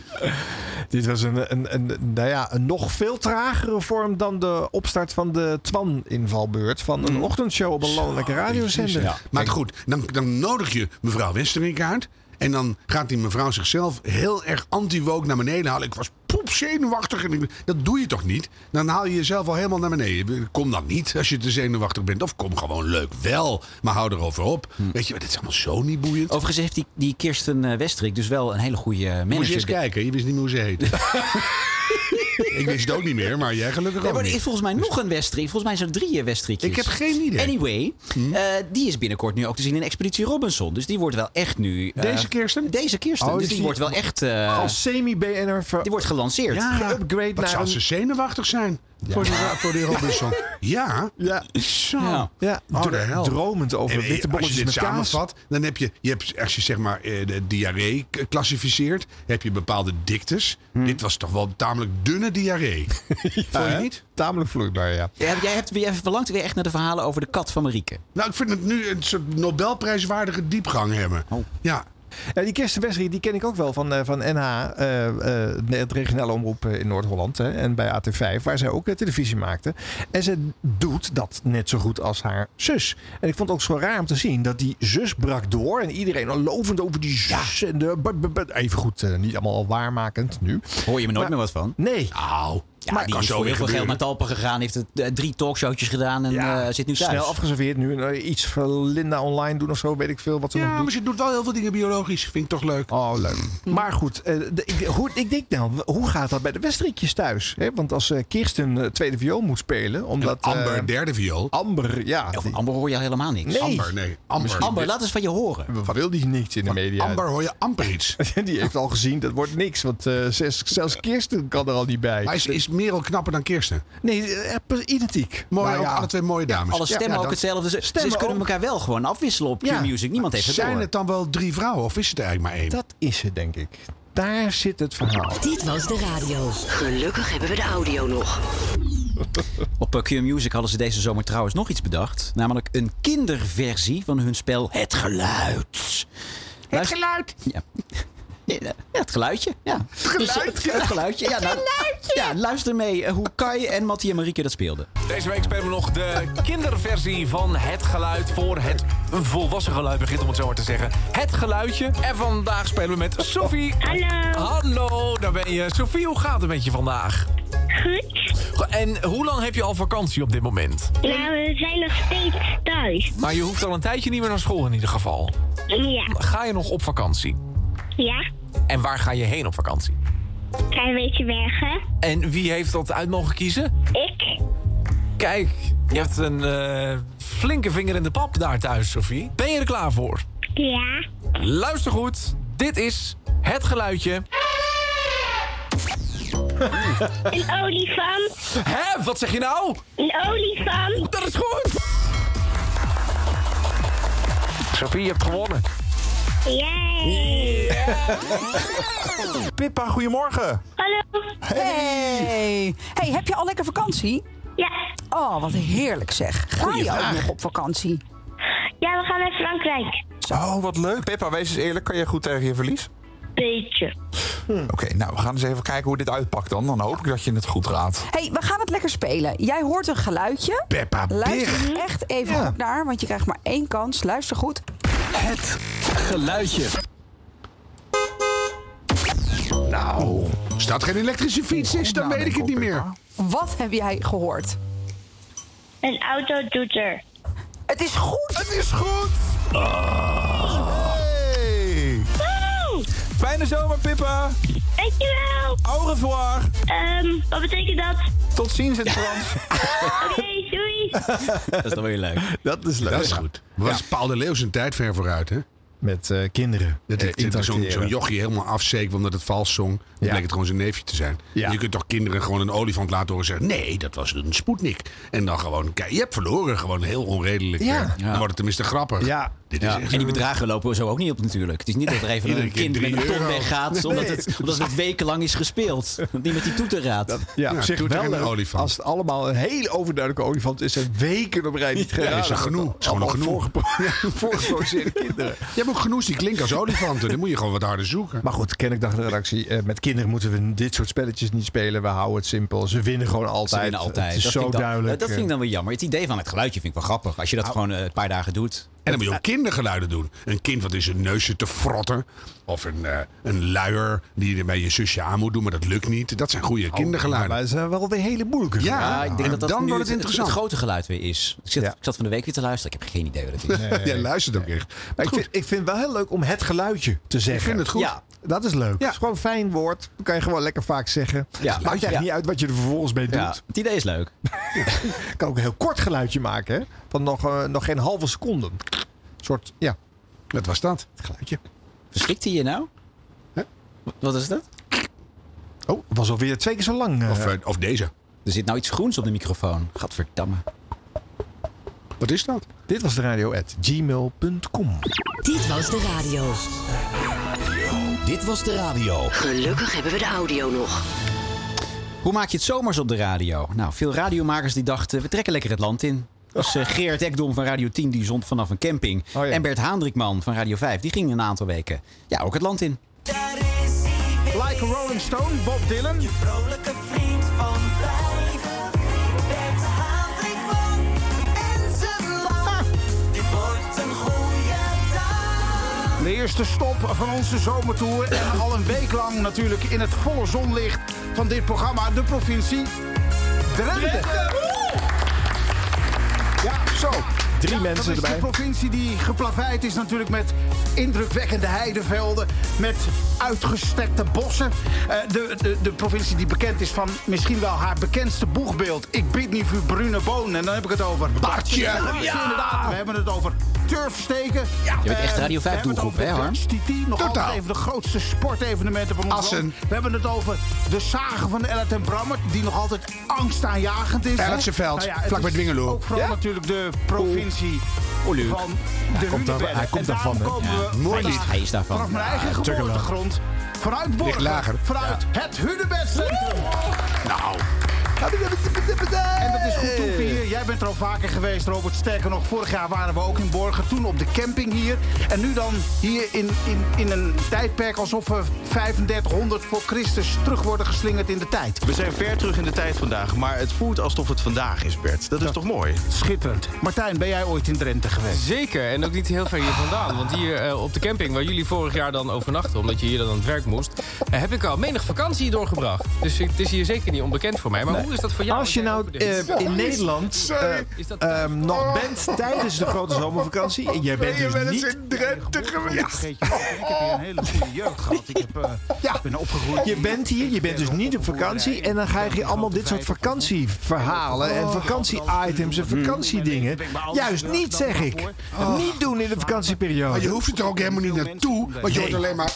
Speaker 2: Dit was een, een, een, nou ja, een nog veel tragere vorm dan de opstart van de Twan-invalbeurt. Van
Speaker 3: Mm.
Speaker 2: een ochtendshow op een landelijke radiozender.
Speaker 1: Mm. Ja. Maar goed, dan, dan nodig je mevrouw Westerink uit. En dan gaat die mevrouw zichzelf heel erg anti-woke naar beneden halen. Ik was poep zenuwachtig. En ik- dat doe je toch niet? Dan haal je jezelf al helemaal naar beneden. Kom dan niet als je te zenuwachtig bent. Of kom gewoon leuk wel, maar hou erover op. Weet je, dit is allemaal zo niet boeiend.
Speaker 3: Hm. Overigens heeft die, die Kirsten eh, Westrik dus wel een hele goede manager.
Speaker 1: Moet je eens kijken, je wist niet meer hoe ze heet. ik wist het ook niet meer, maar jij gelukkig
Speaker 3: Nee,
Speaker 1: ook
Speaker 3: maar er
Speaker 1: niet. Dus-
Speaker 3: is volgens mij nog een Westrik. Volgens mij zijn er drieën Westrikjes.
Speaker 1: Ik heb geen idee. Hm?
Speaker 3: Anyway, eh, die is binnenkort nu ook te zien in Expeditie Robinson. Dus die wordt wel echt nu... eh,
Speaker 2: Deze Kirsten?
Speaker 3: Deze Kirsten.
Speaker 2: Oh,
Speaker 3: dus
Speaker 2: dus
Speaker 3: die,
Speaker 2: die-
Speaker 3: wordt wel echt... eh,
Speaker 1: Oh,
Speaker 2: Als semi-BNR ver-
Speaker 3: die wordt gelanceerd.
Speaker 1: Ja,
Speaker 2: Geupgrade
Speaker 1: wat
Speaker 2: naar
Speaker 1: zou
Speaker 2: een-
Speaker 1: ze zenuwachtig zijn voor, die, voor die
Speaker 2: [LAUGHS]
Speaker 1: Robinson. Ja.
Speaker 2: Ja.
Speaker 1: Zo.
Speaker 2: Ja. Ja.
Speaker 1: Door
Speaker 2: Oh, dromend over
Speaker 1: En, eh,
Speaker 2: witte
Speaker 1: Als je
Speaker 2: bolletjes
Speaker 1: dit
Speaker 2: met kaas.
Speaker 1: samenvat, dan heb je, je hebt, als je zeg maar eh, de diarree k- klassificeert, heb je bepaalde diktes. Dit was toch wel een tamelijk dunne
Speaker 2: [LAUGHS]
Speaker 1: diarree. Vond je
Speaker 2: Hmm. hè?
Speaker 1: niet?
Speaker 2: Tamelijk vloeibaar, ja.
Speaker 3: Ja, jij, hebt, jij verlangt weer echt naar de verhalen over de kat van Marieke.
Speaker 1: Nou, ik vind het nu een soort Nobelprijswaardige diepgang hebben.
Speaker 2: Oh,
Speaker 3: Oh.
Speaker 1: Ja.
Speaker 2: Ja, Eh, die Kirsten Westry, die ken ik ook wel van, eh, van NH, eh, eh, het regionale omroep eh, in Noord-Holland hè, en bij AT5, waar zij ook eh, televisie maakte. En ze doet dat net zo goed als haar zus. En ik vond het ook zo raar om te zien dat die zus brak door en iedereen al lovend over die zus. En de, b- b- b- even goed, eh, niet allemaal waarmakend nu.
Speaker 3: Hoor je me nooit meer wat van? Ah.
Speaker 2: Nee.
Speaker 1: Au.
Speaker 3: Ja, die is voor heel veel geld naar Talpen gegaan. Heeft het, eh, drie talkshowtjes gedaan en eh, zit nu thuis.
Speaker 2: Snel afgeserveerd nu. eh, Iets voor Linda online doen of zo, weet ik veel wat ze nog
Speaker 1: Ja,
Speaker 2: doet.
Speaker 1: maar ze doet wel heel veel dingen biologisch. Vind ik toch leuk. Mm.
Speaker 2: Oh, leuk. Maar goed, eh, de- ik, hoe, ik denk nou, hoe gaat dat bij de Westrikjes thuis? Hè? Want als eh, Kirsten eh, tweede viool moet spelen, omdat...
Speaker 1: En Amber
Speaker 2: eh,
Speaker 1: derde viool.
Speaker 2: Amber, ja.
Speaker 3: Of Amber hoor je al helemaal niks.
Speaker 2: Nee.
Speaker 1: Amber, nee. Amber.
Speaker 2: Misschien-
Speaker 3: Amber, laat eens van je horen.
Speaker 2: Wat wil die niks in de media?
Speaker 1: Amber hoor je amper iets.
Speaker 2: [LAUGHS] Die heeft al gezien, dat wordt niks. Want eh, zes- zelfs Kirsten kan er al niet bij.
Speaker 1: Maar is, is Merel knapper dan Kirsten?
Speaker 2: Nee, eh, pre- identiek.
Speaker 1: Mooi,
Speaker 2: Maar
Speaker 1: ook
Speaker 2: ja.
Speaker 1: alle twee mooie dames.
Speaker 3: Alle stemmen
Speaker 1: Ja,
Speaker 3: ook
Speaker 1: dat-
Speaker 3: hetzelfde. Ze, ze
Speaker 2: Stemmen
Speaker 3: kunnen
Speaker 2: ook.
Speaker 3: elkaar wel gewoon afwisselen op
Speaker 2: Ja.
Speaker 3: Q-Music. Niemand heeft het
Speaker 1: Zijn
Speaker 3: door.
Speaker 1: het dan wel drie vrouwen of is het er eigenlijk maar één?
Speaker 2: Dat is het, denk ik. Daar zit het verhaal.
Speaker 4: Dit was de radio. Gelukkig hebben we de audio nog.
Speaker 3: Op eh, Q-Music hadden ze deze zomer trouwens nog iets bedacht. Namelijk een kinderversie van hun spel Het Geluid. Het
Speaker 1: Geluid.
Speaker 3: Ja. Ja, het geluidje. Ja. Dus, eh, Het
Speaker 1: geluidje.
Speaker 3: het geluidje. Ja, nou, ja, luister mee eh, hoe Kai en Mattie en Marieke dat speelden.
Speaker 15: Deze week spelen we nog de kinderversie van het geluid voor het volwassen geluid begint, om het zo maar te zeggen. Het geluidje. En vandaag spelen we met Sophie. Hallo. Hallo, daar ben je. Sophie, hoe gaat het met je vandaag? Goed. En hoe lang heb je al vakantie op dit moment?
Speaker 17: Nou, we zijn nog steeds thuis.
Speaker 15: Maar je hoeft al een tijdje niet meer naar school in ieder geval.
Speaker 17: Ja,
Speaker 15: Ga je nog op vakantie?
Speaker 17: ja.
Speaker 15: En waar ga je heen op vakantie?
Speaker 17: Ga een beetje bergen.
Speaker 15: En wie heeft dat uit mogen kiezen?
Speaker 17: Ik?
Speaker 15: Kijk, je hebt een eh, flinke vinger in de pap daar thuis, Sophie. Ben je er klaar voor?
Speaker 17: Ja.
Speaker 15: Luister goed. Dit is het geluidje.
Speaker 17: [LAUGHS] Een olifant.
Speaker 15: Hè? Wat zeg je nou?
Speaker 17: Een olifant.
Speaker 15: Dat is goed. Sophie, je hebt gewonnen.
Speaker 17: Yay!
Speaker 10: Pippa, goedemorgen.
Speaker 17: Hallo.
Speaker 18: Hey. hey, heb je al lekker vakantie?
Speaker 17: Ja.
Speaker 18: Oh, wat heerlijk zeg. Ga
Speaker 10: Goeie
Speaker 18: je
Speaker 10: vraag.
Speaker 18: ook nog op vakantie?
Speaker 17: Ja, we gaan naar Frankrijk.
Speaker 10: Oh, wat leuk. Pippa, wees eens eerlijk. Kan je goed tegen je verlies?
Speaker 17: Beetje.
Speaker 10: Oké, nou, we gaan eens even kijken hoe dit uitpakt dan. Dan hoop ik dat je het goed raadt.
Speaker 18: hey, we gaan het lekker spelen. Jij hoort een geluidje.
Speaker 10: Peppa,
Speaker 18: Luister echt even goed naar, want je krijgt maar één kans. Luister goed.
Speaker 6: Het geluidje.
Speaker 1: Nou, staat geen elektrische fiets is,
Speaker 3: Nou,
Speaker 1: dan weet ik het niet meer.
Speaker 18: Wat heb jij gehoord?
Speaker 17: Een autotoeter.
Speaker 18: Het is goed.
Speaker 10: Het is goed.
Speaker 6: Ah. [LAUGHS]
Speaker 10: Hey. Fijne zomer, Pippa.
Speaker 17: Dankjewel.
Speaker 10: Au revoir.
Speaker 17: Ehm, wat betekent dat?
Speaker 10: Tot ziens in het Frans.
Speaker 17: [LAUGHS] Oké, doei.
Speaker 10: Dat is
Speaker 3: dan weer leuk.
Speaker 10: Dat is leuk.
Speaker 1: Dat is goed. Was Paul de Leeuw zijn tijd ver vooruit, hè?
Speaker 2: Met eh, kinderen.
Speaker 1: Dat
Speaker 2: eh,
Speaker 1: ik- dat zo'n
Speaker 2: interacteren.
Speaker 1: zo'n jochie helemaal afzeker omdat het vals zong. Dan bleek het gewoon zijn neefje te zijn. Je kunt toch kinderen gewoon een olifant laten horen zeggen... nee, dat was een spoednik. En dan gewoon, kijk, je hebt verloren. Gewoon heel onredelijk.
Speaker 3: Ja.
Speaker 1: eh. Dan wordt het tenminste grappig.
Speaker 2: Ja.
Speaker 1: Dit
Speaker 3: Ja,
Speaker 1: is echt
Speaker 3: en die
Speaker 1: een-
Speaker 3: bedragen lopen zo ook niet op natuurlijk. Het is niet dat er even
Speaker 1: Iedere
Speaker 3: een
Speaker 1: keer
Speaker 3: kind met
Speaker 1: drie
Speaker 3: een ton
Speaker 1: euro.
Speaker 3: weggaat...
Speaker 1: Nee.
Speaker 3: Omdat, het, omdat het wekenlang is gespeeld. Niet met die toeterraad.
Speaker 2: Ja, op zich wel leuk. Als het allemaal een hele overduidelijke olifant is en weken op rij niet
Speaker 1: Ja,
Speaker 2: geraden.
Speaker 1: is er genoeg. Is gewoon nog genoeg.
Speaker 2: [LAUGHS] Voorgeproduceerde kinderen.
Speaker 1: Je hebt ook genoeg die klinken als olifanten. Dan moet je gewoon wat harder zoeken.
Speaker 2: Maar goed, ken ik dacht de redactie. eh, met kinderen moeten we dit soort spelletjes niet spelen. We houden het simpel. Ze winnen gewoon altijd.
Speaker 3: Ze winnen altijd.
Speaker 2: Het is
Speaker 3: dat
Speaker 2: zo
Speaker 3: vind ik dan-
Speaker 2: duidelijk. eh.
Speaker 3: Dat vind ik dan wel jammer. Het idee van het geluidje vind ik wel grappig. Als je dat gewoon eh, een paar dagen doet.
Speaker 1: En dan moet je ook kindergeluiden doen. Een kind wat in zijn neusje te frotten. Of een, eh, een luier die je bij je zusje aan moet doen, maar dat lukt niet. Dat zijn goede kindergeluiden.
Speaker 2: Oh, Maar het zijn wel weer hele
Speaker 1: Ja,
Speaker 2: moeilijke geluiden.
Speaker 1: ik denk dat dat
Speaker 3: nu
Speaker 1: dan wordt het
Speaker 3: het
Speaker 1: interessant.
Speaker 3: grote geluid weer is. Ik, zit, ik zat van de week weer te luisteren. Ik heb geen idee
Speaker 1: [LAUGHS]
Speaker 3: wat het is.
Speaker 2: Nee, nee, nee.
Speaker 1: luistert ook echt.
Speaker 2: Maar ik, vind, ik vind het wel heel leuk om het geluidje te zeggen.
Speaker 1: vind het goed.
Speaker 2: Ja, dat is leuk. Het is gewoon een fijn woord. Dat kan je gewoon lekker vaak zeggen.
Speaker 3: Ja.
Speaker 2: Maakt eigenlijk
Speaker 3: Ja.
Speaker 2: niet uit wat je er vervolgens mee doet.
Speaker 3: Ja, het idee is leuk.
Speaker 2: Je [LAUGHS] kan ook een heel kort geluidje maken. Hè? Van nog, eh, nog geen halve seconde. Een soort, ja.
Speaker 1: Wat was dat?
Speaker 2: Het geluidje.
Speaker 3: Verschrikt hij je nou? Wat is dat?
Speaker 2: Oh, was alweer twee keer zo lang. eh.
Speaker 1: Of, eh, of deze.
Speaker 3: Er zit nou iets groens op de microfoon. Gadverdamme.
Speaker 1: Wat is dat?
Speaker 2: Dit was de radio at gmail.com.
Speaker 4: Dit was de radio.
Speaker 6: Dit was de radio.
Speaker 4: Gelukkig hebben we de audio nog.
Speaker 3: Hoe maak je het zomers op de radio? Nou, veel radiomakers die dachten, we trekken lekker het land in. Dus eh, Geert Ekdom van Radio 10 die zond vanaf een camping.
Speaker 1: Oh,
Speaker 3: En Bert Haandrikman van Radio 5, die ging een aantal weken ja, ook het land in.
Speaker 2: Like a Rolling Stone, Bob Dylan.
Speaker 4: Vrolijke vriend van vijf. Bert Haandrikman en zijn land. Dit wordt een goede dag.
Speaker 19: De eerste stop van onze zomertour. En al een week lang natuurlijk in het volle zonlicht van dit programma, de provincie Drenthe. Ja, zo.
Speaker 2: Drie
Speaker 19: Ja,
Speaker 2: mensen
Speaker 19: dat is
Speaker 2: erbij.
Speaker 19: De provincie die geplaveid is natuurlijk met indrukwekkende heidevelden, met uitgestrekte bossen. Eh, de, de, de provincie die bekend is van misschien wel haar bekendste boegbeeld. Ik bid niet voor brune bonen. En dan heb ik het over
Speaker 1: Bartje.
Speaker 19: Ja, inderdaad. We hebben het over turfsteken. Ja.
Speaker 3: Je bent echt Radio 5 doelgroep, hè, Harm?
Speaker 19: Titi, nog
Speaker 1: Totaal.
Speaker 19: altijd een van de grootste sportevenementen van ons
Speaker 1: Assen.
Speaker 19: land. We hebben het over de zagen van Ellet en Brammert, die nog altijd angstaanjagend is. hè? Nou
Speaker 1: Ellertse veld,
Speaker 19: het
Speaker 1: vlakbij
Speaker 19: is
Speaker 1: Dwingeloer.
Speaker 19: Ook vooral
Speaker 1: Ja?
Speaker 19: natuurlijk de provincie
Speaker 1: Oeh, leuk.
Speaker 19: van de
Speaker 1: Hij komt daar-
Speaker 19: Hunebedden.
Speaker 1: hij komt
Speaker 19: En
Speaker 1: daarvan, hè?
Speaker 19: daarom komen
Speaker 1: Ja.
Speaker 19: we
Speaker 1: Mooi
Speaker 19: vandaag
Speaker 1: lied. Hij is daarvan.
Speaker 19: Vanaf mijn
Speaker 1: Ja,
Speaker 19: eigen
Speaker 1: Tukkeland.
Speaker 19: geboortegrond. Vanuit
Speaker 1: Ligt
Speaker 19: Borgen.
Speaker 1: lager.
Speaker 19: Vanuit het Hunebedcentrum.
Speaker 1: Nou.
Speaker 19: En dat is goed toeven hier. Jij bent er al vaker geweest, Robert. Sterker nog, vorig jaar waren we ook in Borgen. Toen op de camping hier. En nu dan hier in, in, in een tijdperk alsof we 3500 voor Christus terug worden geslingerd in de tijd.
Speaker 20: We zijn ver terug in de tijd vandaag, maar het voelt alsof het vandaag is, Bert. Dat is toch mooi?
Speaker 19: Schitterend. Martijn, ben jij ooit in Drenthe geweest?
Speaker 21: Zeker, en ook niet heel ver hier vandaan. Want hier eh, op de camping waar jullie vorig jaar dan overnachten... omdat je hier dan aan het werk moest... eh, heb ik al menig vakantie doorgebracht. Dus het is hier zeker niet onbekend voor mij. Maar hoe is dat voor jou?
Speaker 2: Als je nou eh, in Nederland eh, ehm, nog bent tijdens de grote zomervakantie. En jij bent dus niet...
Speaker 19: Drenthe geweest? ik heb hier een hele goede jeugd gehad. Ik heb, eh, ik ben opgegroeid.
Speaker 2: Je bent hier, je bent dus niet op vakantie. En dan ga je hier allemaal dit soort vakantieverhalen en vakantie-items en vakantiedingen. Juist niet, zeg ik. Niet doen in de vakantieperiode.
Speaker 1: Maar je hoeft er ook helemaal niet naartoe. Want je hoort alleen maar...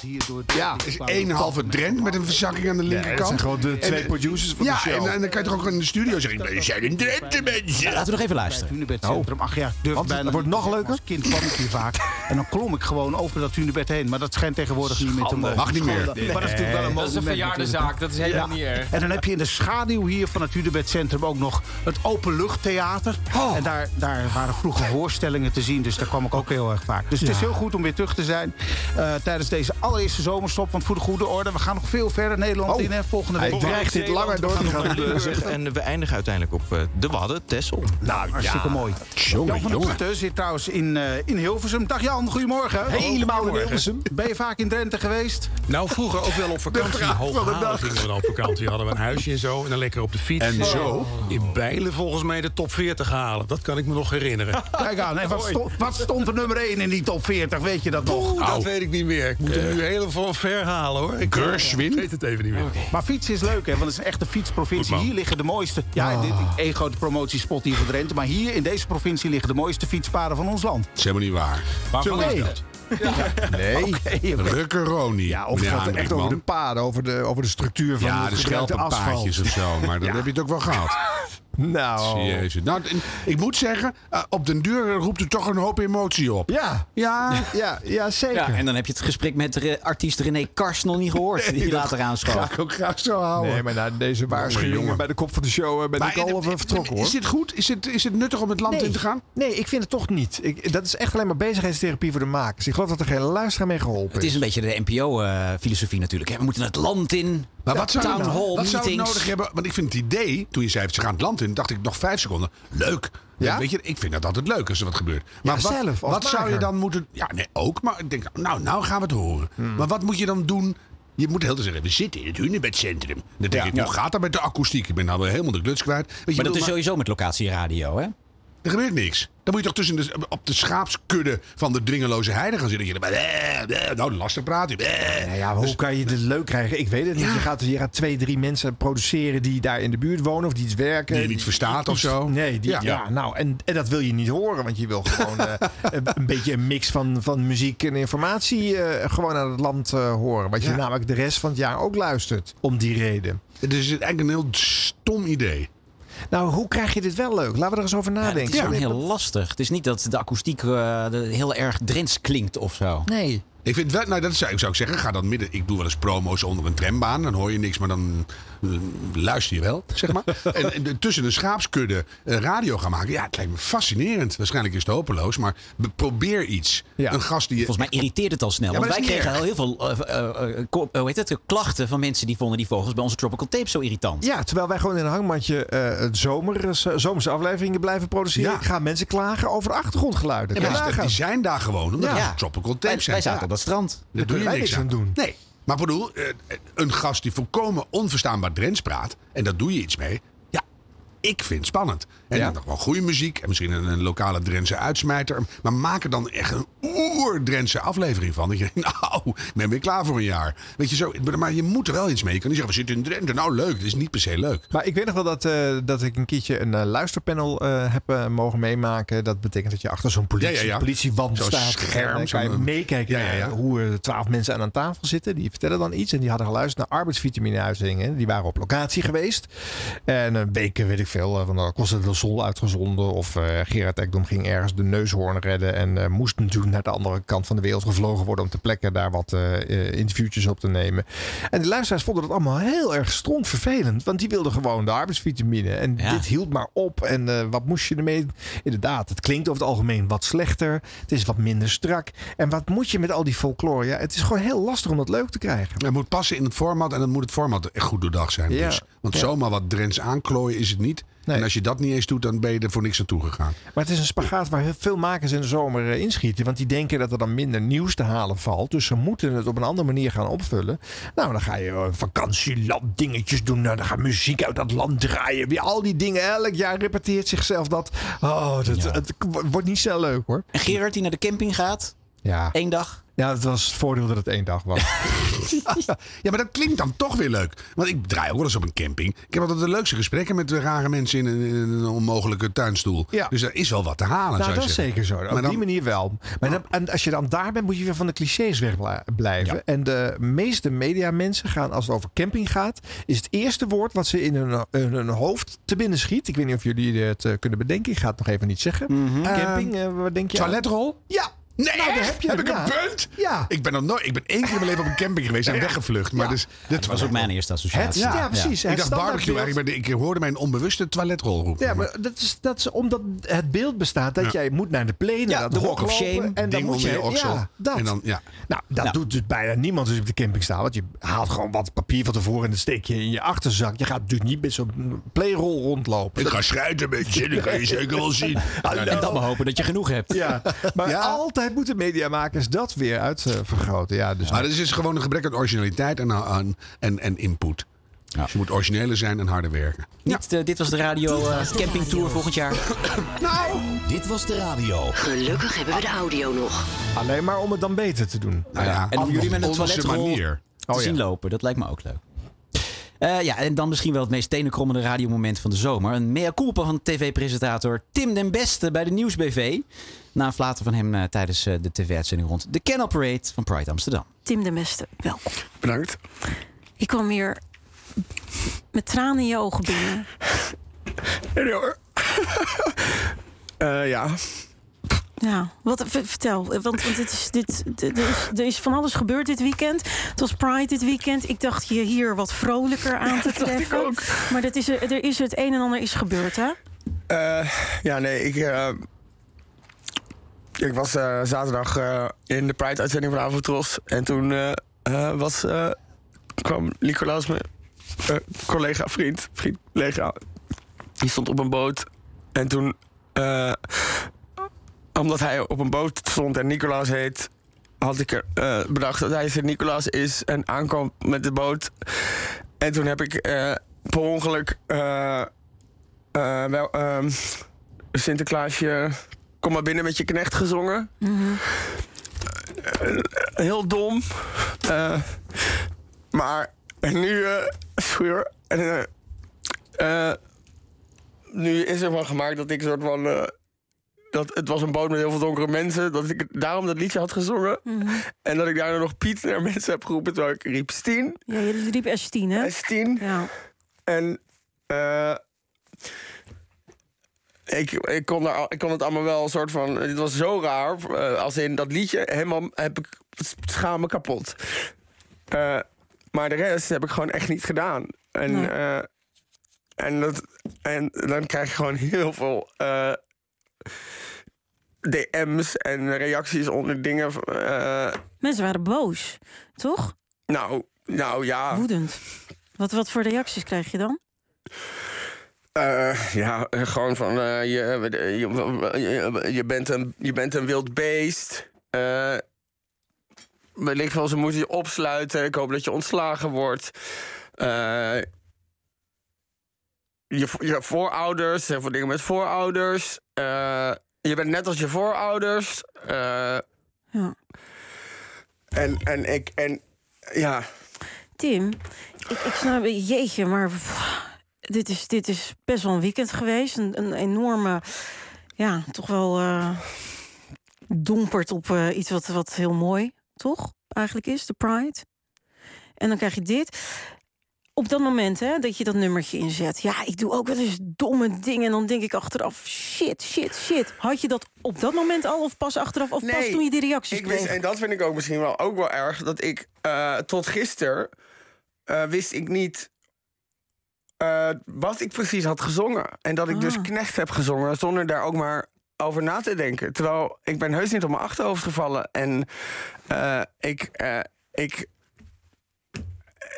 Speaker 1: Ja, is één halve Drent met een verzakking aan de
Speaker 2: dat
Speaker 1: linkerkant.
Speaker 2: zijn gewoon de twee
Speaker 1: En-
Speaker 2: producers van de
Speaker 1: ja,
Speaker 2: show.
Speaker 1: en, en dan kan je toch ook in de studio zeggen: Wij zijn in Drenthe, mensen.
Speaker 3: Nou, Laten we nog even
Speaker 19: bij het
Speaker 3: luisteren.
Speaker 19: Hunebedcentrum. Ach ja, ik durf
Speaker 1: Want het
Speaker 19: bijna
Speaker 1: wordt
Speaker 19: niet.
Speaker 1: nog leuker?
Speaker 19: Als kind kwam ik hier vaak. [LAUGHS] En dan klom ik gewoon over dat Hunebed heen. Maar dat schijnt tegenwoordig niet meer te
Speaker 15: Schande.
Speaker 19: mogen.
Speaker 15: Mag niet meer.
Speaker 19: Schande. Maar dat is natuurlijk wel een
Speaker 15: Nee. Dat is een
Speaker 19: monument
Speaker 15: verjaardenzaak,
Speaker 19: natuurlijk.
Speaker 15: dat is helemaal niet erg.
Speaker 19: En dan heb je in de schaduw hier van het Hunebedcentrum ook nog het openluchttheater. En daar, daar waren vroeger voorstellingen te zien. Dus daar kwam ik ook heel erg vaak. Dus het is
Speaker 1: Ja.
Speaker 19: heel goed om weer terug te zijn eh, tijdens deze allereerste zomerstop. Want voor de goede orde, we gaan nog veel verder
Speaker 17: Oh.
Speaker 19: Nederland
Speaker 20: eh,
Speaker 19: in. Hè, volgende week.
Speaker 20: Hij dreigt dit langer door te
Speaker 17: eh,
Speaker 19: [LAUGHS]
Speaker 20: gaan. En we eindigen uiteindelijk op eh, de Wadden, Tessel. Nou,
Speaker 19: Hartstikke mooi. Jan van der Putten zit trouwens in, eh, in Hilversum. Dag Jan, goedemorgen.
Speaker 15: Helemaal in Goedemorgen. Hilversum.
Speaker 19: Ben je vaak in Drenthe geweest?
Speaker 7: Nou, vroeger ook wel op vakantie.
Speaker 19: vraag van de
Speaker 7: Hooghalen
Speaker 19: dag.
Speaker 7: gingen we dan op vakantie. Hadden we een huisje en zo. En dan lekker op de fiets. Oh.
Speaker 1: En zo?
Speaker 7: In Bijlen volgens mij de top 40 halen. Dat kan ik me nog herinneren.
Speaker 19: Kijk aan, en wat,
Speaker 7: Mooi.
Speaker 19: stond, wat stond er nummer 1 in die top 40? Weet je dat nog?
Speaker 7: Oeh, dat weet ik niet meer. Ik moet
Speaker 1: Eh.
Speaker 7: hem nu helemaal ver halen hoor. Ik eh,
Speaker 19: Gershwin?
Speaker 7: Ik weet het even niet meer.
Speaker 19: Maar fietsen is leuk, hè? Want het is een echte fietsprovincie. Hier liggen de mooiste. Ja,
Speaker 1: Ah.
Speaker 19: dit één grote promotiespot hier voor Drenthe. Maar hier in deze provincie liggen de mooiste fietspaden van ons land.
Speaker 1: Dat is helemaal niet waar.
Speaker 19: Waarvan
Speaker 1: Zo
Speaker 19: is dat?
Speaker 1: Nee. Oh.
Speaker 2: [LAUGHS]
Speaker 1: Rukkeroni.
Speaker 2: Ja, of het
Speaker 1: meneer
Speaker 2: gaat echt
Speaker 1: Hendrikman.
Speaker 2: over de paden, over de, over de structuur van
Speaker 1: Ja,
Speaker 2: het
Speaker 1: de
Speaker 2: gebruikte asfalt.
Speaker 1: schelpenpaadjes of zo. Maar dan heb je het ook wel gehad.
Speaker 2: [LAUGHS] Nou.
Speaker 1: Jezus. Nou, t- ik moet zeggen, eh, op den duur roept het toch een hoop emotie op.
Speaker 2: Ja.
Speaker 1: Ah, Ja.
Speaker 2: Ja, ja zeker.
Speaker 3: Ja, en dan heb je het gesprek met re- artiest René Kars nog niet gehoord. Die later aanschoof.
Speaker 1: Ga ik ook graag zo houden.
Speaker 2: Nee, maar na deze waarschuwingen
Speaker 1: jongen.
Speaker 2: bij de kop van de show eh, ben
Speaker 1: Maar
Speaker 2: ik al
Speaker 1: in-
Speaker 2: over vertrokken hoor.
Speaker 1: Is dit goed? Is het, is het nuttig om het land in te gaan?
Speaker 2: Nee, ik vind het toch niet. Ik, dat is echt alleen maar bezigheidstherapie voor de makers. Ik geloof dat er geen luisteraar mee geholpen
Speaker 3: Het is een beetje de NPO-filosofie natuurlijk. hè. We moeten het land in.
Speaker 1: Maar wat zou, je
Speaker 3: town
Speaker 1: nou-
Speaker 3: hall
Speaker 1: wat
Speaker 3: meetings.
Speaker 1: zou het nodig hebben? Want ik vind het idee, toen je zei ze gaan het land in, dacht ik nog vijf seconden. Leuk.
Speaker 2: Ja?
Speaker 1: Weet je, ik vind dat altijd leuk als er wat gebeurt. Maar wat,
Speaker 2: zelf, als
Speaker 1: wat zou je
Speaker 2: maker.
Speaker 1: dan moeten. Ja, nee, ook. Maar ik denk, nou, nou gaan we het horen.
Speaker 3: Hmm.
Speaker 1: Maar wat moet je dan doen? Je moet heel te zeggen, we zitten in het Hunebedcentrum. Dan denk
Speaker 3: Ja.
Speaker 1: ik, hoe
Speaker 3: Ja.
Speaker 1: gaat dat met de akoestiek? Ik ben nou weer helemaal de kluts kwijt. Weet je, ik
Speaker 3: Maar dat
Speaker 1: bedoel,
Speaker 3: is sowieso met locatieradio, hè?
Speaker 1: Er gebeurt niks. Dan moet je toch tussen de, op de schaapskudde van de dringeloze heide gaan zitten. Dat je dan- eh, eh, Nou, lastig praten. Eh.
Speaker 2: Nou Ja, maar
Speaker 3: dus-
Speaker 2: hoe kan je dit leuk krijgen? Ik weet het niet. Je, gaat, dus- je gaat twee, drie mensen produceren die daar in de buurt wonen of die iets werken.
Speaker 1: Die je niet verstaat of zo.
Speaker 2: Nee, die, ja.
Speaker 1: Ja.
Speaker 2: nou, en, en dat wil je niet horen, want je wil
Speaker 3: [LAUGHS]
Speaker 2: gewoon eh, een, een beetje een mix van, van muziek en informatie eh, gewoon aan het land eh, horen. Wat je namelijk de rest van het jaar ook luistert, om die reden.
Speaker 1: Het is eigenlijk een heel stom idee.
Speaker 2: Nou, hoe krijg je dit wel leuk? Laten we er eens over
Speaker 3: Ja, het
Speaker 2: nadenken.
Speaker 3: is gewoon heel lastig. Het is niet dat de akoestiek eh, de- heel erg drents klinkt of zo.
Speaker 2: Nee.
Speaker 1: Ik vind wel, nou dat zou ik, zou ik zeggen, ga dan midden. Ik doe wel eens promo's onder een trambaan, dan hoor je niks, maar dan eh, luister je wel, zeg
Speaker 3: [LAUGHS]
Speaker 1: maar. en, en de- tussen een schaapskudde eh, radio gaan maken, ja, het lijkt me fascinerend. Waarschijnlijk is het hopeloos, maar be- probeer iets. Een gast die je.
Speaker 3: Volgens mij irriteert het al snel.
Speaker 1: Ja,
Speaker 3: want
Speaker 1: maar
Speaker 3: wij
Speaker 1: dat is
Speaker 3: kregen al
Speaker 1: niet
Speaker 3: heel veel eh, eh, eh, ko- eh, hoe heet het, klachten van mensen die vonden die vogels bij onze Tropical Tape zo irritant.
Speaker 2: Ja, terwijl wij gewoon in een hangmatje eh, het zomer, z- zomerse afleveringen blijven produceren, gaan mensen klagen over achtergrondgeluiden.
Speaker 1: Ja,
Speaker 2: Kan je
Speaker 1: maar
Speaker 2: nagaan.
Speaker 1: die zijn daar gewoon, omdat
Speaker 2: Ja.
Speaker 1: het tropical tape
Speaker 2: Wij-
Speaker 1: zijn.
Speaker 2: wij
Speaker 1: Ja.
Speaker 2: zaten op dat strand.
Speaker 1: Daar
Speaker 2: Daar
Speaker 1: doe je
Speaker 2: kun je
Speaker 1: niks
Speaker 2: niks
Speaker 1: aan
Speaker 2: aan doen.
Speaker 1: Nee. Maar ik bedoel, eh, een gast die volkomen onverstaanbaar Drents praat, en daar doe je iets mee. Ja, ik vind het spannend. En dan gewoon goede muziek, en misschien een, een lokale Drentse uitsmijter. Maar maak er dan echt een oer-Drentse aflevering van. Dat je denkt, [LAUGHS] nou, ik ben weer klaar voor een jaar. Weet je zo, maar je moet er wel iets mee. Je kan niet zeggen, we zitten in Drenthe. Nou, leuk. Dat is niet per se leuk.
Speaker 2: Maar ik weet nog wel dat, eh, dat ik een keertje een eh, luisterpanel eh, heb eh, mogen meemaken. Dat betekent dat je achter zo'n politie,
Speaker 1: Ja, ja, ja.
Speaker 2: politiewand
Speaker 1: Zo'n
Speaker 2: staat.
Speaker 1: scherm,
Speaker 2: en dan kan je
Speaker 1: zo'n-
Speaker 2: meekijken
Speaker 1: Ja, ja, ja.
Speaker 2: naar hoe eh, twaalf mensen aan een tafel zitten. Die vertellen dan iets. En die hadden geluisterd naar arbeidsvitamine-uitzendingen. Die waren op locatie geweest. En een week, eh, weet ik veel, eh, van uh, Costa del Sol uitgezonden. Of eh, Gerard Ekdom ging ergens de neushoorn redden. En eh, moest natuurlijk naar de andere kant van de wereld gevlogen worden. Om ter plekke daar wat eh, eh, interviewtjes op te nemen. En de luisteraars vonden dat allemaal heel erg strontvervelend. Want die wilden gewoon de arbeidsvitamine. En dit hield maar op. En eh, wat moest je ermee? Inderdaad, het klinkt over het algemeen wat slechter. Het is wat minder strak. En wat moet je met al die folklore? Ja, het is gewoon heel lastig om dat leuk te krijgen.
Speaker 1: Het moet passen in het format en dan moet het format echt goed doordacht zijn.
Speaker 2: Ja.
Speaker 1: Dus. Want
Speaker 2: Ja.
Speaker 1: zomaar wat Drents aanklooien is het niet. En als je dat niet eens doet, dan ben je er voor niks naartoe gegaan.
Speaker 2: Maar het is een spagaat waar heel veel makers in de zomer eh, inschieten. Want die denken dat er dan minder nieuws te halen valt. Dus ze moeten het op een andere manier gaan opvullen. Nou, dan ga je eh, vakantieland dingetjes doen. Nou, dan gaat muziek uit dat land draaien. Weer al die dingen. Elk jaar repeteert zichzelf dat. Oh, dat, het wordt niet snel leuk hoor.
Speaker 3: En Gerard die naar de camping gaat,
Speaker 2: Ja.
Speaker 3: één dag.
Speaker 2: Ja, dat was het voordeel dat het één dag was.
Speaker 1: [LAUGHS] ja, maar dat klinkt dan toch weer leuk. Want ik draai ook wel eens op een camping. Ik heb altijd de leukste gesprekken met de rare mensen in een, in een onmogelijke tuinstoel.
Speaker 2: Ja.
Speaker 1: Dus daar is wel wat te halen.
Speaker 2: nou,
Speaker 1: zou je
Speaker 2: dat is
Speaker 1: zeggen.
Speaker 2: zeker zo. Op
Speaker 1: Maar dan-
Speaker 2: die manier wel. Maar dan- en als je dan daar bent, moet je weer van de clichés weg bla- blijven. En de meeste mediamensen gaan, als het over camping gaat, is het eerste woord wat ze in hun, in hun hoofd te binnen schiet. Ik weet niet of jullie het eh, kunnen bedenken. Ik ga het nog even niet zeggen. Camping, eh, waar denk je? aan?
Speaker 1: Toiletrol?
Speaker 2: Ja.
Speaker 1: Nee,
Speaker 2: Nou, daar
Speaker 1: echt?
Speaker 2: heb je
Speaker 1: ik
Speaker 2: hem,
Speaker 1: een
Speaker 2: ja.
Speaker 1: punt?
Speaker 2: Ja.
Speaker 1: Ik ben nog nooit. Ik ben één keer in mijn leven op een camping geweest en
Speaker 2: Ja.
Speaker 1: weggevlucht. Maar
Speaker 2: Ja.
Speaker 1: dus, dit
Speaker 3: was ook mijn eerste associatie.
Speaker 1: Het-
Speaker 2: Ja, precies.
Speaker 1: Ik
Speaker 2: Het
Speaker 1: dacht barbecue
Speaker 2: standaardbeeld.
Speaker 1: eigenlijk, maar ik hoorde mijn onbewuste toiletrol roepen.
Speaker 2: Ja, maar dat is, dat is omdat het beeld bestaat dat
Speaker 1: Ja.
Speaker 2: jij moet naar de plane.
Speaker 1: Ja,
Speaker 2: naar
Speaker 1: de
Speaker 2: het
Speaker 1: walk of
Speaker 2: hok lopen
Speaker 1: shame,
Speaker 2: En dan
Speaker 1: ding
Speaker 2: moet je,
Speaker 1: onder je oksel.
Speaker 2: Ja, dat.
Speaker 1: En dan- ja.
Speaker 2: Nou, dat doet dus bijna niemand als je op de camping staat. Want je haalt gewoon wat papier van tevoren en dat steek je in je achterzak. Je gaat natuurlijk niet met zo'n playrol rondlopen.
Speaker 1: Ik ga schrijven met je, dat kan je zeker wel
Speaker 2: [LAUGHS]
Speaker 1: zien.
Speaker 2: Hallo.
Speaker 3: En dan maar hopen dat je genoeg hebt.
Speaker 2: Ja, maar altijd moeten mediamakers dat weer uitvergroten. Ja, dus
Speaker 1: Maar dat is dus gewoon een gebrek aan originaliteit en, eh, aan, en, en input. Dus je moet origineler zijn en harder werken.
Speaker 3: Niet, eh, dit was de radio eh, camping tour volgend jaar.
Speaker 2: nou,
Speaker 6: dit was de radio.
Speaker 4: Gelukkig hebben we de audio nog.
Speaker 2: alleen maar om het dan beter te doen.
Speaker 1: Nou ja,
Speaker 3: En om jullie met een
Speaker 1: onze
Speaker 3: toiletrol
Speaker 1: manier.
Speaker 3: te
Speaker 2: Oh ja.
Speaker 3: zien lopen, dat lijkt me ook leuk. Eh, ja, en dan misschien wel het meest tenenkrommende radiomoment van de zomer. Een mea culpa van tv-presentator Tim den Beste bij de Nieuwsbv. Na een flater van hem eh, tijdens eh, de tv-uitzending rond de Canal Parade van Pride Amsterdam.
Speaker 8: Tim de Meste, welkom.
Speaker 1: Bedankt.
Speaker 8: Ik kwam hier met tranen in je ogen binnen.
Speaker 22: Nee hoor. Eh, ja.
Speaker 8: Ja, Nou, wat, v- vertel. Want, want dit is, dit, dit- er, is, er is van alles gebeurd dit weekend. Het was Pride dit weekend. Ik dacht je hier wat vrolijker aan te treffen. Maar dat is, er er is het een en ander is gebeurd, hè?
Speaker 22: Eh, ja, nee, ik. eh, ik was eh, zaterdag eh, in de Pride-uitzending van Avotros. En toen eh, eh, was, eh, kwam Nicolaas, mijn eh, collega, vriend, vriend, collega. Die stond op een boot. En toen. eh, omdat hij op een boot stond en Nicolaas heet. had ik er, eh, bedacht dat hij Sint-Nicolaas is en aankwam met de boot. En toen heb ik eh, per ongeluk. eh, eh, wel, ehm, Sinterklaasje, kom maar binnen met je knecht gezongen. Eh, heel dom. Eh, maar en nu, eh schuur, en, eh, eh, nu is er van gemaakt dat ik soort van. eh, dat het was een boot met heel veel donkere mensen. Dat ik daarom dat liedje had gezongen. En dat ik daarna nog Piet naar mensen heb geroepen. Terwijl ik riep Stien.
Speaker 8: Ja, je riep S10, hè?
Speaker 22: S10.
Speaker 8: Ja.
Speaker 22: En eh, ik, ik, kon daar, al- ik kon het allemaal wel een soort van. Het was zo raar. eh, als in dat liedje helemaal heb ik schaam me kapot. Eh, maar de rest heb ik gewoon echt niet gedaan. En, eh, en, dat, en dan krijg je gewoon heel veel. eh, DM's en reacties onder dingen. eh,
Speaker 8: Mensen waren boos, toch?
Speaker 22: nou, nou ja.
Speaker 8: Woedend. Wat, wat voor reacties krijg je dan?
Speaker 22: Eh, ja, eh, gewoon van eh, je, je, je, je bent een, je bent een wild beest. Eh wellicht wel, ze moeten je opsluiten. Ik hoop dat je ontslagen wordt. Eh, je, vo- je voorouders, heel veel dingen met voorouders. Eh, je bent net als je voorouders. Eh, en, en ik, en ja.
Speaker 8: Tim, ik, ik snap, jeetje, maar pff, dit is, dit is best wel een weekend geweest. Een, een enorme, ja, toch wel eh, dompert op eh, iets wat, wat heel mooi, toch? Eigenlijk is, de Pride. En dan krijg je dit. Op dat moment hè, dat je dat nummertje inzet. Ja, ik doe ook wel eens domme dingen. En dan denk ik achteraf, shit, shit, shit. Had je dat op dat moment al of pas achteraf? Of pas toen je die reacties
Speaker 22: ik wist-
Speaker 8: kreeg?
Speaker 22: En dat vind ik ook misschien wel, ook wel erg. Dat ik eh, tot gisteren wist ik niet eh, wat ik precies had gezongen. En dat ik
Speaker 8: Ah.
Speaker 22: dus knecht heb gezongen zonder daar ook maar over na te denken. Terwijl ik ben heus niet op mijn achterhoofd gevallen. En eh, ik, eh, ik,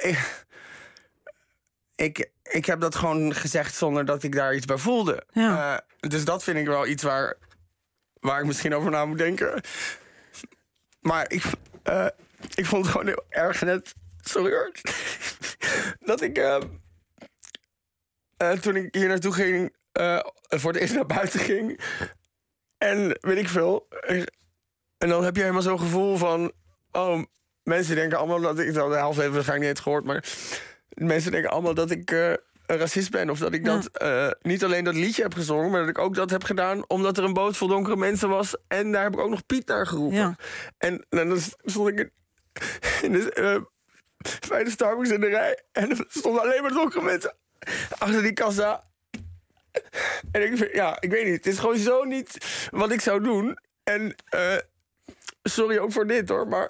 Speaker 22: ik, ik, ik heb dat gewoon gezegd zonder dat ik daar iets bij voelde. Eh, dus dat vind ik wel iets waar, waar ik misschien over na moet denken. Maar ik, eh, ik vond het gewoon heel erg net. Sorry hoor. [LAUGHS] dat ik. eh, eh, toen ik hier naartoe ging. eh, voor het eerst naar buiten ging. En weet ik veel. eh, En dan heb je helemaal zo'n gevoel van. Oh, mensen denken allemaal dat ik. Nou, de helft heeft waarschijnlijk niet eens gehoord, maar. Mensen denken allemaal dat ik. eh, een racist ben of dat ik dat eh, niet alleen dat liedje heb gezongen, maar dat ik ook dat heb gedaan omdat er een boot vol donkere mensen was en daar heb ik ook nog Piet naar geroepen. En, nou, dan stond ik in, in de, eh, bij de Starbucks in de rij en er stonden alleen maar donkere mensen achter die kassa. En ik, vind- ja, ik weet niet. Het is gewoon zo niet wat ik zou doen. En eh, sorry ook voor dit hoor, maar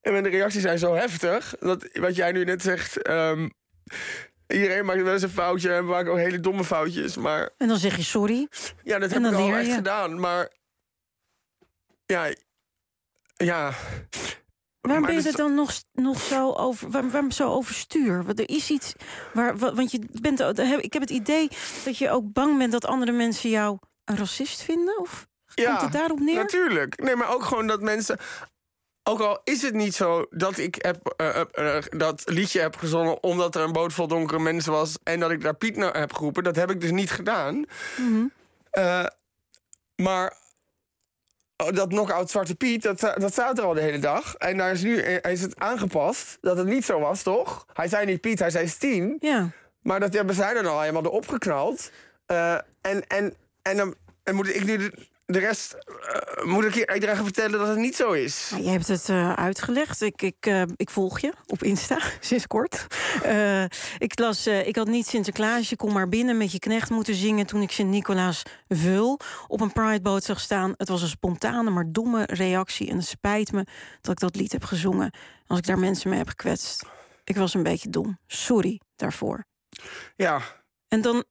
Speaker 22: en mijn reacties zijn zo heftig. Dat wat jij nu net zegt. ehm, iedereen maakt wel eens een foutje en we maken ook hele domme foutjes. Maar
Speaker 8: En dan zeg je sorry.
Speaker 22: ja, dat
Speaker 8: En
Speaker 22: heb ik
Speaker 8: dan
Speaker 22: al
Speaker 8: leer
Speaker 22: echt
Speaker 8: je.
Speaker 22: gedaan. Maar ja, ja.
Speaker 8: Waarom ben je
Speaker 22: dat
Speaker 8: er
Speaker 22: is-
Speaker 8: dan nog, nog zo over, waar- waarom zo overstuur? Want er is iets waar, wa- want je bent, ik heb het idee dat je ook bang bent dat andere mensen jou een racist vinden, of komt het daarop neer?
Speaker 22: Natuurlijk. Nee, maar ook gewoon dat mensen. Ook al is het niet zo dat ik heb, eh, eh, eh, dat liedje heb gezongen omdat er een boot vol donkere mensen was en dat ik daar Piet naar heb geroepen, dat heb ik dus niet gedaan.
Speaker 3: Mhm.
Speaker 22: Eh, maar oh, dat knock-out Zwarte Piet, dat, za- dat staat er al de hele dag. En daar is nu eh, is het aangepast dat het niet zo was, toch? Hij zei niet Piet, hij zei Stien.
Speaker 8: Ja.
Speaker 22: Maar dat hebben zij er nou helemaal erop geknald. Eh, en, en, en dan en moet ik nu de, de rest... eh, moet ik hier iedereen gaan vertellen dat het niet zo is?
Speaker 8: Je hebt het eh, uitgelegd. Ik, ik, eh, ik volg je op Insta, [LAUGHS] sinds kort. Eh, ik, las, eh, ik had niet Sinterklaas, je kom maar binnen met je knecht moeten zingen... toen ik Sint-Nicolaas Vul op een prideboot zag staan. Het was een spontane, maar domme reactie. En het spijt me dat ik dat lied heb gezongen. Als ik daar mensen mee heb gekwetst. Ik was een beetje dom. Sorry daarvoor.
Speaker 22: Ja.
Speaker 8: En dan,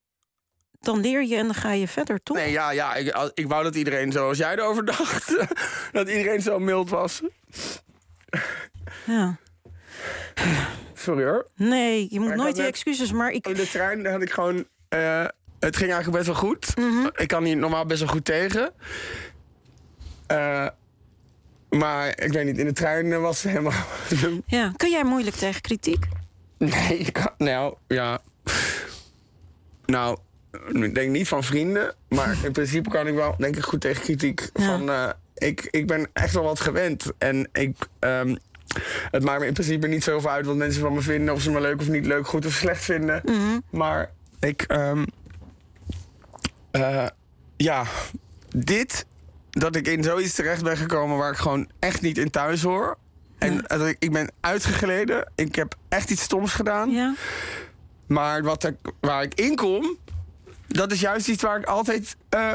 Speaker 8: dan leer je en dan ga je verder, toch?
Speaker 22: Nee, ja, ja ik, al- ik wou dat iedereen zoals jij erover dacht. [LAUGHS] dat iedereen zo mild was.
Speaker 8: Ja.
Speaker 22: Sorry hoor.
Speaker 8: Nee, je moet
Speaker 22: ik
Speaker 8: nooit
Speaker 22: had
Speaker 8: die
Speaker 22: net-
Speaker 8: excuses, maar ik...
Speaker 22: Op de trein had ik gewoon... eh, het ging eigenlijk best wel goed.
Speaker 8: Mhm.
Speaker 22: Ik kan hier normaal best wel goed tegen. Eh, maar ik weet niet, in de trein eh, was het helemaal...
Speaker 8: Ja, kun jij moeilijk tegen kritiek?
Speaker 22: Nee, ik kan- nou, ja. Nou, ik denk niet van vrienden. Maar in principe kan ik wel, denk ik, goed tegen kritiek. Van, eh, ik, ik ben echt wel wat gewend. En ik, ehm, het maakt me in principe niet zoveel uit wat mensen van me vinden. Of ze me leuk of niet leuk, goed of slecht vinden. Maar ik, ehm, eh, ja, dit, dat ik in zoiets terecht ben gekomen waar ik gewoon echt niet in thuis hoor. En dat ik, ik ben uitgegleden. Ik heb echt iets stoms gedaan. Maar wat ik, waar ik in kom, dat is juist iets waar ik altijd eh,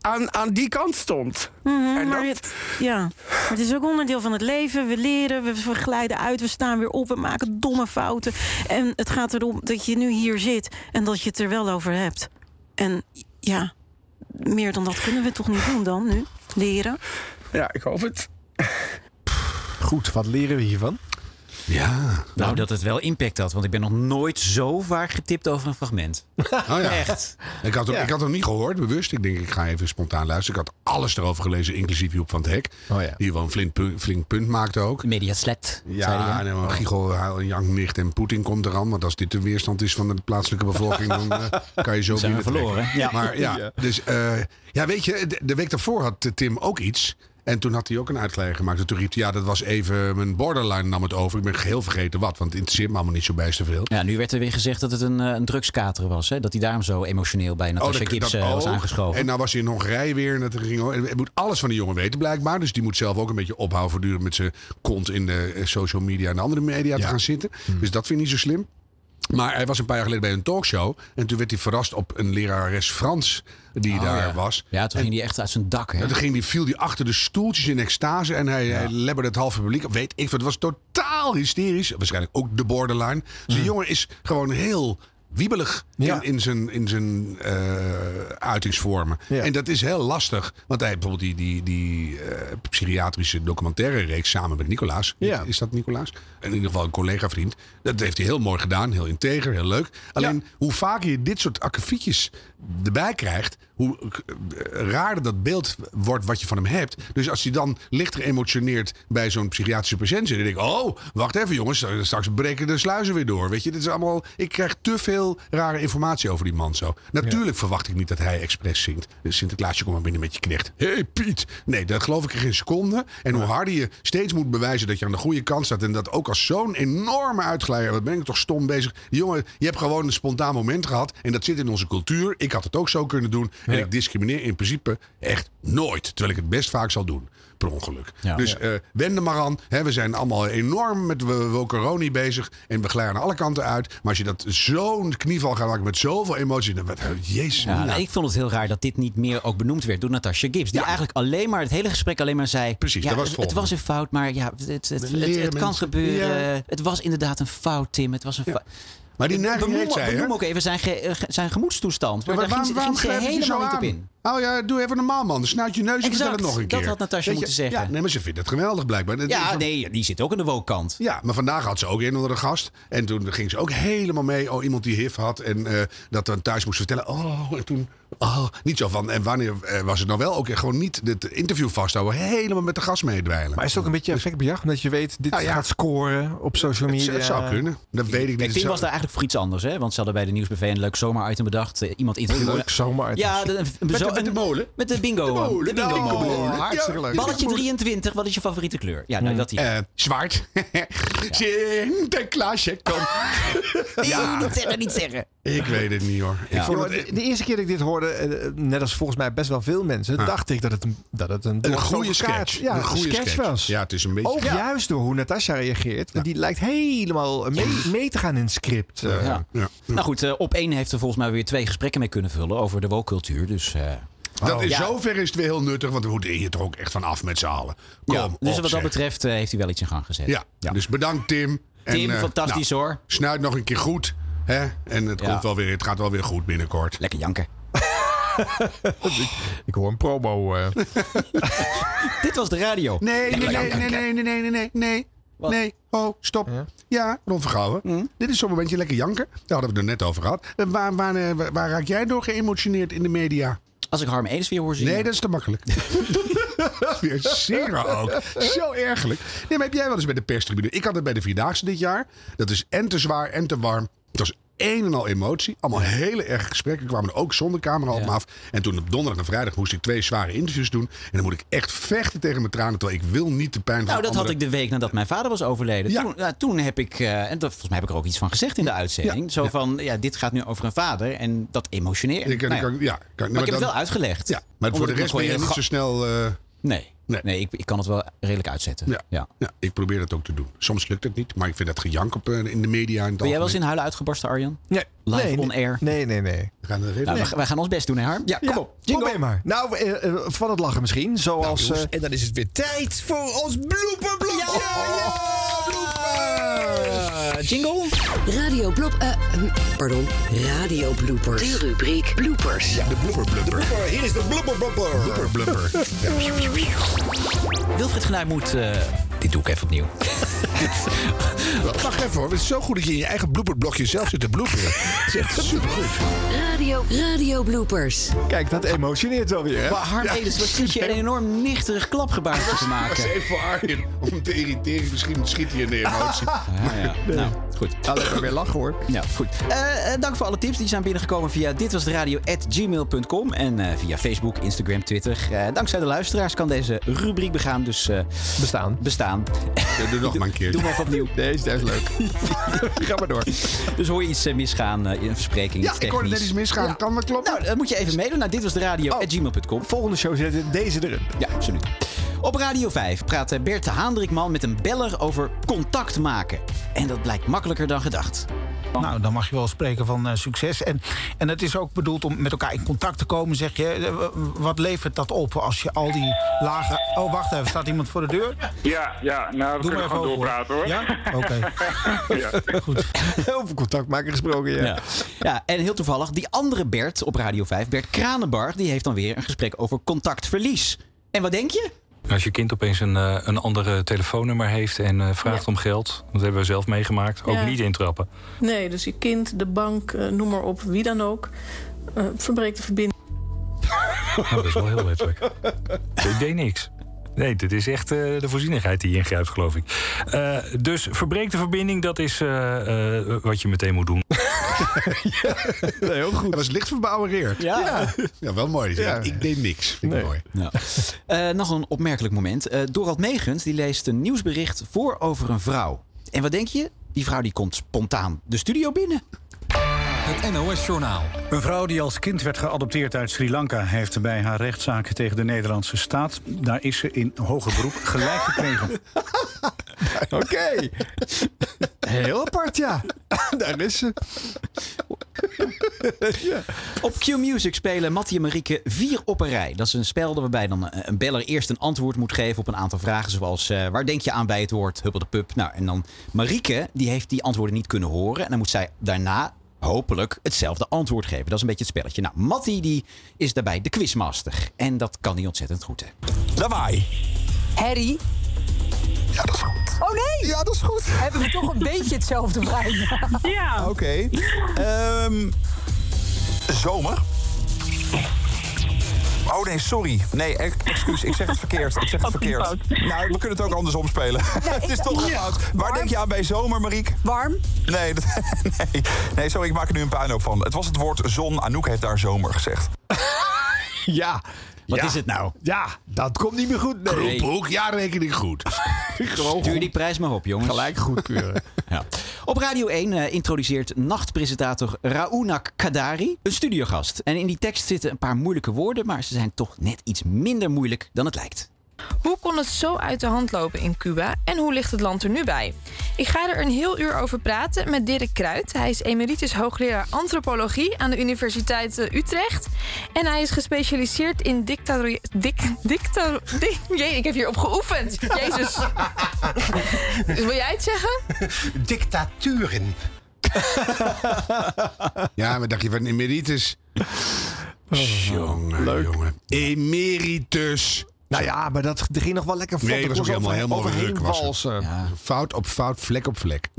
Speaker 22: aan, aan die kant stond.
Speaker 8: Mhm, maar het, ja, maar het is ook onderdeel van het leven. We leren, we we glijden uit, we staan weer op, we maken domme fouten. En het gaat erom dat je nu hier zit en dat je het er wel over hebt. En ja, meer dan dat kunnen we toch niet doen dan nu? Leren.
Speaker 22: Ja, ik hoop het.
Speaker 2: Goed, wat leren we hiervan?
Speaker 1: Ja.
Speaker 3: Nou, dat het wel impact had, want ik ben nog nooit zo vaak getipt over een fragment.
Speaker 1: Oh ja.
Speaker 3: Echt.
Speaker 1: Ik had, hem,
Speaker 3: Ja.
Speaker 1: ik had hem niet gehoord, bewust. Ik denk, ik ga even spontaan luisteren. Ik had alles erover gelezen, inclusief Joep van het Hek.
Speaker 3: Oh
Speaker 1: Die wel een flink punt, flink punt maakte ook.
Speaker 3: Mediaslet. zei hij,
Speaker 1: Ja,
Speaker 3: hè? Oh.
Speaker 1: en dan Giegel, Huil en Jank nicht en Poetin komt eraan. Want als dit de weerstand is van de plaatselijke bevolking,
Speaker 3: [LAUGHS]
Speaker 1: dan eh, kan je zo
Speaker 3: Zijn we
Speaker 1: binnen
Speaker 3: verloren, hè? Ja.
Speaker 1: Maar
Speaker 3: [LAUGHS]
Speaker 1: ja,
Speaker 3: Ja.
Speaker 1: dus eh, ja, weet je, de, de week daarvoor had eh, Tim ook iets. En toen had hij ook een uitleg gemaakt. En toen riep hij, ja, dat was even mijn borderline nam het over. Ik ben geheel vergeten wat, want het interesseert me allemaal niet zo bijster veel.
Speaker 3: [LAUGHS] Ja, nu werd er weer gezegd dat het een, eh, een drugskater was. Hè? Dat hij daarom zo emotioneel bij Natasha
Speaker 1: Oh, dat-
Speaker 3: Gibbs
Speaker 1: dat
Speaker 3: eh, was
Speaker 1: ook.
Speaker 3: aangeschoven.
Speaker 1: En nou was hij in Hongarije weer. En dat ging, en het moet alles van die jongen weten blijkbaar. Dus die moet zelf ook een beetje ophouden voortdurend met zijn kont in de eh, social media en de andere media te gaan zitten.
Speaker 3: Hmm.
Speaker 1: Dus dat vind ik niet zo slim. Maar hij was een paar jaar geleden bij een talkshow. En toen werd hij verrast op een lerares Frans die
Speaker 3: Oh,
Speaker 1: daar
Speaker 3: ja.
Speaker 1: was.
Speaker 3: Ja, toen
Speaker 1: En-
Speaker 3: ging hij echt uit zijn dak. Hè?
Speaker 1: en toen ging die, viel die achter de stoeltjes in extase en hij, hij lebberde het halve publiek. op. Weet ik, wat, het was totaal hysterisch. Waarschijnlijk ook de borderline. Dus
Speaker 3: Hm.
Speaker 1: die jongen is gewoon heel wiebelig in, in zijn, in zijn eh, uitingsvormen. En dat is heel lastig. Want hij heeft bijvoorbeeld die, die, die eh, psychiatrische documentaire reeks samen met Nicolaas. Is dat Nicolaas? In ieder geval een collega-vriend. Dat heeft hij heel mooi gedaan. Heel integer, heel leuk. Alleen hoe vaker je dit soort akkefietjes erbij krijgt, hoe eh, raarder dat beeld wordt wat je van hem hebt. Dus als hij dan licht geëmotioneerd bij zo'n psychiatrische patiënt zit, dan denk ik, oh, wacht even jongens, straks breken de sluizen weer door. Weet je, dit is allemaal, ik krijg te veel veel rare informatie over die man zo. Natuurlijk verwacht ik niet dat hij expres zingt. Dus Sinterklaasje, kom maar binnen met je knecht. Hé hey, Piet! Nee, dat geloof ik in geen seconde. En hoe harder je steeds moet bewijzen dat je aan de goede kant staat. En dat ook als zo'n enorme uitglijder. Wat ben ik toch stom bezig. Jongen, je hebt gewoon een spontaan moment gehad. En dat zit in onze cultuur. Ik had het ook zo kunnen doen. En ik discrimineer in principe echt nooit. Terwijl ik het best vaak zal doen. Per ongeluk. dus eh wend er maar aan. Hè, we zijn allemaal enorm met wo- wokeroni bezig. En we glijden aan alle kanten uit. Maar als je dat zo'n knieval gaat maken met zoveel emotie. Dan, wat- jezus.
Speaker 3: Ja,
Speaker 1: mina.
Speaker 3: nou, ik vond het heel raar dat dit niet meer ook benoemd werd door Natasha Gibbs. Die eigenlijk alleen maar het hele gesprek alleen maar zei. Precies, ja,
Speaker 1: dat was het
Speaker 3: het, het was een fout, maar ja, het, het, het,
Speaker 1: leren
Speaker 3: het- het kan
Speaker 1: mensen.
Speaker 3: [LAUGHS] gebeuren.
Speaker 1: Ja.
Speaker 3: Het was inderdaad een fout, Tim. Het was een fout.
Speaker 1: Maar die neiging
Speaker 3: benoem,
Speaker 1: heeft zij, hè?
Speaker 3: benoem ook even zijn, ge- eh, ge- zijn gemoedstoestand.
Speaker 1: Ja,
Speaker 3: Maar daar
Speaker 1: maar
Speaker 3: ging, ze- ging ze
Speaker 1: grijp je
Speaker 3: helemaal niet
Speaker 1: aan?
Speaker 3: op in.
Speaker 1: Oh ja, doe even normaal man. Dan Snuit je neus en
Speaker 3: Exact.
Speaker 1: vertel het nog een keer.
Speaker 3: Dat had Natasja
Speaker 1: Weet je,
Speaker 3: moeten zeggen.
Speaker 1: Ja, nee, maar ze vindt het geweldig blijkbaar. Dat-
Speaker 3: Ja,
Speaker 1: van-
Speaker 3: nee, die zit ook aan de wookkant.
Speaker 1: Ja, maar vandaag had ze ook een onder de gast. En toen ging ze ook helemaal mee. Oh, iemand die HIV had. En eh, dat dan thuis moest vertellen. Oh, en toen. Oh, niet zo van. En wanneer eh, was het nou wel? Ook eh, gewoon niet het interview vasthouden. Helemaal met de gast meedwijlen.
Speaker 2: Maar
Speaker 1: [LAUGHS]
Speaker 2: is het ook een beetje effectbejag? Omdat je weet, dit
Speaker 1: Dus- Nou ja.
Speaker 2: gaat scoren op social
Speaker 1: Het
Speaker 2: media.
Speaker 1: zou- het zou kunnen. Dat weet ik niet.
Speaker 3: eh, Kijk,
Speaker 1: Het
Speaker 3: Tim
Speaker 1: zou-
Speaker 3: was daar eigenlijk voor iets anders, hè? Want ze hadden bij de nieuwsbv een leuk zomeritem bedacht. Eh, Iemand interviewen.
Speaker 2: Leuk zomeritem.
Speaker 3: Ja, de,
Speaker 2: Met de- met de
Speaker 1: molen.
Speaker 3: Met de bingo.
Speaker 2: De Nou, molen,
Speaker 3: De
Speaker 2: de
Speaker 3: bingo
Speaker 2: bingo molen.
Speaker 3: molen.
Speaker 2: Oh, Hartstikke leuk.
Speaker 3: Oh, Balletje 23, wat is je favoriete kleur? Ja, nou,
Speaker 1: Hmm.
Speaker 3: dat hier.
Speaker 1: Eh, zwart. [LAUGHS] Sinterklaasje,
Speaker 3: [LAUGHS]
Speaker 1: kom.
Speaker 3: Nee, niet zeggen, niet zeggen.
Speaker 1: Ik weet het niet hoor. Ik vond
Speaker 2: Jongen,
Speaker 1: het
Speaker 2: de, de eerste keer dat ik dit hoorde, eh, net als volgens mij best wel veel mensen,
Speaker 1: Ja.
Speaker 2: dacht ik dat het een, dat het een,
Speaker 1: een
Speaker 2: doorgestoken
Speaker 1: goede
Speaker 2: kaart-
Speaker 1: sketch.
Speaker 2: Ja,
Speaker 1: een goede
Speaker 2: sketch, was.
Speaker 1: Ja, het is een beetje.
Speaker 2: Ook juist door hoe Natasha reageert. Die lijkt helemaal mee, mee te gaan in het script. eh.
Speaker 3: Ja. Nou goed, eh, op één heeft er volgens mij weer twee gesprekken mee kunnen vullen over de woke-cultuur. Dus, eh,
Speaker 1: Dat in
Speaker 3: ja.
Speaker 1: zover is het weer heel nuttig, want we moeten hier toch ook echt van af met z'n allen. Kom
Speaker 3: Ja, dus
Speaker 1: op,
Speaker 3: wat
Speaker 1: zeg.
Speaker 3: dat betreft eh, heeft hij wel iets in gang gezet.
Speaker 1: Ja, dus bedankt Tim.
Speaker 3: Tim,
Speaker 1: eh,
Speaker 3: fantastisch, hoor.
Speaker 1: Snuit nog een keer goed. Hè? En het,
Speaker 3: Ja.
Speaker 1: komt wel weer, het gaat wel weer goed binnenkort.
Speaker 3: Lekker janken.
Speaker 2: [LAUGHS] Ik hoor een promo. eh.
Speaker 1: [LAUGHS]
Speaker 3: [LAUGHS] Dit was de radio.
Speaker 1: Nee, nee,
Speaker 3: Lekker
Speaker 1: nee,
Speaker 3: janken.
Speaker 1: nee, nee, nee, nee, nee, nee. Nee, oh, stop. Ja, Ron Vergouwen.
Speaker 3: Mm.
Speaker 1: Dit is zo'n momentje lekker janken. Daar hadden we het er net over gehad. Eh, Waar, waar, eh, waar, waar raak jij door geëmotioneerd in de media?
Speaker 3: Als ik Harm Edens weer hoor zingen.
Speaker 1: Nee, dat is te makkelijk. [LAUGHS] weer zingen ook. Zo ergelijk. Nee, maar heb jij wel eens bij de perstribune? Ik had het bij de Vierdaagse dit jaar. Dat is en te zwaar en te warm. Het was een en al emotie. Allemaal hele erg gesprekken. kwamen er ook zonder camera op me af. En toen op donderdag en vrijdag moest ik twee zware interviews doen. En dan moet ik echt vechten tegen mijn tranen. Terwijl ik wil niet de pijn van
Speaker 3: Nou, dat had
Speaker 1: anderen-
Speaker 3: ik de week nadat mijn vader was overleden. Toen, ja, toen heb ik, eh, en dat, volgens mij heb ik er ook iets van gezegd in de uitzending. Zo van, ja, dit gaat nu over een vader en dat emotioneert.
Speaker 1: Ik- ik-
Speaker 3: Nou
Speaker 1: ik- ja, ik-
Speaker 3: maar,
Speaker 1: maar
Speaker 3: ik heb het
Speaker 1: dan-
Speaker 3: wel uitgelegd.
Speaker 1: Ja, maar voor
Speaker 3: Omdat
Speaker 1: de
Speaker 3: ik
Speaker 1: rest
Speaker 3: dat
Speaker 1: ben je
Speaker 3: gewoon
Speaker 1: niet zo
Speaker 3: heel
Speaker 1: snel... eh,
Speaker 3: ga- Nee, nee. ik, ik kan het wel redelijk uitzetten.
Speaker 1: ja.
Speaker 3: Ja.
Speaker 1: Ja, ik probeer dat ook te doen. Soms lukt het niet, maar ik vind dat gejank op, eh, in de media. In het
Speaker 3: Ben jij wel eens in
Speaker 1: algemeen.
Speaker 3: huilen uitgebarsten, Arjan?
Speaker 2: Nee.
Speaker 3: Live
Speaker 2: nee,
Speaker 3: on
Speaker 2: nee.
Speaker 3: air.
Speaker 2: Nee, nee, nee.
Speaker 1: We gaan er even
Speaker 3: Nou,
Speaker 2: Nee.
Speaker 3: we- wij gaan ons best doen, hè Harm? Ja, kom op.
Speaker 2: Probeer maar. Nou, eh, eh, van het lachen misschien.
Speaker 1: Nou,
Speaker 2: Zoals. eh,
Speaker 6: En dan is het weer tijd voor ons blooperblokje.
Speaker 1: Oh.
Speaker 2: Eh,
Speaker 3: jingle.
Speaker 9: Radio Blop. eh, hm, pardon. Radio bloopers. De rubriek bloopers.
Speaker 1: De blubber blubber.
Speaker 6: Eh, Hier is de blubber blubber.
Speaker 1: Blubber blubber.
Speaker 3: Wilfried Genuij moet... eh, dit doe ik even opnieuw.
Speaker 1: [LAUGHS] Wacht even hoor, het is zo goed dat je in je eigen blooperblokje zelf zit te bloeperen. Het is echt supergoed.
Speaker 9: Radio, radio bloopers.
Speaker 2: Kijk, dat emotioneert wel weer. Hè?
Speaker 3: Maar Harm Edens, wat zit je een enorm nichterig klapgebaartje
Speaker 23: [LAUGHS]
Speaker 3: te
Speaker 1: Dat is
Speaker 3: maken?
Speaker 1: even Arjen om te irriteren. Misschien schiet hij
Speaker 3: [LAUGHS]
Speaker 1: in de emotie.
Speaker 3: Ja, ja. Nou, goed.
Speaker 2: Alleen maar weer lachen hoor.
Speaker 3: Ja, goed. Eh, eh, dank voor alle tips die zijn binnengekomen via ditwasderadio.gmail.com en eh, via Facebook, Instagram, Twitter. Eh, dankzij de luisteraars kan deze rubriek begaan, dus eh,
Speaker 2: Bestaan.
Speaker 3: bestaan. [LAUGHS]
Speaker 1: Doe nog maar een keer.
Speaker 3: Doe maar even opnieuw.
Speaker 2: Nee, is is leuk.
Speaker 3: [LAUGHS]
Speaker 2: Ga maar door.
Speaker 3: Dus hoor je iets eh, misgaan eh, in een verspreking,
Speaker 1: Ja,
Speaker 3: iets
Speaker 1: ik hoorde net
Speaker 3: technisch.
Speaker 1: iets misgaan.
Speaker 3: Ja.
Speaker 1: Kan dat kloppen?
Speaker 3: Nou, dat moet je even meedoen naar ditwasderadio.gmail.com.
Speaker 2: Oh. Volgende show zetten deze erin.
Speaker 3: Ja, absoluut. Op Radio 5 praat eh, Bert Haandrikman met een beller over contact maken. En
Speaker 1: [LAUGHS]
Speaker 3: dat blijkt makkelijker dan gedacht.
Speaker 11: Nou, dan mag je wel spreken van eh, succes. En, en het is ook bedoeld om met elkaar in contact te komen. Zeg je, eh, w- wat levert dat op als je al die lagen... Oh, wacht even, staat iemand voor de deur?
Speaker 24: Ja, ja, nou, we
Speaker 11: Doe maar
Speaker 24: kunnen
Speaker 11: even
Speaker 24: gewoon
Speaker 11: open,
Speaker 24: doorpraten hoor.
Speaker 11: Ja? Oké.
Speaker 24: ja.
Speaker 2: [LAUGHS]
Speaker 1: Eh,
Speaker 2: Over contact maken gesproken, ja.
Speaker 3: Ja. ja, en heel toevallig, die andere Bert op Radio 5, Bert Kranenbar, die heeft dan weer een gesprek over contactverlies. En wat denk je?
Speaker 25: Als je kind opeens een, eh, een andere telefoonnummer heeft en eh, vraagt om geld, dat hebben we zelf meegemaakt, ook
Speaker 26: Ja.
Speaker 25: niet
Speaker 1: [LAUGHS]
Speaker 25: intrappen.
Speaker 26: Nee, dus je kind, de bank, eh, noem maar op, wie dan ook, eh, verbreekt de verbinding.
Speaker 25: Nou, dat is wel heel letterlijk. Ik deed niks. Nee, dit is echt eh, de voorzienigheid die ingrijpt,
Speaker 1: [LAUGHS]
Speaker 25: geloof ik. Eh, dus verbreek de verbinding, dat is eh, eh, wat je meteen moet doen.
Speaker 1: heel goed. Dat was licht verbouwereerd.
Speaker 3: Ja.
Speaker 1: Ja. ja, wel mooi. Ja, ik deed niks. Vind ik mooi.
Speaker 3: Ja. [LAUGHS] Eh, nog een opmerkelijk moment. Eh Dorald Megens die leest een nieuwsbericht voor over een vrouw. En wat denk je? Die vrouw die komt spontaan de studio binnen.
Speaker 5: Het
Speaker 14: Nou,
Speaker 5: NOS-journaal. Een vrouw die als kind werd geadopteerd uit Sri Lanka... heeft bij haar rechtszaak tegen de Nederlandse staat... daar is ze in hoger beroep gelijk gekregen.
Speaker 2: Oké. Heel apart, ja. [LAUGHS] Daar is [LAUGHS] ze.
Speaker 3: Op Q-Music spelen Mattie en Marieke vier op een rij. Dat is een spel waarbij dan eh, een beller eerst een antwoord moet geven op een aantal vragen. Zoals eh, waar denk je aan bij het woord huppel de pup? Nou, en dan Marieke, die heeft die antwoorden niet kunnen horen. En dan moet zij daarna hopelijk hetzelfde antwoord geven. Dat is een beetje het spelletje. Nou, Mattie die is daarbij de quizmaster. En dat kan hij ontzettend goed, hè?
Speaker 10: Lawaai.
Speaker 12: Harry.
Speaker 10: Ja, dat is goed.
Speaker 12: Oh nee!
Speaker 10: Ja, dat is goed.
Speaker 12: Hebben we toch een beetje hetzelfde brein?
Speaker 10: Ja. Oké. Ehm, zomer. Oh nee, sorry. Nee, ex- excuus. Ik zeg het verkeerd. Ik zeg het verkeerd. Nou, we kunnen het ook andersom spelen. [LAUGHS] het is toch
Speaker 12: Ja.
Speaker 10: fout. Waar denk je aan bij zomer, Mariek?
Speaker 12: Warm.
Speaker 10: Nee, [LAUGHS] dat- nee, nee, sorry. Ik maak er nu een puinhoop van. Het was het woord zon. Anouk heeft daar zomer gezegd.
Speaker 3: [LAUGHS]
Speaker 2: Ja.
Speaker 3: Wat is het nou?
Speaker 2: Ja, dat komt niet meer goed. Nee.
Speaker 1: Groephoek, ja, rekening goed.
Speaker 3: Stuur die prijs maar op, jongens. Gelijk goedkeuren. [LAUGHS] ja. Op Radio 1 eh, introduceert nachtpresentator Raounak Kadari een studiogast. En in die tekst zitten een paar moeilijke woorden, maar ze zijn toch net iets minder moeilijk dan het lijkt.
Speaker 13: Hoe kon het zo uit de hand lopen in Cuba en hoe ligt het land er nu bij? Ik ga er een heel uur over praten met Dirk Kruid. Hij is emeritus hoogleraar antropologie aan de Universiteit eh, Utrecht. En hij is gespecialiseerd in dictator... Dik, dictator... [LAUGHS] Di- Jee, ik heb hierop geoefend. Jezus. Dus wil jij het zeggen?
Speaker 1: Dictaturen. ja, maar dacht je van emeritus?
Speaker 3: Oh.
Speaker 1: jongen, jongen. Emeritus.
Speaker 2: Nou ja, maar dat ging nog wel lekker vlot.
Speaker 1: Nee,
Speaker 2: Er
Speaker 1: was ook
Speaker 2: kon
Speaker 1: helemaal,
Speaker 2: overheen-
Speaker 1: helemaal
Speaker 2: overheen
Speaker 1: ruk. Was
Speaker 2: walsen.
Speaker 1: het. Fout op fout, vlek op vlek.
Speaker 3: [LAUGHS]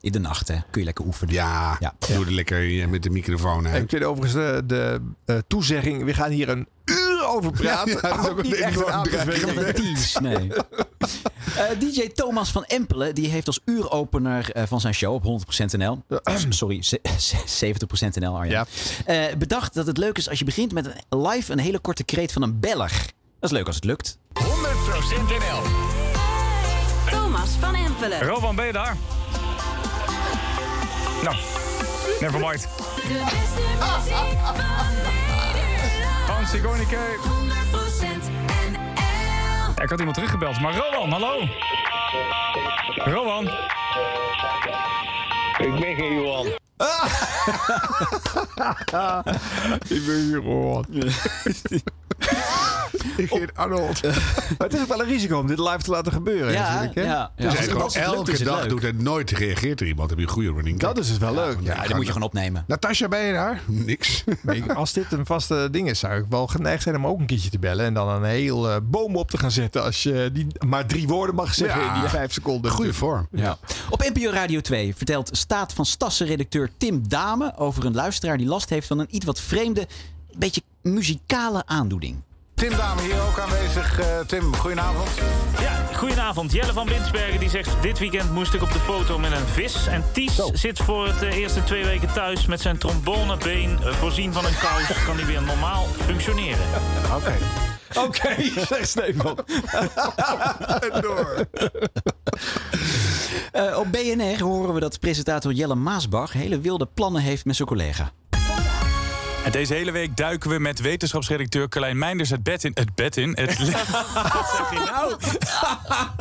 Speaker 3: In de nacht, hè? Kun je lekker oefenen.
Speaker 1: Ja, doe er lekker eh, met de microfoon uit.
Speaker 2: Ik vind overigens de, de eh, toezegging, we gaan hier een uur over praten. Oh,
Speaker 1: Ja, ja, dat is ook een
Speaker 2: niet echt
Speaker 1: enorm
Speaker 2: aanbeveling.
Speaker 1: dreigement.
Speaker 2: Nee.
Speaker 3: Tease, nee. Eh, DJ Thomas van Empelen die heeft als uuropener eh, van zijn show op 100% NL... sorry, ze- [LAUGHS] 70% NL, Arjan. Eh, bedacht dat het leuk is als je begint met een live een hele korte kreet van een beller. Dat is leuk als het lukt.
Speaker 14: 100% NL.
Speaker 16: Thomas van Empelen.
Speaker 14: Rowan, ben je daar? Nou, nevermind.
Speaker 4: De beste muziek van
Speaker 14: Van Sigourney
Speaker 4: 100% NL.
Speaker 14: Ja, Ik had iemand teruggebeld, maar Rowan, hallo. Rowan. Ik ben geen Johan.
Speaker 2: [LAUGHS]
Speaker 23: Ah!
Speaker 2: Ik oh. ben hier
Speaker 1: Oh,
Speaker 2: gewoon. [LAUGHS] Ik ben
Speaker 1: [LAUGHS]
Speaker 2: Arnold. Maar het is ook wel een risico om dit live te laten gebeuren.
Speaker 1: Ja,
Speaker 2: natuurlijk, hè?
Speaker 1: ja, ja. Dus hij gewoon elke dag doet en nooit reageert er iemand. Dan Heb je een goede running
Speaker 2: Dat is het wel leuk.
Speaker 1: Ja, die moet je gewoon [LAUGHS]
Speaker 3: opnemen.
Speaker 1: Natasja, ben je daar? Niks.
Speaker 2: als dit een vaste ding is, zou ik wel geneigd zijn om ook een keertje te bellen. En dan een heel eh, boom op te gaan zetten als je die maar drie woorden mag zeggen in die vijf seconden.
Speaker 1: Goede vorm.
Speaker 3: Ja. Op NPO Radio 2 vertelt staat van Stassen-redacteur Tim Dame over een luisteraar die last heeft van een iets wat vreemde, beetje muzikale
Speaker 2: [LAUGHS]
Speaker 3: aandoening.
Speaker 19: Tim Dame hier ook aanwezig. Eh, Tim, goedenavond.
Speaker 14: Ja, goedenavond. Jelle van Binsbergen die zegt... dit weekend moest ik op de foto met een vis. En Ties zit voor het eh, eerste twee weken thuis... met zijn trombonebeen eh, voorzien van een kous... kan hij weer normaal functioneren. Oké.
Speaker 2: Oké, zeg Stefan.
Speaker 1: door.
Speaker 3: Eh, op BNR horen we dat presentator Jelle Maasbach hele wilde plannen heeft met zijn collega.
Speaker 27: En deze hele week duiken we met wetenschapsredacteur Carlijn Meinders het bed in. Het bed in. Het,
Speaker 2: [LAUGHS]
Speaker 27: li- [LAUGHS]
Speaker 2: nou?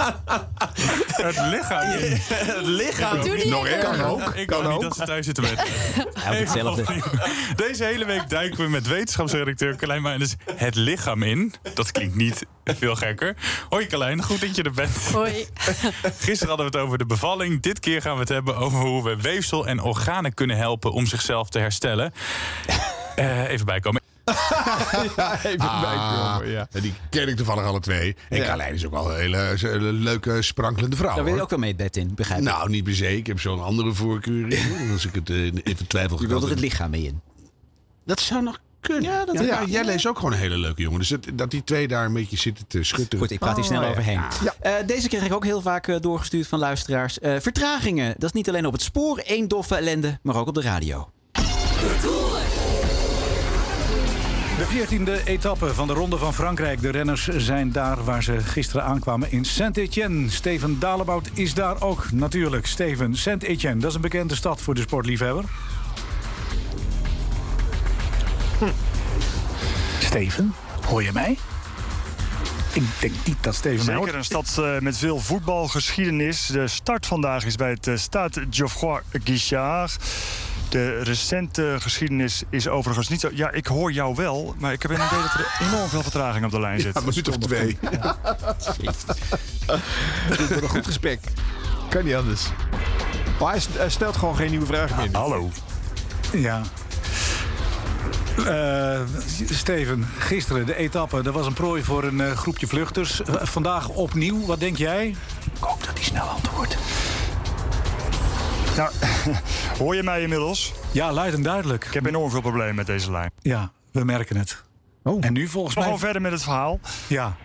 Speaker 27: het lichaam. in. het
Speaker 4: [LAUGHS] lichaam Doe die in.
Speaker 27: Nog
Speaker 4: even.
Speaker 27: kan
Speaker 4: Kan
Speaker 27: ook.
Speaker 4: ook.
Speaker 27: Ik kan niet dat ze thuis zitten met.
Speaker 4: Hij doet hetzelfde.
Speaker 27: Deze hele week duiken we met wetenschapsredacteur Carlijn Meinders het lichaam in. Dat klinkt niet veel gekker. Hoi Carlijn, goed dat je er bent.
Speaker 13: Hoi.
Speaker 27: Gisteren hadden we het over de bevalling. Dit keer gaan we het hebben over hoe we weefsel en organen kunnen helpen om zichzelf te herstellen. Eh, even bijkomen.
Speaker 2: ja, even
Speaker 1: bijkomen, Ah. ja. En die ken ik toevallig alle twee. En Carlijn is ook wel een hele, ze- hele leuke, sprankelende vrouw.
Speaker 3: Daar wil je
Speaker 1: hoor.
Speaker 3: ook wel mee het bed in, begrijp ik.
Speaker 1: Nou, niet per se. Ik heb zo'n andere voorkeur. in. Als ik het eh, even twijfel.
Speaker 3: je
Speaker 1: kan-
Speaker 3: wilde er het lichaam mee in. [LAUGHS] Dat zou nog
Speaker 1: kunnen. Ja,
Speaker 3: dat
Speaker 1: ja,
Speaker 3: is-
Speaker 1: ja,
Speaker 3: ja.
Speaker 1: jij leest ook gewoon een hele leuke jongen. Dus het- dat die twee daar een beetje zitten te schutteren.
Speaker 3: Goed, ik praat hier
Speaker 2: Oh,
Speaker 3: snel overheen. Eh, deze kreeg ik ook heel vaak eh, doorgestuurd van luisteraars. Eh, vertragingen, dat is niet alleen op het spoor één doffe ellende, maar ook op de radio.
Speaker 24: De 14e etappe van de Ronde van Frankrijk. De renners zijn daar waar ze gisteren aankwamen in Saint-Étienne. Steven Dalebout is daar ook natuurlijk. Steven, Saint-Étienne, dat is een bekende stad voor de sportliefhebber. Steven, hoor je mij? Ik denk niet dat Steven mij
Speaker 7: Zeker een stad eh, met veel voetbalgeschiedenis. De start vandaag is bij het eh, Stade Geoffroy Guichard. De recente geschiedenis is overigens niet zo... Ja, ik hoor jou wel, maar ik heb het idee dat er enorm veel vertraging op de lijn zit.
Speaker 1: Ja, minuut of twee.
Speaker 2: Dit wordt een goed gesprek. Kan niet anders. Maar hij st- hij stelt gewoon geen nieuwe vragen meer.
Speaker 7: hallo.
Speaker 24: Ja. Eh, Steven, gisteren de etappe, dat was een prooi voor een eh, groepje vluchters. Eh, vandaag opnieuw, wat denk jij? Ik hoop dat hij snel antwoordt.
Speaker 7: Nou, [LAUGHS] hoor je mij inmiddels?
Speaker 24: Ja, luid en duidelijk. Ik
Speaker 7: heb enorm veel problemen met deze lijn.
Speaker 24: Ja, we merken het. En nu volgens
Speaker 7: Maar
Speaker 24: mij...
Speaker 7: gewoon verder met het verhaal.
Speaker 24: Ja.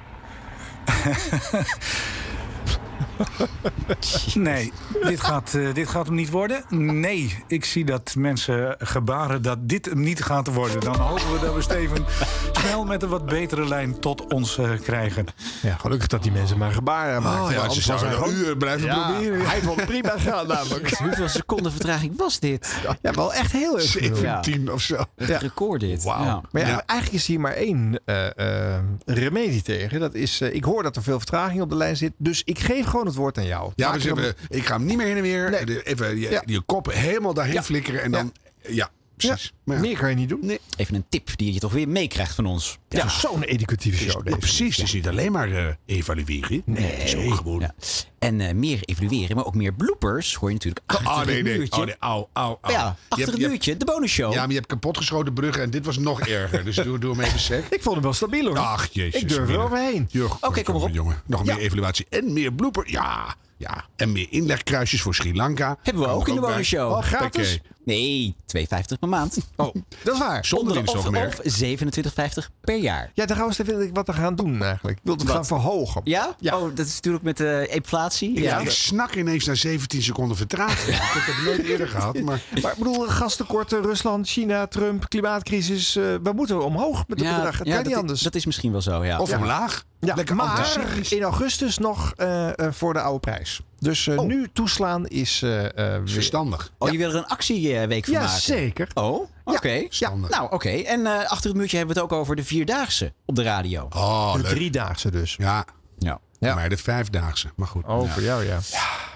Speaker 24: nee, dit gaat, eh, dit gaat hem niet worden. Nee, ik zie dat mensen gebaren dat dit hem niet gaat worden. Dan hopen we dat we Steven snel met een wat betere lijn tot ons eh, krijgen.
Speaker 2: Ja, gelukkig dat die mensen maar gebaren maken.
Speaker 1: Oh, ja, ze zouden een uur blijven proberen.
Speaker 2: Hij vond het prima gaan namelijk.
Speaker 3: Dus Hoeveel seconden vertraging was dit?
Speaker 2: Ja, wel echt heel erg veel.
Speaker 1: 17 of zo.
Speaker 3: Het record dit. Ja.
Speaker 2: Maar ja, eigenlijk is hier maar één eh, eh, remedie tegen. Dat is, eh, ik hoor dat er veel vertraging op de lijn zit. Dus ik geef gewoon het woord aan jou.
Speaker 1: Ja,
Speaker 2: Maak
Speaker 1: dus
Speaker 2: er
Speaker 1: even,
Speaker 2: een-
Speaker 1: ik ga hem niet meer heen en weer. De- Even je,
Speaker 2: Ja.
Speaker 1: je kop helemaal daarheen flikkeren en dan... Ja, precies. Maar ja.
Speaker 2: Meer kan je niet doen. Nee.
Speaker 3: Even een tip die je toch weer meekrijgt van ons.
Speaker 1: Ja,
Speaker 3: Ja.
Speaker 2: zo'n educatieve
Speaker 1: show. precies, het is niet alleen maar eh, evalueren. Nee, het is ook gewoon...
Speaker 3: En eh, meer evalueren, maar ook meer bloopers hoor je natuurlijk achter
Speaker 1: Oh, nee,
Speaker 3: het
Speaker 1: nee.
Speaker 3: muurtje.
Speaker 1: Oh, nee. Au, au, au.
Speaker 3: Ja, achter het muurtje, de bonusshow.
Speaker 1: Ja, maar je hebt kapotgeschoten bruggen en dit was nog erger. Dus doe, doe hem even sec.
Speaker 2: [LAUGHS] Ik vond hem wel stabiel hoor.
Speaker 1: Ach, jezus.
Speaker 2: Ik durf er
Speaker 1: Mina.
Speaker 2: overheen.
Speaker 1: Jurg,
Speaker 2: Oké, kom maar op.
Speaker 1: Jongen, nog meer evaluatie en meer blooper. Ja, ja. En meer inlegkruisjes voor Sri Lanka.
Speaker 3: Hebben we
Speaker 1: Kan
Speaker 3: ook
Speaker 1: er
Speaker 3: in de
Speaker 1: bij.
Speaker 3: bonusshow.
Speaker 1: Hoppakee.
Speaker 3: Nee, 2,50 per maand.
Speaker 2: Oh, dat is waar.
Speaker 1: Zonder
Speaker 3: of,
Speaker 1: dienstopmerk.
Speaker 3: of 27,50 per jaar.
Speaker 2: Ja, daar gaan we eens even wat we gaan doen eigenlijk. Ik wil het
Speaker 3: Wat?
Speaker 2: gaan verhogen.
Speaker 3: Ja? Oh, dat is natuurlijk met eh, inflatie.
Speaker 1: Ik,
Speaker 3: ja.
Speaker 1: ik snak ineens naar 17 seconden vertraging. ik
Speaker 3: [LAUGHS]
Speaker 1: heb het nooit eerder gehad, maar...
Speaker 2: Maar ik bedoel, gastekorten, Rusland, China, Trump, klimaatcrisis. eh, we moeten omhoog met de
Speaker 3: Ja,
Speaker 2: bedrag. Het
Speaker 3: ja,
Speaker 2: kan
Speaker 3: dat
Speaker 2: niet
Speaker 3: i-
Speaker 2: anders.
Speaker 3: Dat is misschien wel zo, ja.
Speaker 1: Of
Speaker 2: Ja.
Speaker 1: omlaag.
Speaker 2: Ja,
Speaker 1: Lekker
Speaker 2: maar
Speaker 1: antiseptisch.
Speaker 2: in augustus nog eh, eh, voor de oude prijs. Dus eh, nu toeslaan is... eh, eh, weer-
Speaker 1: Oh. Verstandig.
Speaker 3: Oh, je wil er een actieweek van
Speaker 2: Ja,
Speaker 3: maken?
Speaker 2: zeker.
Speaker 3: Oh, oké. Nou, oké. En eh, achter het muurtje hebben we het ook over de Vierdaagse op de radio.
Speaker 1: Oh,
Speaker 2: De
Speaker 1: leuk.
Speaker 2: driedaagse dus.
Speaker 1: Ja.
Speaker 3: Ja.
Speaker 1: ja. Maar de vijfdaagse. Maar goed.
Speaker 2: Oh, voor jou ja.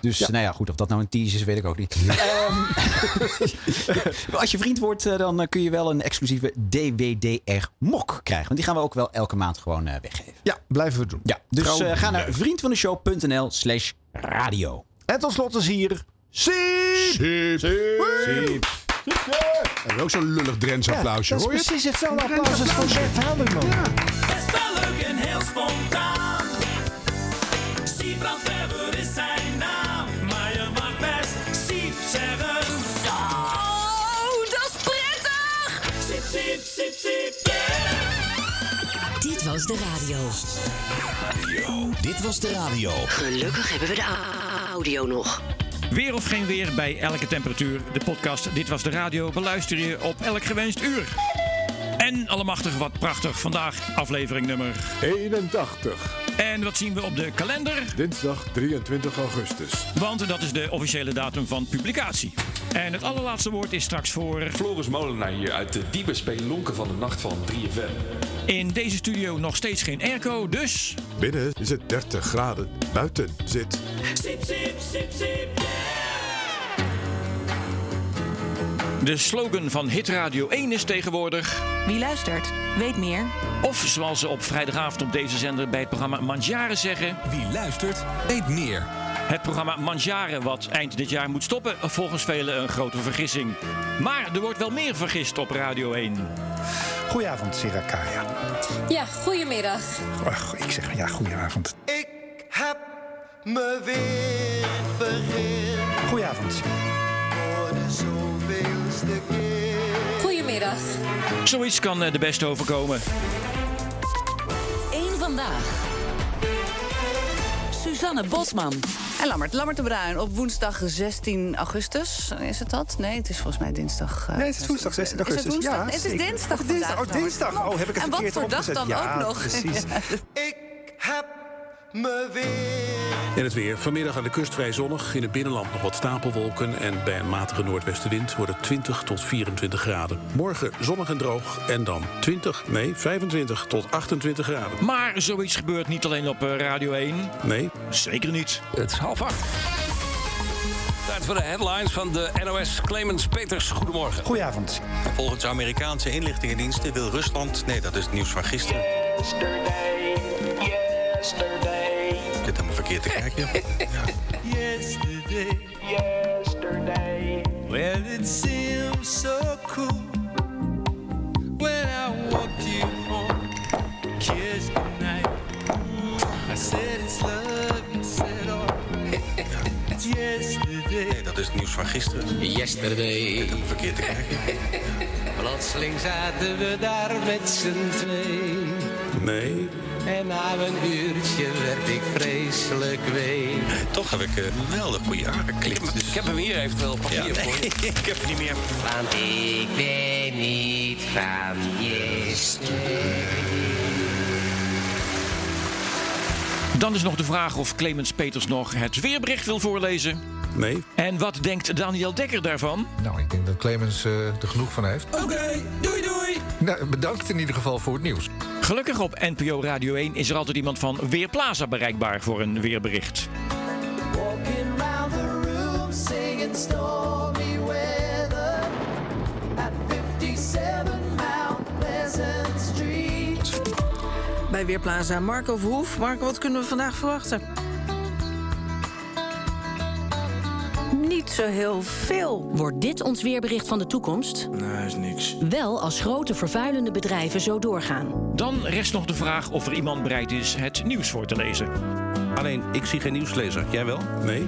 Speaker 3: Dus nou ja, goed, of dat nou een tease is, weet ik ook niet. Ehm, [LAUGHS] als je vriend wordt, eh, dan eh, kun je wel een exclusieve DWDR-mok krijgen. Want die gaan we ook wel elke maand gewoon eh, weggeven.
Speaker 2: Ja, blijven we doen.
Speaker 3: Ja, dus eh, ga naar
Speaker 2: leuk.
Speaker 3: vriendvandeshow.nl slash radio.
Speaker 2: En tot slot is hier... Siep!
Speaker 1: Siep!
Speaker 2: Siep!
Speaker 1: Hebben we ook zo'n lullig Drents applausje,
Speaker 2: dat is
Speaker 1: hoor je?
Speaker 2: precies hetzelfde applaus als van Bert Hamerman.
Speaker 6: Best wel leuk en heel spontaan. Siebrand Weber is zijn naam. Maar je mag best Siep zeggen. Oh, dat is prettig! Sip, sip, sip, sip,
Speaker 4: Dit was de radio.
Speaker 28: Dit was de radio.
Speaker 4: Gelukkig hebben we de a- audio nog.
Speaker 17: Weer of geen weer bij elke temperatuur. De podcast Dit Was De Radio beluister je op elk gewenst uur. En allemachtig wat prachtig. Vandaag aflevering nummer...
Speaker 5: 81.
Speaker 17: En wat zien we op de kalender?
Speaker 5: Dinsdag 23 augustus.
Speaker 17: Want dat is de officiële datum van publicatie. En het allerlaatste woord is straks voor...
Speaker 23: Floris Molenaar hier uit de diepe spelonken van de nacht van 3FM.
Speaker 17: In deze studio nog steeds geen airco, dus...
Speaker 5: Binnen is het 30 graden. Buiten zit
Speaker 6: sip, sip, sip, sip.
Speaker 17: De slogan van Hit Radio 1 is tegenwoordig...
Speaker 29: Wie luistert, weet meer.
Speaker 17: Of zoals ze op vrijdagavond op deze zender bij het programma Mangiare zeggen... Wie luistert, weet meer. Het programma Mangiare, wat eind dit jaar moet stoppen, volgens velen een grote vergissing. Maar er wordt wel meer vergist op Radio 1.
Speaker 5: Goedenavond, Sirakaya.
Speaker 23: Ja, goedemiddag.
Speaker 5: Ach, ik zeg ja, goedenavond.
Speaker 23: Ik heb me weer vergist.
Speaker 5: Goedenavond.
Speaker 23: Goedemiddag.
Speaker 30: Goedemiddag.
Speaker 17: Zoiets kan eh, de beste overkomen.
Speaker 30: Eén vandaag. Suzanne Bosman.
Speaker 31: En Lammert, Lammert de Bruin op woensdag 16 augustus. Is het dat? Nee, het is volgens mij dinsdag. eh,
Speaker 2: Nee, het is woensdag 16
Speaker 31: Is het
Speaker 2: augustus.
Speaker 31: woensdag?
Speaker 2: Ja,
Speaker 31: Nee, het is
Speaker 2: zeker.
Speaker 31: dinsdag
Speaker 2: Oh, dinsdag. Oh,
Speaker 31: vandaag,
Speaker 2: dinsdag.
Speaker 31: Lammert.
Speaker 2: Oh, heb ik het
Speaker 31: En wat
Speaker 2: verkeerd
Speaker 31: voor dag
Speaker 2: opgezet.
Speaker 31: dan
Speaker 2: ja,
Speaker 31: ook nog. [LAUGHS]
Speaker 2: precies.
Speaker 31: Ik heb
Speaker 6: me
Speaker 32: En het weer. Vanmiddag aan de kust vrij zonnig. In het binnenland nog wat stapelwolken. En bij een matige noordwestenwind wordt het 20 tot 24 graden. Morgen zonnig en droog. En dan 20, nee, 25 tot 28 graden.
Speaker 17: Maar zoiets gebeurt niet alleen op eh, Radio 1.
Speaker 32: Nee.
Speaker 17: Zeker niet.
Speaker 33: Het is half acht. Tijd voor de headlines van de NOS. Clemens Peters, goedemorgen.
Speaker 23: Goedenavond. Volgens Amerikaanse inlichtingendiensten wil Rusland... Nee, dat is het nieuws van gisteren.
Speaker 6: Yesterday, yesterday,
Speaker 23: Ik zit helemaal verkeerd te kijken.
Speaker 6: yesterday, yesterday. Well, it seemed so cool when I walked you home, kissed goodnight. I said it's love, you said alright. It's yesterday.
Speaker 23: Nee, dat is het nieuws van gisteren. Yesterday. Ik zit helemaal verkeerd te kijken.
Speaker 6: [LAUGHS] Plotseling zaten we daar met z'n tweeën.
Speaker 32: Nee.
Speaker 6: En na een uurtje werd ik vreselijk wee.
Speaker 23: Toch heb ik eh, wel een goede aangeklikt. Dus... Ik heb hem hier eventueel op papier voor. [LAUGHS] ik heb hem niet meer.
Speaker 6: Want ik ben niet van yesterday.
Speaker 17: Dan is nog de vraag of Clemens Peters nog het weerbericht wil voorlezen.
Speaker 32: Nee.
Speaker 17: En wat denkt Daniel Dekker daarvan?
Speaker 24: Nou, ik denk dat Clemens eh, er genoeg van heeft.
Speaker 17: Oké, doei doei!
Speaker 24: Nou, bedankt in ieder geval voor het nieuws.
Speaker 17: Gelukkig op NPO Radio 1 is er altijd iemand van Weerplaza bereikbaar voor een
Speaker 6: [LAUGHS]
Speaker 17: weerbericht.
Speaker 6: Walking round the room singing stormy weather at 57 Mount Pleasant Street.
Speaker 34: Bij Weerplaza Marco Verhoef. Marco, wat kunnen we vandaag verwachten?
Speaker 35: Niet zo heel veel. Wordt dit ons weerbericht van de toekomst?
Speaker 17: Nee, is niks.
Speaker 35: Wel als grote vervuilende bedrijven zo doorgaan.
Speaker 17: Dan rest nog de vraag of er iemand bereid is het nieuws voor te lezen.
Speaker 23: Alleen, ik zie geen nieuwslezer. Jij wel?
Speaker 32: Nee.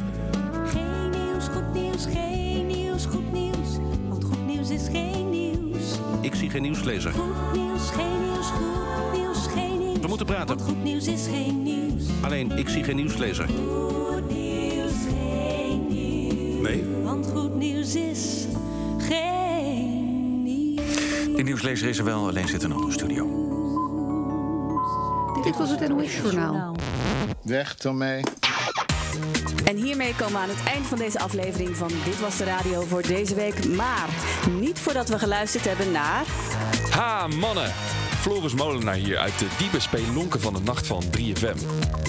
Speaker 30: Geen nieuws, goed nieuws, geen nieuws, goed nieuws. Want goed nieuws is geen nieuws.
Speaker 23: Ik zie geen nieuwslezer.
Speaker 30: Goed nieuws, geen nieuws, goed nieuws, geen nieuws.
Speaker 23: We moeten praten.
Speaker 30: Want goed nieuws is geen nieuws.
Speaker 23: Alleen, ik zie geen nieuwslezer.
Speaker 30: Goed nieuws, geen nieuws.
Speaker 23: Nee.
Speaker 30: Want goed nieuws is geen
Speaker 23: Die nieuwslezer is er wel, alleen zit in een andere studio.
Speaker 36: Dit was het NOS Journaal.
Speaker 35: Weg ermee.
Speaker 37: En hiermee komen we aan het eind van deze aflevering van Dit Was De Radio voor deze week. Maar niet voordat we geluisterd hebben naar...
Speaker 20: Ha, mannen! Floris Molenaar hier uit de diepe spelonken van de nacht van 3FM.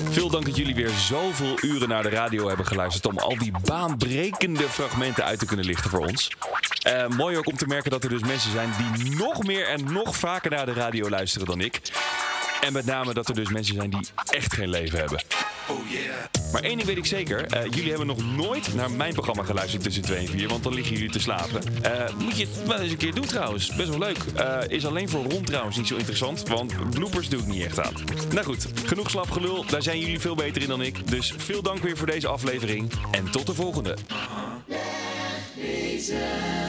Speaker 20: Veel dank dat jullie weer zoveel uren naar de radio hebben geluisterd... om al die baanbrekende fragmenten uit te kunnen lichten voor ons. Eh, mooi ook om te merken dat er dus mensen zijn die nog meer en nog vaker naar de radio luisteren dan ik. En met name dat er dus mensen zijn die echt geen leven hebben. Maar één ding weet ik zeker. eh, jullie hebben nog nooit naar mijn programma geluisterd tussen 2 en 4. Want dan liggen jullie te slapen. Eh, moet je het wel eens een keer doen trouwens. Best wel leuk. Eh, is alleen voor rond trouwens niet zo interessant. Want bloopers doe ik niet echt aan. Nou goed, genoeg slapgelul. Daar zijn jullie veel beter in dan ik. Dus veel dank weer voor deze aflevering. En tot de volgende.
Speaker 6: Deze